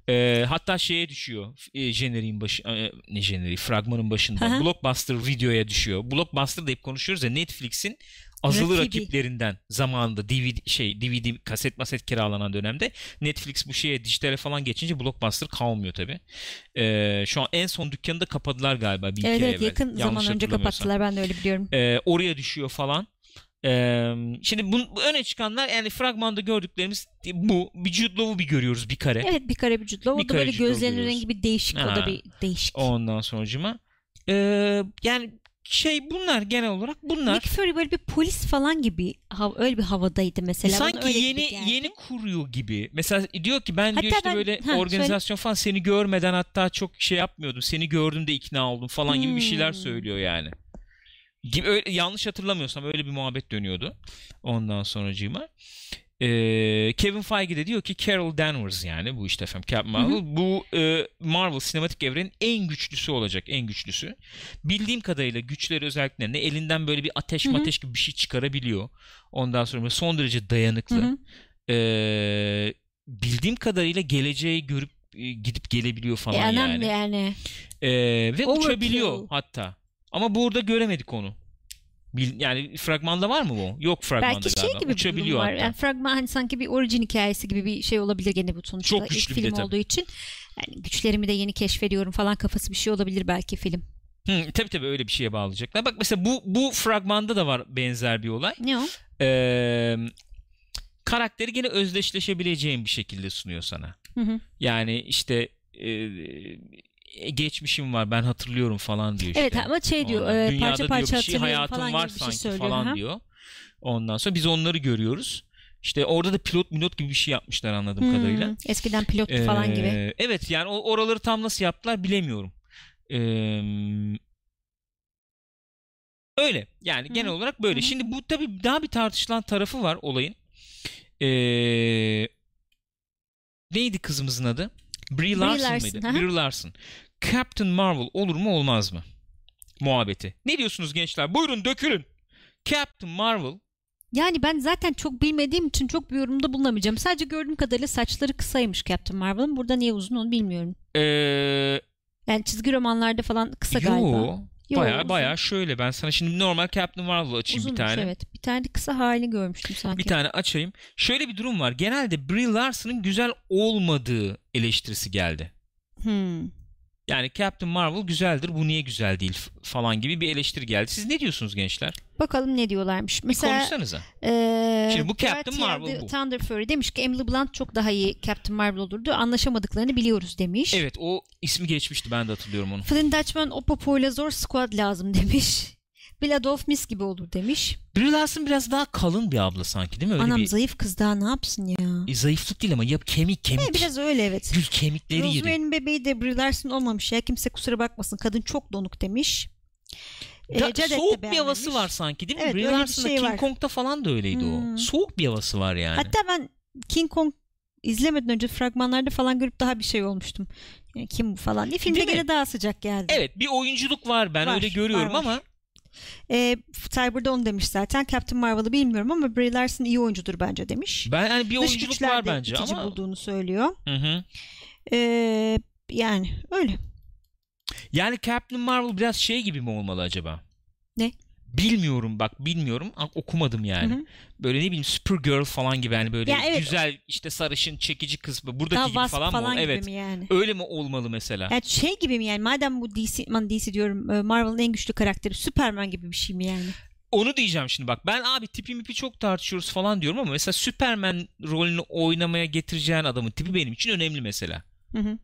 Speaker 2: Ee, hatta şeye düşüyor. E, jeneriğin başı e, ne jeneriği fragmanın başında.
Speaker 1: Aha.
Speaker 2: Blockbuster videoya düşüyor. Blockbuster da hep konuşuyoruz ya Netflix'in azılı
Speaker 1: Rakibi.
Speaker 2: rakiplerinden zamanında DVD şey DVD kaset maset kiralanan dönemde Netflix bu şeye dijitale falan geçince Blockbuster kalmıyor tabi. şu an en son dükkanı da kapadılar galiba bir iki
Speaker 1: Evet
Speaker 2: ay
Speaker 1: evet
Speaker 2: evvel.
Speaker 1: yakın
Speaker 2: Yanlış
Speaker 1: zaman önce
Speaker 2: hatırlamıyorsam.
Speaker 1: kapattılar ben de öyle biliyorum.
Speaker 2: Ee, oraya düşüyor falan. Ee, şimdi bu, bu öne çıkanlar yani fragmanda gördüklerimiz bu. Bir Jude Law'u bir görüyoruz bir kare.
Speaker 1: Evet bir kare vücutlu. O
Speaker 2: E, Bir
Speaker 1: da
Speaker 2: kare
Speaker 1: böyle
Speaker 2: vücutlu
Speaker 1: gözlerinin
Speaker 2: oluyoruz.
Speaker 1: rengi bir değişik. O
Speaker 2: Ha.
Speaker 1: da bir değişik.
Speaker 2: Ondan sonucuma. Ee, yani şey bunlar genel olarak bunlar.
Speaker 1: Nick Fury böyle bir polis falan gibi hav- öyle bir havadaydı mesela. Bana
Speaker 2: sanki
Speaker 1: öyle gibi
Speaker 2: yeni
Speaker 1: geldi.
Speaker 2: yeni kuruyor gibi. Mesela diyor ki ben diyor
Speaker 1: Hatta
Speaker 2: işte
Speaker 1: ben-
Speaker 2: böyle
Speaker 1: Ha,
Speaker 2: organizasyon falan seni görmeden hatta çok şey yapmıyordum. Seni gördüm de ikna oldum falan gibi bir şeyler
Speaker 1: Hmm.
Speaker 2: söylüyor yani. Gibi, öyle, yanlış hatırlamıyorsam öyle bir muhabbet dönüyordu. Ondan sonracığıma. Ee, Kevin Feige de diyor ki Carol Danvers yani bu işte efendim Captain Marvel bu e, Marvel sinematik evrenin en güçlüsü olacak en güçlüsü. Bildiğim kadarıyla güçleri özelliklerine elinden böyle bir ateş
Speaker 1: Hı hı.
Speaker 2: mateş gibi bir şey çıkarabiliyor. Ondan sonra böyle son derece dayanıklı.
Speaker 1: Hı hı.
Speaker 2: Ee, bildiğim kadarıyla geleceği görüp e, gidip gelebiliyor
Speaker 1: E,
Speaker 2: falan
Speaker 1: anam
Speaker 2: yani.
Speaker 1: yani.
Speaker 2: Ee, ve
Speaker 1: Overkill.
Speaker 2: uçabiliyor hatta. Ama burada göremedik onu. Bil- Yani fragmanda var mı bu? Yok fragmanda
Speaker 1: Belki şey
Speaker 2: galiba.
Speaker 1: gibi bir durum
Speaker 2: Uçabiliyor
Speaker 1: var.
Speaker 2: hatta.
Speaker 1: Yani fragman hani sanki bir orijin hikayesi gibi bir şey olabilir gene bu sonuçta.
Speaker 2: Çok güçlü
Speaker 1: İlk
Speaker 2: bir
Speaker 1: film
Speaker 2: de tabii.
Speaker 1: olduğu için. Yani güçlerimi de yeni keşfediyorum falan kafası bir şey olabilir belki film.
Speaker 2: Hı, tabii tabii öyle bir şeye bağlayacaklar. Bak mesela bu bu fragmanda da var benzer bir olay.
Speaker 1: Ne o?
Speaker 2: Ee, karakteri gene özdeşleşebileceğin bir şekilde sunuyor sana.
Speaker 1: Hı hı.
Speaker 2: Yani işte e, e, geçmişim var ben hatırlıyorum falan diyor işte.
Speaker 1: Evet ama şey diyor
Speaker 2: Ondan-
Speaker 1: e,
Speaker 2: dünyada
Speaker 1: parça
Speaker 2: diyor
Speaker 1: parça
Speaker 2: bir şey
Speaker 1: hatırlıyorum
Speaker 2: hayatım
Speaker 1: falan
Speaker 2: var
Speaker 1: gibi bir şey
Speaker 2: sanki
Speaker 1: söylüyor.
Speaker 2: falan
Speaker 1: Ha.
Speaker 2: diyor. Ondan sonra biz onları görüyoruz. İşte orada da pilot minot gibi bir şey yapmışlar anladığım
Speaker 1: Hmm,
Speaker 2: kadarıyla.
Speaker 1: Eskiden pilot falan
Speaker 2: Ee,
Speaker 1: gibi.
Speaker 2: Evet yani o- oraları tam nasıl yaptılar bilemiyorum. Ee, öyle yani
Speaker 1: Hı hı.
Speaker 2: genel olarak böyle.
Speaker 1: Hı hı.
Speaker 2: Şimdi bu tabii daha bir tartışılan tarafı var olayın. Ee, neydi kızımızın adı? Brie Larson,
Speaker 1: Larson,
Speaker 2: mıydı?
Speaker 1: hı hı.
Speaker 2: Brie Larson. Captain Marvel olur mu olmaz mı? Muhabbeti. Ne diyorsunuz gençler? Buyurun dökülün. Captain Marvel
Speaker 1: Yani ben zaten çok bilmediğim için çok bir yorumda bulunamayacağım. Sadece gördüğüm kadarıyla saçları kısaymış Captain Marvel'ın. Burada niye uzun onu bilmiyorum.
Speaker 2: ee,
Speaker 1: Yani çizgi romanlarda falan kısa galiba.
Speaker 2: yo,
Speaker 1: Yo,
Speaker 2: Baya
Speaker 1: uzun.
Speaker 2: baya şöyle ben sana şimdi normal Captain Marvel açayım
Speaker 1: Uzunmuş
Speaker 2: bir tane.
Speaker 1: evet. Bir tane de kısa halini görmüştüm sanki.
Speaker 2: Bir tane açayım. Şöyle bir durum var. Genelde Brie Larson'ın güzel olmadığı eleştirisi geldi.
Speaker 1: Hmm.
Speaker 2: Yani Captain Marvel güzeldir bu niye güzel değil f- falan gibi bir eleştiri geldi. Siz ne diyorsunuz gençler?
Speaker 1: Bakalım ne diyorlarmış.
Speaker 2: Bir
Speaker 1: Mesela
Speaker 2: konuşsanıza.
Speaker 1: eee,
Speaker 2: Şimdi bu Captain
Speaker 1: Dorothy
Speaker 2: Marvel
Speaker 1: and the
Speaker 2: bu.
Speaker 1: Thunder Fury demiş ki Emily Blunt çok daha iyi Captain Marvel olurdu. Anlaşamadıklarını biliyoruz demiş.
Speaker 2: Evet o ismi geçmişti ben de hatırlıyorum onu.
Speaker 1: Flynn Dutchman o popoyla zor squad lazım demiş. *laughs* Bladolf mis gibi olur demiş.
Speaker 2: Brie Larson biraz daha kalın bir abla sanki değil mi? Öyle
Speaker 1: Anam
Speaker 2: bir
Speaker 1: zayıf kız daha ne yapsın ya.
Speaker 2: E, zayıflık değil ama ya kemik kemik.
Speaker 1: E, biraz öyle evet.
Speaker 2: Gül kemikleri yedi.
Speaker 1: Rosemary'nin bebeği de Brie Larson olmamış ya. Kimse kusura bakmasın. Kadın çok donuk demiş. E,
Speaker 2: Da-
Speaker 1: Jared de
Speaker 2: soğuk bir
Speaker 1: beğenmemiş.
Speaker 2: havası var sanki değil mi?
Speaker 1: Evet,
Speaker 2: Brie
Speaker 1: öyle bir
Speaker 2: Larson'da
Speaker 1: şey
Speaker 2: King
Speaker 1: var.
Speaker 2: Kong'da falan da öyleydi
Speaker 1: Hmm.
Speaker 2: o. Soğuk bir havası var yani.
Speaker 1: Hatta ben King Kong izlemeden önce fragmanlarda falan görüp daha bir şey olmuştum. Yani kim bu falan diye. Filmde
Speaker 2: Değil mi?
Speaker 1: gene daha sıcak geldi.
Speaker 2: Evet bir oyunculuk var ben
Speaker 1: Var,
Speaker 2: öyle görüyorum
Speaker 1: var, var.
Speaker 2: ama
Speaker 1: E, Cyber da onu demiş zaten. Captain Marvel'ı bilmiyorum ama Brie Larson iyi oyuncudur bence demiş.
Speaker 2: ben yani bir
Speaker 1: Dış
Speaker 2: oyunculuk
Speaker 1: güçler
Speaker 2: var
Speaker 1: de
Speaker 2: bence
Speaker 1: itici
Speaker 2: ama
Speaker 1: bulduğunu söylüyor.
Speaker 2: Hı hı.
Speaker 1: E, yani öyle.
Speaker 2: yani Captain Marvel biraz şey gibi mi olmalı acaba?
Speaker 1: Ne?
Speaker 2: Bilmiyorum bak bilmiyorum A- okumadım yani.
Speaker 1: Hı hı.
Speaker 2: Böyle ne bileyim Supergirl falan gibi yani böyle
Speaker 1: Ya evet.
Speaker 2: güzel işte sarışın çekici kız buradaki
Speaker 1: Daha
Speaker 2: gibi
Speaker 1: Wasp
Speaker 2: falan,
Speaker 1: falan,
Speaker 2: mı?
Speaker 1: gibi
Speaker 2: evet.
Speaker 1: mi yani?
Speaker 2: Öyle mi olmalı mesela?
Speaker 1: Yani şey gibi mi yani madem bu DC, aman DC diyorum e, Marvel'ın en güçlü karakteri Superman gibi bir şey mi yani?
Speaker 2: Onu diyeceğim şimdi bak. Ben abi tipi mipi çok tartışıyoruz falan diyorum ama mesela Superman rolünü oynamaya getireceğin adamın tipi benim için önemli mesela
Speaker 1: Hı hı.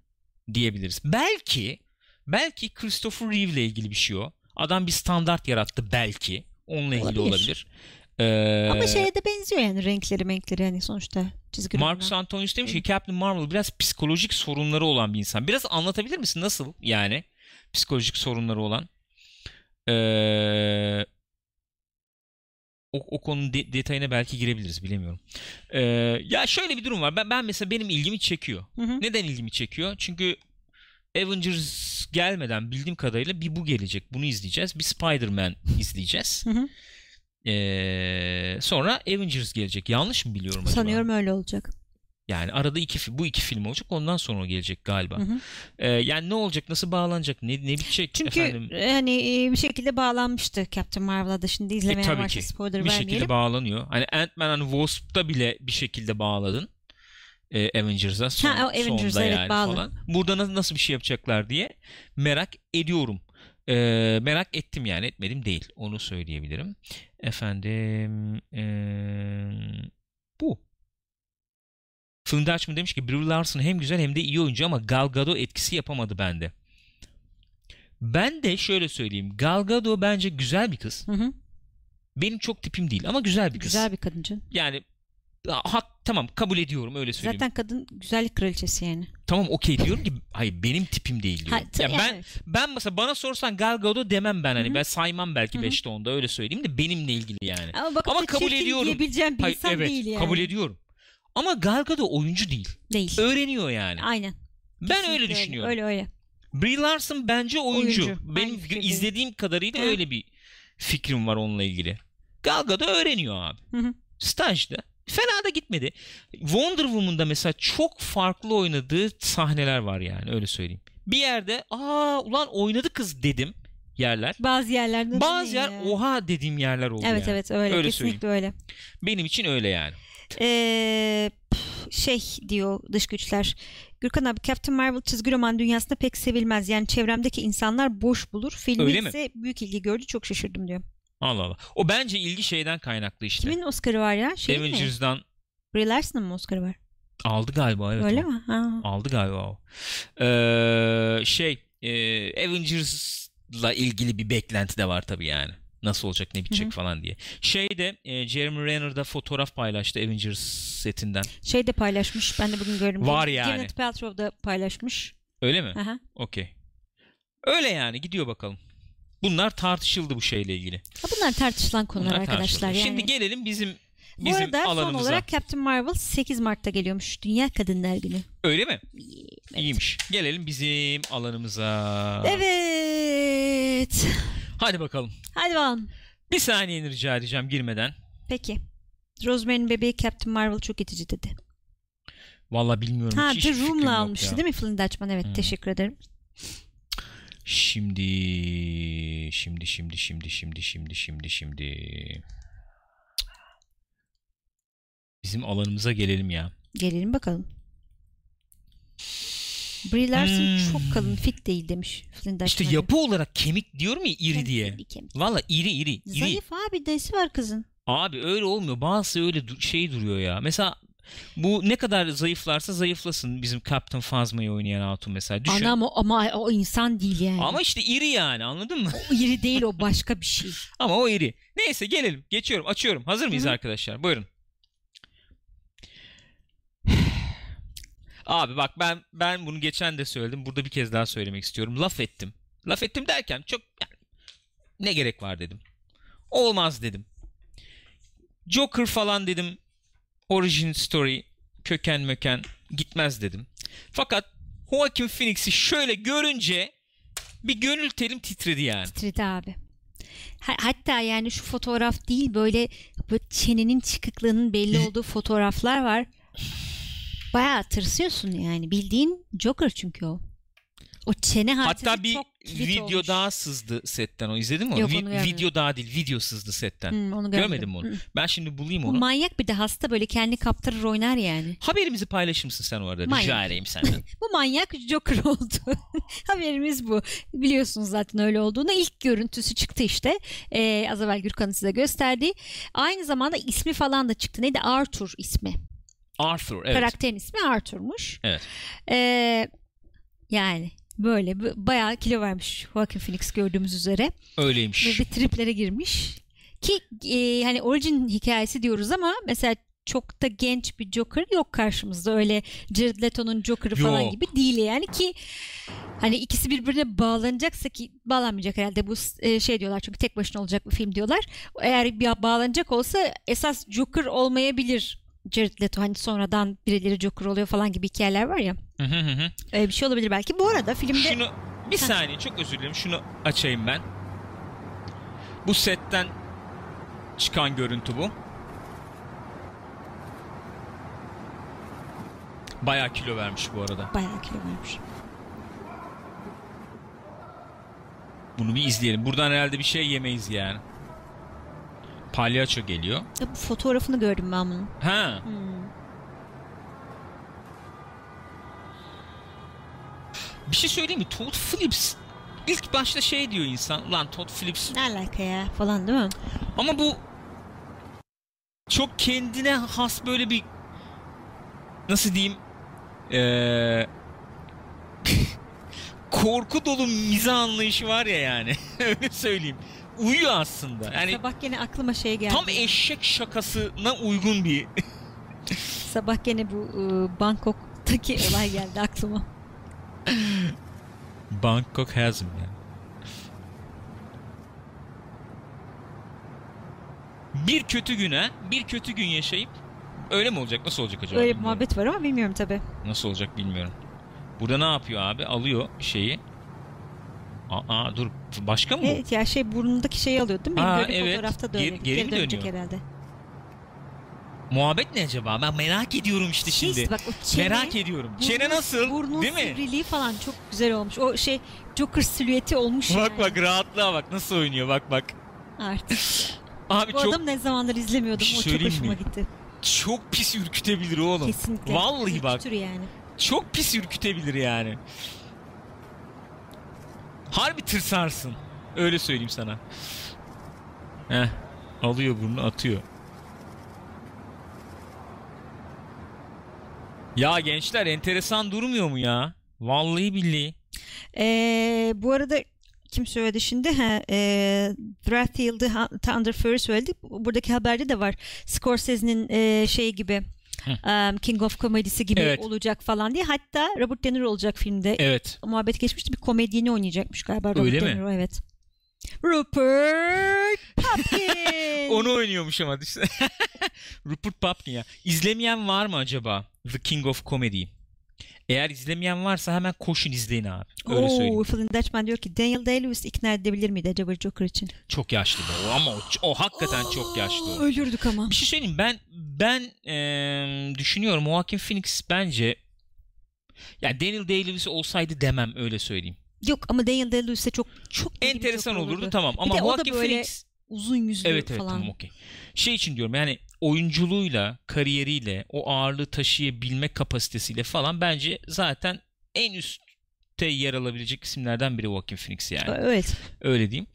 Speaker 2: diyebiliriz. Belki belki Christopher Reeve ile ilgili bir şey o. Adam bir standart yarattı belki. Onunla ilgili
Speaker 1: Olabilir.
Speaker 2: olabilir. Ee,
Speaker 1: Ama şey şeye de benziyor yani renkleri renkleri yani sonuçta çizgi
Speaker 2: Marcus
Speaker 1: roman.
Speaker 2: Antonius demiş ki Captain Marvel biraz psikolojik sorunları olan bir insan. Biraz anlatabilir misin nasıl yani psikolojik sorunları olan? Ee, o, o konunun de- detayına belki girebiliriz bilemiyorum. Ee, ya şöyle bir durum var. Ben, ben mesela benim ilgimi çekiyor.
Speaker 1: Hı hı.
Speaker 2: Neden ilgimi çekiyor? Çünkü Avengers gelmeden bildiğim kadarıyla bir bu gelecek. Bunu izleyeceğiz. Bir Spider-Man izleyeceğiz.
Speaker 1: Hı hı.
Speaker 2: Ee, sonra Avengers gelecek. Yanlış mı biliyorum acaba?
Speaker 1: Sanıyorum öyle olacak.
Speaker 2: Yani arada iki fi- bu iki film olacak. Ondan sonra o gelecek galiba.
Speaker 1: Hı hı.
Speaker 2: Ee, yani ne olacak? Nasıl bağlanacak? Ne ne bitecek
Speaker 1: Çünkü
Speaker 2: efendim?
Speaker 1: hani e, bir şekilde bağlanmıştı Captain Marvel'a da şimdi
Speaker 2: E,
Speaker 1: izlemeyen
Speaker 2: tabii
Speaker 1: varsa
Speaker 2: ki.
Speaker 1: spoiler
Speaker 2: bir
Speaker 1: vermeyelim.
Speaker 2: şekilde bağlanıyor. Hani Ant-Man and Wasp'ta bile bir şekilde bağladın. Ee, Avengers'a son,
Speaker 1: Ha, o Avengers'a
Speaker 2: sonda
Speaker 1: evet,
Speaker 2: yani
Speaker 1: bağlı.
Speaker 2: falan. Burada na- nasıl bir şey yapacaklar diye merak ediyorum. Ee, merak ettim yani etmedim değil. Onu söyleyebilirim. Efendim ee, bu. Funda açma demiş ki Brie Larson hem güzel hem de iyi oyuncu ama Gal Gadot etkisi yapamadı bende. Ben de şöyle söyleyeyim. Gal Gadot bence güzel bir kız.
Speaker 1: Hı hı.
Speaker 2: Benim çok tipim değil ama güzel bir kız.
Speaker 1: Güzel bir kadın canım.
Speaker 2: Yani ha, hak- tamam kabul ediyorum öyle söyleyeyim.
Speaker 1: Zaten kadın güzellik kraliçesi yani.
Speaker 2: Tamam okey diyorum ki hayır benim tipim değil diyorum.
Speaker 1: Ha, t-
Speaker 2: Ya ben
Speaker 1: yani
Speaker 2: ben mesela bana sorsan Gal Gadot demem ben hani
Speaker 1: Hı hı.
Speaker 2: ben saymam belki
Speaker 1: Hı hı.
Speaker 2: 5'te 10'da öyle söyleyeyim de benimle ilgili yani.
Speaker 1: Ama, bakıp
Speaker 2: Ama
Speaker 1: da
Speaker 2: kabul
Speaker 1: çirkin
Speaker 2: ediyorum.
Speaker 1: diyebileceğim bir
Speaker 2: Hayır,
Speaker 1: insan
Speaker 2: evet
Speaker 1: değil yani.
Speaker 2: kabul ediyorum. Ama Gal Gadot oyuncu değil.
Speaker 1: Değil.
Speaker 2: Öğreniyor yani.
Speaker 1: Aynen.
Speaker 2: ben öyle
Speaker 1: Kesinlikle
Speaker 2: düşünüyorum.
Speaker 1: Öyle öyle.
Speaker 2: Brie Larson bence oyuncu.
Speaker 1: Oyuncu.
Speaker 2: Benim
Speaker 1: Aynı fikirdeyim.
Speaker 2: izlediğim kadarıyla
Speaker 1: Hı.
Speaker 2: öyle bir fikrim var onunla ilgili. Gal Gadot öğreniyor abi.
Speaker 1: Hı hı.
Speaker 2: Stajda. Fena da gitmedi. Wonder Woman'da mesela çok farklı oynadığı sahneler var yani öyle söyleyeyim. Bir yerde aa ulan oynadı kız dedim yerler.
Speaker 1: Bazı yerlerde
Speaker 2: Bazı
Speaker 1: değil
Speaker 2: yer
Speaker 1: ya.
Speaker 2: oha dediğim yerler oldu
Speaker 1: Evet
Speaker 2: yani.
Speaker 1: evet öyle,
Speaker 2: Öyle
Speaker 1: kesinlikle öyle.
Speaker 2: Benim için öyle yani.
Speaker 1: Ee, püf, şey diyor dış güçler. Gürkan abi Captain Marvel çizgi roman dünyasında pek sevilmez. Yani çevremdeki insanlar boş bulur. Filmi
Speaker 2: Öyle mi?
Speaker 1: ise büyük ilgi gördü. Çok şaşırdım diyor.
Speaker 2: Allah Allah. O bence ilgi şeyden kaynaklı işte.
Speaker 1: Kimin Oscar'ı var ya? Şey mi?
Speaker 2: Avengers'dan
Speaker 1: Brie Larson'ın mı Oscar'ı var?
Speaker 2: aldı galiba evet.
Speaker 1: öyle
Speaker 2: o.
Speaker 1: mi? Ha.
Speaker 2: Aldı galiba o. Ee, şey e, Avengers'la ilgili bir beklenti de var tabii yani. Nasıl olacak ne bitecek
Speaker 1: Hı hı.
Speaker 2: falan diye. Şeyde e, Jeremy Renner'da fotoğraf paylaştı Avengers setinden.
Speaker 1: Şey de paylaşmış. Ben de bugün gördüm.
Speaker 2: Var
Speaker 1: Gwyneth
Speaker 2: yani.
Speaker 1: Paltrow da paylaşmış.
Speaker 2: Öyle mi?
Speaker 1: Aha.
Speaker 2: Okey. Öyle yani gidiyor bakalım. Bunlar tartışıldı bu şeyle ilgili.
Speaker 1: Ha, bunlar tartışılan konular
Speaker 2: Bunlar
Speaker 1: arkadaşlar.
Speaker 2: tartışıldı.
Speaker 1: Yani.
Speaker 2: Şimdi gelelim bizim
Speaker 1: Bu
Speaker 2: bizim
Speaker 1: arada son
Speaker 2: alanımıza.
Speaker 1: olarak Captain Marvel 8 Mart'ta geliyormuş. Dünya Kadınlar Günü.
Speaker 2: Öyle mi?
Speaker 1: Evet.
Speaker 2: İyiymiş. Gelelim bizim alanımıza.
Speaker 1: Evet.
Speaker 2: Hadi bakalım.
Speaker 1: Hadi bakalım.
Speaker 2: Bir saniyeni rica edeceğim girmeden.
Speaker 1: Peki. Rosemary'nin bebeği Captain Marvel çok itici dedi.
Speaker 2: Vallahi bilmiyorum.
Speaker 1: Ha
Speaker 2: hiç
Speaker 1: The
Speaker 2: hiçbir fikrim yok
Speaker 1: Room'la almıştı
Speaker 2: ya.
Speaker 1: değil mi Flynn Dutchman? Evet
Speaker 2: Hmm.
Speaker 1: teşekkür ederim.
Speaker 2: Şimdi, şimdi, şimdi, şimdi, şimdi, şimdi, şimdi, şimdi. Bizim alanımıza gelelim ya.
Speaker 1: Gelelim bakalım. Brie Larson
Speaker 2: Hmm.
Speaker 1: çok kalın fit değil demiş Flynn Dutchman.
Speaker 2: İşte yapı olarak kemik diyorum ya iri diye.
Speaker 1: Kemik.
Speaker 2: Valla iri iri iri.
Speaker 1: Zayıf abi nesi var kızın?
Speaker 2: Abi öyle olmuyor. Bazısı öyle du- şey duruyor ya. Mesela bu ne kadar zayıflarsa zayıflasın bizim Captain Phasma'yı oynayan hatun mesela. Düşün.
Speaker 1: Anam o, ama o insan değil yani.
Speaker 2: Ama işte iri yani anladın mı?
Speaker 1: O iri değil o başka bir şey.
Speaker 2: Ama o iri. Neyse gelelim. Geçiyorum. Açıyorum. Hazır mıyız
Speaker 1: Hı hı.
Speaker 2: arkadaşlar? Buyurun. *sighs* Abi bak ben ben bunu geçen de söyledim. Burada bir kez daha söylemek istiyorum. Laf ettim. Laf ettim derken çok yani, ne gerek var dedim. Olmaz dedim. Joker falan dedim. Origin story köken möken gitmez dedim. Fakat Joaquin Phoenix'i şöyle görünce bir gönül telim titredi yani.
Speaker 1: Titredi abi. Ha- Hatta yani şu fotoğraf değil böyle, böyle çenenin çıkıklığının
Speaker 2: *laughs*
Speaker 1: belli olduğu fotoğraflar var. Bayağı tırsıyorsun yani. Bildiğin Joker çünkü o. O çene haritası
Speaker 2: Hatta bir
Speaker 1: çok kilit
Speaker 2: video
Speaker 1: olmuş.
Speaker 2: daha sızdı setten o izledin mi onu?
Speaker 1: Yok,
Speaker 2: Vi-
Speaker 1: onu görmedim.
Speaker 2: video daha değil video sızdı setten.
Speaker 1: Hı, onu görmedim.
Speaker 2: Görmedin mi onu?
Speaker 1: Hı.
Speaker 2: Ben şimdi bulayım
Speaker 1: Bu
Speaker 2: onu.
Speaker 1: manyak bir de hasta böyle kendi kaptırır oynar yani.
Speaker 2: Haberimizi paylaşır mısın sen orada? Rica
Speaker 1: Manyak. *laughs*
Speaker 2: edeyim senden.
Speaker 1: Bu manyak Joker *laughs* oldu. Haberimiz bu. Biliyorsunuz zaten öyle olduğunu. İlk görüntüsü çıktı işte. Ee, az evvel Gürkan'ın size gösterdiği. Aynı zamanda ismi falan da çıktı. Neydi? Arthur ismi.
Speaker 2: Arthur evet.
Speaker 1: Karakterin ismi Arthur'muş.
Speaker 2: Evet.
Speaker 1: Ee, yani böyle b- bayağı kilo vermiş Joaquin Phoenix gördüğümüz üzere. Ve
Speaker 2: Öyleymiş.
Speaker 1: bir triplere girmiş. Ki e, hani orijin hikayesi diyoruz ama mesela çok da genç bir Joker yok karşımızda. Öyle Jared Leto'nun Joker'ı falan
Speaker 2: Yok.
Speaker 1: gibi değil yani ki hani ikisi birbirine bağlanacaksa ki bağlanmayacak herhalde bu e, şey diyorlar çünkü tek başına olacak bir film diyorlar. Eğer bir bağlanacak olsa esas Joker olmayabilir Jared Leto hani sonradan birileri Joker oluyor falan gibi hikayeler var ya.
Speaker 2: Hı hı hı hı.
Speaker 1: Öyle bir şey olabilir belki. Bu arada filmde
Speaker 2: Şunu bir saniye çok özür dilerim. Şunu açayım ben. Bu setten çıkan görüntü bu. Bayağı kilo vermiş bu arada.
Speaker 1: Bayağı kilo vermiş.
Speaker 2: Bunu bir izleyelim. Buradan herhalde bir şey yemeyiz yani. Palyaço geliyor.
Speaker 1: Ya bu fotoğrafını gördüm ben bunun.
Speaker 2: Ha. Bir şey söyleyeyim mi? Todd Phillips ilk başta şey diyor insan. Lan Todd Phillips
Speaker 1: Ne alaka ya falan değil mi?
Speaker 2: Ama bu çok kendine has böyle bir nasıl diyeyim eee, *laughs* korku dolu miza anlayışı var ya yani *laughs* öyle söyleyeyim. Uyuyor aslında. Yani
Speaker 1: Sabah gene aklıma şey geldi.
Speaker 2: Hani tam eşek şakasına uygun bir *laughs*
Speaker 1: Sabah gene bu e,
Speaker 2: *laughs*
Speaker 1: Bangkok'taki olay geldi aklıma.
Speaker 2: Bangkok has me. yani. Bir kötü güne, bir kötü gün yaşayıp öyle mi olacak? Nasıl olacak acaba?
Speaker 1: Öyle bir
Speaker 2: bilmiyorum.
Speaker 1: muhabbet var ama bilmiyorum tabi.
Speaker 2: Nasıl olacak bilmiyorum. Burada ne yapıyor abi? Alıyor şeyi. Aa dur başka mı? bu?
Speaker 1: Evet ya şey burnundaki şeyi alıyordu değil mi?
Speaker 2: Ha,
Speaker 1: Benim gördüğüm
Speaker 2: evet.
Speaker 1: fotoğrafta da
Speaker 2: Geri-
Speaker 1: öyleydi.
Speaker 2: geri mi
Speaker 1: dönecek
Speaker 2: dönüyor?
Speaker 1: herhalde.
Speaker 2: Muhabbet ne acaba? Ben merak ediyorum işte şimdi.
Speaker 1: Neyse bak o çene,
Speaker 2: merak ediyorum.
Speaker 1: burnu-
Speaker 2: çene nasıl?
Speaker 1: Burnun
Speaker 2: Değil mi?
Speaker 1: sivriliği falan çok güzel olmuş. O şey Joker silüeti olmuş
Speaker 2: Bak
Speaker 1: yani.
Speaker 2: bak rahatlığa bak nasıl oynuyor bak bak. *laughs*
Speaker 1: Artık.
Speaker 2: Abi
Speaker 1: Bu
Speaker 2: çok
Speaker 1: adam ne zamandır izlemiyordum.
Speaker 2: Bir şey
Speaker 1: o çok
Speaker 2: söyleyeyim
Speaker 1: hoşuma
Speaker 2: mi?
Speaker 1: gitti.
Speaker 2: çok pis ürkütebilir oğlum.
Speaker 1: Kesinlikle.
Speaker 2: Vallahi bak.
Speaker 1: Ürkütür yani.
Speaker 2: Çok pis ürkütebilir yani. Harbi tırsarsın. Öyle söyleyeyim sana. Heh. Alıyor bunu atıyor. Ya gençler enteresan durmuyor mu ya? Vallahi billahi.
Speaker 1: Ee, bu arada kim söyledi şimdi? Ha, e, Wrathfield Thunder Fury söyledi. Buradaki haberde de var. Scorsese'nin e, şey gibi um, King of Comedy'si gibi
Speaker 2: Evet.
Speaker 1: olacak falan diye. Hatta Robert De Niro olacak filmde.
Speaker 2: Evet.
Speaker 1: Muhabbet geçmişti. Bir komedyeni oynayacakmış galiba Robert
Speaker 2: Öyle
Speaker 1: De
Speaker 2: mi?
Speaker 1: Niro. Evet.
Speaker 2: *laughs*
Speaker 1: Rupert Pupkin.
Speaker 2: Onu oynuyormuş ama işte. *laughs* Rupert Pupkin ya. İzlemeyen var mı acaba? The King of Comedy. Eğer izlemeyen varsa hemen koşun izleyin abi. Öyle söyleyeyim.
Speaker 1: Oo, Flynt Dutchman diyor ki Daniel Day-Lewis ikna edebilir miydi acaba Joker için?
Speaker 2: Çok yaşlı bu ama o, o hakikaten çok yaşlı. o.
Speaker 1: Ölürdük ama.
Speaker 2: Bir şey söyleyeyim ben ben eee, düşünüyorum Joaquin Phoenix bence ya Daniel Day-Lewis olsaydı demem öyle söyleyeyim.
Speaker 1: Yok ama Daniel Day-Lewis'e çok çok iyi bir
Speaker 2: Enteresan
Speaker 1: Joker
Speaker 2: olurdu, tamam ama
Speaker 1: de o da
Speaker 2: Joaquin
Speaker 1: böyle
Speaker 2: Phoenix
Speaker 1: uzun yüzlü
Speaker 2: evet evet
Speaker 1: falan.
Speaker 2: tamam okey. Şey için diyorum yani oyunculuğuyla, kariyeriyle, o ağırlığı taşıyabilme kapasitesiyle falan bence zaten en üstte yer alabilecek isimlerden biri Joaquin Phoenix yani.
Speaker 1: Ö- Evet.
Speaker 2: Öyle diyeyim.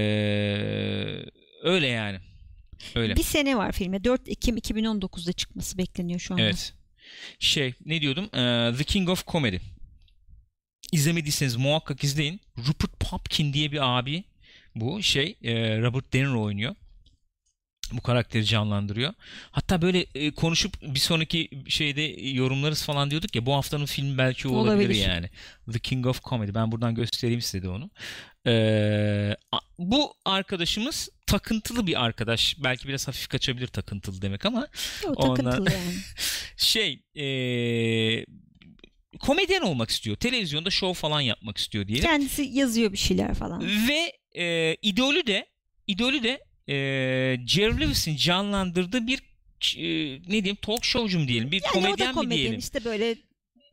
Speaker 2: Eee, öyle yani. Öyle.
Speaker 1: Bir sene var filme. 4 Ekim 2019'da çıkması bekleniyor şu anda.
Speaker 2: Evet. Şey ne diyordum? Ee, The King of Comedy. İzlemediyseniz muhakkak izleyin. Rupert Pupkin diye bir abi bu şey e, Robert De Niro oynuyor. Bu karakteri canlandırıyor. Hatta böyle e, konuşup bir sonraki şeyde e, yorumlarız falan diyorduk ya bu haftanın filmi belki o olabilir,
Speaker 1: Olabilir.
Speaker 2: yani. The King of Comedy. Ben buradan göstereyim size de onu. Ee, a- bu arkadaşımız takıntılı bir arkadaş. Belki biraz hafif kaçabilir takıntılı demek ama
Speaker 1: O
Speaker 2: Ondan-
Speaker 1: takıntılı
Speaker 2: *laughs*
Speaker 1: yani.
Speaker 2: şey eee, komedyen olmak istiyor. Televizyonda şov falan yapmak istiyor diye.
Speaker 1: Kendisi yazıyor bir şeyler falan.
Speaker 2: Ve eee idolü de idolü de eee Jerry Lewis'in canlandırdığı bir eee, ne diyeyim talk showcu mu diyelim bir
Speaker 1: Yani Hani o da
Speaker 2: komedyen mi
Speaker 1: komedyen
Speaker 2: diyelim.
Speaker 1: işte böyle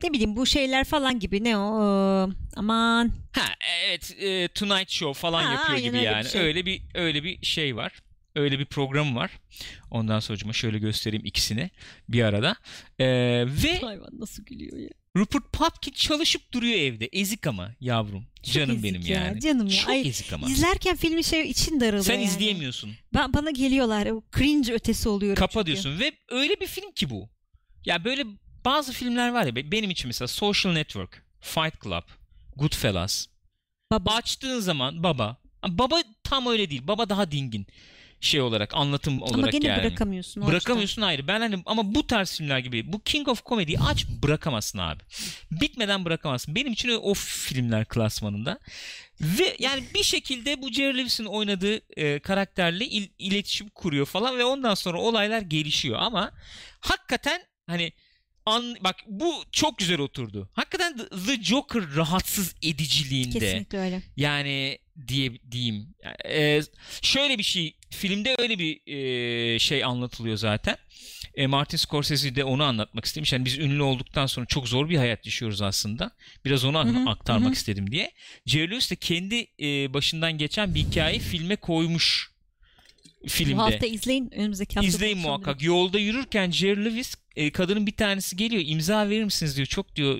Speaker 1: ne bileyim bu şeyler falan gibi ne o ee, aman
Speaker 2: Ha evet eee, Tonight Show falan
Speaker 1: Ha,
Speaker 2: yapıyor
Speaker 1: aynen
Speaker 2: gibi
Speaker 1: öyle bir
Speaker 2: yani.
Speaker 1: şey.
Speaker 2: Öyle bir öyle bir şey var. Öyle bir programı var. Ondan sonra şöyle göstereyim ikisini bir arada. Eee, ve
Speaker 1: hayvan nasıl gülüyor ya.
Speaker 2: Rupert Pupkin çalışıp duruyor evde. Ezik ama yavrum.
Speaker 1: Çok
Speaker 2: canım
Speaker 1: ezik
Speaker 2: benim
Speaker 1: ya,
Speaker 2: yani.
Speaker 1: canım ya.
Speaker 2: Çok
Speaker 1: Ay,
Speaker 2: ezik ama.
Speaker 1: İzlerken filmi şey için daralıyor
Speaker 2: Sen
Speaker 1: yani.
Speaker 2: izleyemiyorsun.
Speaker 1: Ben, bana geliyorlar o cringe ötesi oluyorum.
Speaker 2: Kapa
Speaker 1: çünkü.
Speaker 2: diyorsun ve öyle bir film ki bu. Ya böyle bazı filmler var ya be- benim için mesela Social Network, Fight Club, Goodfellas.
Speaker 1: Baba.
Speaker 2: Açtığın zaman baba. Baba tam öyle değil. Baba daha dingin şey olarak anlatım olarak
Speaker 1: Ama gene
Speaker 2: yani.
Speaker 1: bırakamıyorsun. o
Speaker 2: Bırakamıyorsun ayrı. Ben hani ama bu tarz filmler gibi bu King of Comedy'yi aç bırakamazsın abi. Bitmeden bırakamazsın. Benim için o- o filmler klasmanında. Ve yani bir şekilde bu Jerry Lewis'in oynadığı e, karakterle il- iletişim kuruyor falan ve ondan sonra olaylar gelişiyor ama hakikaten hani an, bak bu çok güzel oturdu. Hakikaten The- The Joker rahatsız ediciliğinde.
Speaker 1: açıdan. Kesinlikle öyle.
Speaker 2: Yani diye diyeyim. Ee, şöyle bir şey filmde öyle bir e, şey anlatılıyor zaten. E, Martin Scorsese de onu anlatmak istemiş. Yani biz ünlü olduktan sonra çok zor bir hayat yaşıyoruz aslında. Biraz onu
Speaker 1: Hı hı,
Speaker 2: aktarmak
Speaker 1: hı hı.
Speaker 2: istedim diye. Jerry Lewis de kendi e, başından geçen bir hikayeyi filme koymuş filmde.
Speaker 1: Bu hafta izleyin önümüzdeki hafta.
Speaker 2: İzleyin
Speaker 1: konuşalım
Speaker 2: muhakkak. Yolda yürürken Jerry Lewis e, kadının bir tanesi geliyor imza verir misiniz diyor. Çok diyor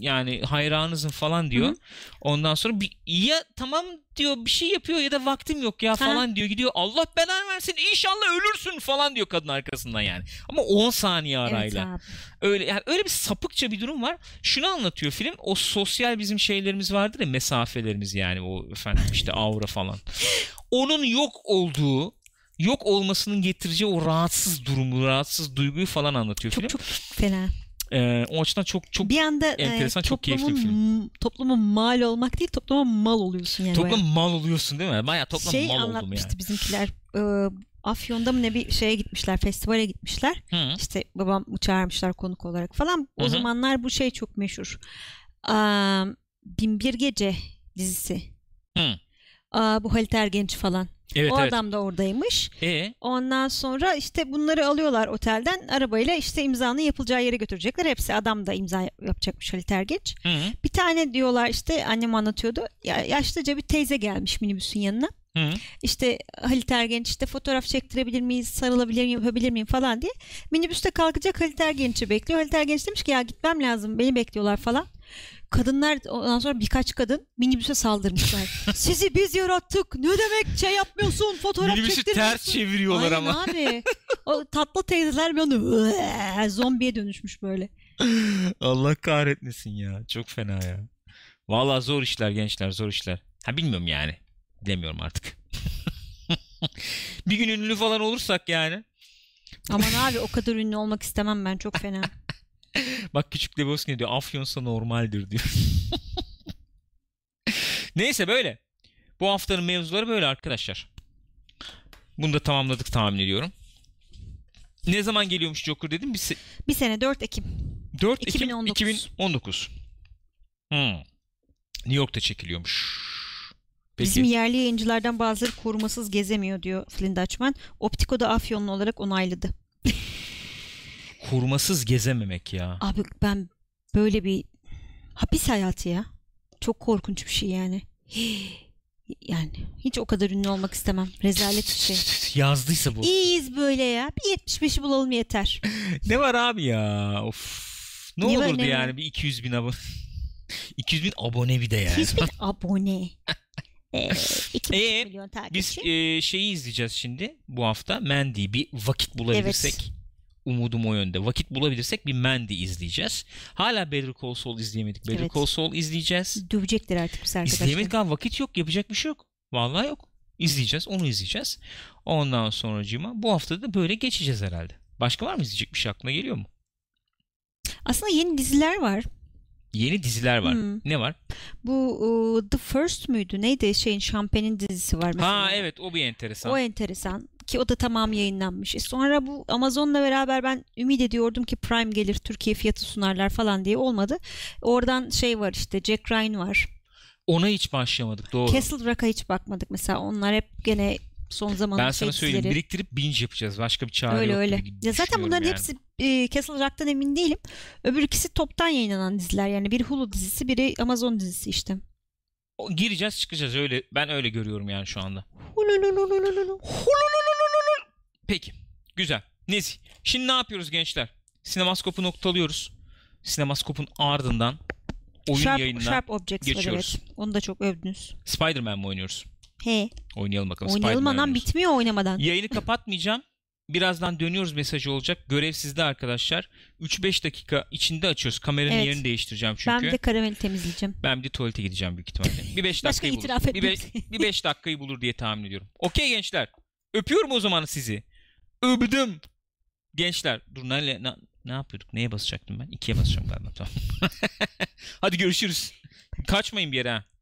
Speaker 2: yani hayranınızın falan diyor.
Speaker 1: Hı hı.
Speaker 2: Ondan sonra bir, ya tamam diyor bir şey yapıyor ya da vaktim yok ya
Speaker 1: Ha.
Speaker 2: falan diyor. Gidiyor Allah belanı versin inşallah ölürsün falan diyor kadın arkasından yani. Ama 10 saniye
Speaker 1: dedim.
Speaker 2: arayla.
Speaker 1: Evet abi.
Speaker 2: öyle yani öyle bir sapıkça bir durum var. Şunu anlatıyor film. O sosyal bizim şeylerimiz vardır ya mesafelerimiz yani o efendim işte aura falan. Onun yok olduğu yok olmasının getireceği o rahatsız durumu, rahatsız duyguyu falan anlatıyor
Speaker 1: Çok
Speaker 2: film.
Speaker 1: çok fena.
Speaker 2: Ee, o açıdan çok çok
Speaker 1: Bir anda e,
Speaker 2: enteresan, çok keyifli bir
Speaker 1: toplumun, toplumun mal olmak değil topluma mal oluyorsun yani.
Speaker 2: toplam
Speaker 1: Bayağı-
Speaker 2: mal oluyorsun değil mi? Bayağı toplam
Speaker 1: şey
Speaker 2: mal oldum
Speaker 1: anlatmıştı
Speaker 2: yani.
Speaker 1: bizimkiler. e, Afyon'da mı ne bir şeye gitmişler, festivale gitmişler.
Speaker 2: Hı.
Speaker 1: İşte babamı çağırmışlar konuk olarak falan. O
Speaker 2: Hı hı.
Speaker 1: zamanlar bu şey çok meşhur. Aa, Binbir Gece dizisi.
Speaker 2: Hı.
Speaker 1: Aa, bu Halit Ergenç falan.
Speaker 2: Evet
Speaker 1: o
Speaker 2: evet.
Speaker 1: adam da oradaymış.
Speaker 2: E,
Speaker 1: Ondan sonra işte bunları alıyorlar otelden. Arabayla işte imzanın yapılacağı yere götürecekler. Hepsi adam da imza yapacakmış Halit Ergenç.
Speaker 2: hı,
Speaker 1: Bir tane diyorlar işte annem anlatıyordu. Ya, yaşlıca bir teyze gelmiş minibüsün yanına.
Speaker 2: hı.
Speaker 1: İşte Halit Ergenç işte fotoğraf çektirebilir miyiz, sarılabilir miyim, öpebilir miyim falan diye. Minibüste kalkacak Halit Ergenç'i bekliyor. Halit Ergenç demiş ki ya gitmem lazım beni bekliyorlar falan. Kadınlar ondan sonra birkaç kadın minibüse
Speaker 2: *laughs*
Speaker 1: saldırmışlar. Sizi biz yarattık. Ne demek şey yapmıyorsun fotoğraf
Speaker 2: Minibüsü
Speaker 1: çektirmiyorsun.
Speaker 2: ters çeviriyorlar
Speaker 1: Aynen
Speaker 2: ama.
Speaker 1: abi. O tatlı teyzeler bir anda zombiye dönüşmüş böyle.
Speaker 2: Allah kahretmesin ya. Çok fena ya. Vallahi zor işler gençler zor işler. Ha bilmiyorum yani. Bilemiyorum artık. *laughs* bir gün ünlü falan olursak yani.
Speaker 1: Aman abi o kadar ünlü olmak istemem ben çok fena.
Speaker 2: Bak küçük Lebowski ne diyor? Afyonsa normaldir diyor. *laughs* Neyse böyle. Bu haftanın mevzuları böyle arkadaşlar. Bunu da tamamladık tahmin ediyorum. Ne zaman geliyormuş Joker dedim? Bir se-
Speaker 1: Bir sene 4 Ekim.
Speaker 2: 4 Ekim
Speaker 1: 2019.
Speaker 2: 2019. Hmm. New York'ta çekiliyormuş. Peki.
Speaker 1: Bizim yerli yayıncılardan bazıları korumasız gezemiyor diyor Flynn Dutchman. Optiko da Afyonlu olarak onayladı.
Speaker 2: Korumasız gezememek ya.
Speaker 1: Abi ben böyle bir hapis hayatı ya. Çok korkunç bir şey yani. *gasps* Yani hiç o kadar ünlü olmak istemem. Rezalet bir şey.
Speaker 2: Yazdıysa bu.
Speaker 1: İyiyiz böyle ya. Bir 75'i bulalım yeter.
Speaker 2: Ne var abi ya? Of. Ne
Speaker 1: Ne var,
Speaker 2: olurdu
Speaker 1: ne
Speaker 2: yani
Speaker 1: var?
Speaker 2: bir 200 bin *laughs* abone. 200 bin abone bir de yani.
Speaker 1: Hiçbir
Speaker 2: *laughs*
Speaker 1: abone. Ee, iki buçuk
Speaker 2: Ee,
Speaker 1: milyon takipçi.
Speaker 2: Biz e, şeyi izleyeceğiz şimdi bu hafta. Mandy'yi bir vakit bulabilirsek. Umudum o yönde. Vakit bulabilirsek bir Mandy izleyeceğiz. Hala Better Call Saul izleyemedik. Better
Speaker 1: Evet.
Speaker 2: Call Saul izleyeceğiz.
Speaker 1: Dövecekler artık biz
Speaker 2: İzleyemedik
Speaker 1: arkadaşlar.
Speaker 2: abi vakit yok yapacak bir şey yok. Vallahi yok. İzleyeceğiz onu izleyeceğiz. Ondan sonra bu hafta da böyle geçeceğiz herhalde. Başka var mı izleyecek bir şey aklına geliyor mu?
Speaker 1: Aslında yeni diziler var.
Speaker 2: Yeni diziler var.
Speaker 1: Hmm.
Speaker 2: Ne var?
Speaker 1: Bu e, The First müydü? Neydi? Şeyin Şampen'in dizisi var mesela.
Speaker 2: Ha evet o bir enteresan.
Speaker 1: O enteresan ki o da tamam yayınlanmış. E sonra bu Amazon'la beraber ben ümit ediyordum ki Prime gelir Türkiye fiyatı sunarlar falan diye olmadı. Oradan şey var işte Jack Ryan var.
Speaker 2: Ona hiç başlamadık doğru.
Speaker 1: Castle Rock'a hiç bakmadık mesela onlar hep gene son zamanın
Speaker 2: ben sana
Speaker 1: şey
Speaker 2: söyleyeyim
Speaker 1: dizileri.
Speaker 2: biriktirip binge yapacağız. Başka bir çare
Speaker 1: Öyle
Speaker 2: yok.
Speaker 1: öyle.
Speaker 2: gibi
Speaker 1: Ya zaten
Speaker 2: düşünüyorum
Speaker 1: bunların
Speaker 2: yani.
Speaker 1: hepsi e, Castle Rock'tan emin değilim. Öbür ikisi toptan yayınlanan diziler. Yani biri Hulu dizisi, biri Amazon dizisi işte.
Speaker 2: O- gireceğiz çıkacağız öyle. Ben öyle görüyorum yani şu anda.
Speaker 1: Hululululululu.
Speaker 2: Peki. Güzel. Neyse. Şimdi ne yapıyoruz gençler? Sinemaskop'u noktalıyoruz. Sinemaskop'un ardından oyun
Speaker 1: Sharp,
Speaker 2: yayınına
Speaker 1: Sharp Objects var
Speaker 2: geçiyoruz.
Speaker 1: evet. Onu da çok övdünüz.
Speaker 2: Spider-Man mi oynuyoruz?
Speaker 1: He.
Speaker 2: Oynayalım bakalım.
Speaker 1: Oynayalım
Speaker 2: Spider-Man
Speaker 1: anam
Speaker 2: oynuyoruz.
Speaker 1: bitmiyor oynamadan.
Speaker 2: Yayını kapatmayacağım. Birazdan dönüyoruz mesajı olacak. Görev sizde arkadaşlar. 3-5 dakika içinde açıyoruz. Kameranın
Speaker 1: Evet.
Speaker 2: yerini değiştireceğim çünkü.
Speaker 1: Ben bir de karameli temizleyeceğim.
Speaker 2: Ben bir tuvalete gideceğim büyük ihtimalle. Bir 5
Speaker 1: Başka
Speaker 2: dakikayı bulur.
Speaker 1: itiraf
Speaker 2: bir, beş,
Speaker 1: etmem.
Speaker 2: bir beş dakikayı bulur diye tahmin ediyorum. Okey gençler. Öpüyorum o zaman sizi. Öptüm. Gençler. Dur ne, ne, ne yapıyorduk? *laughs* Neye basacaktım ben? İkiye basacağım galiba. Tamam. Hadi görüşürüz. Kaçmayın bir yere ha.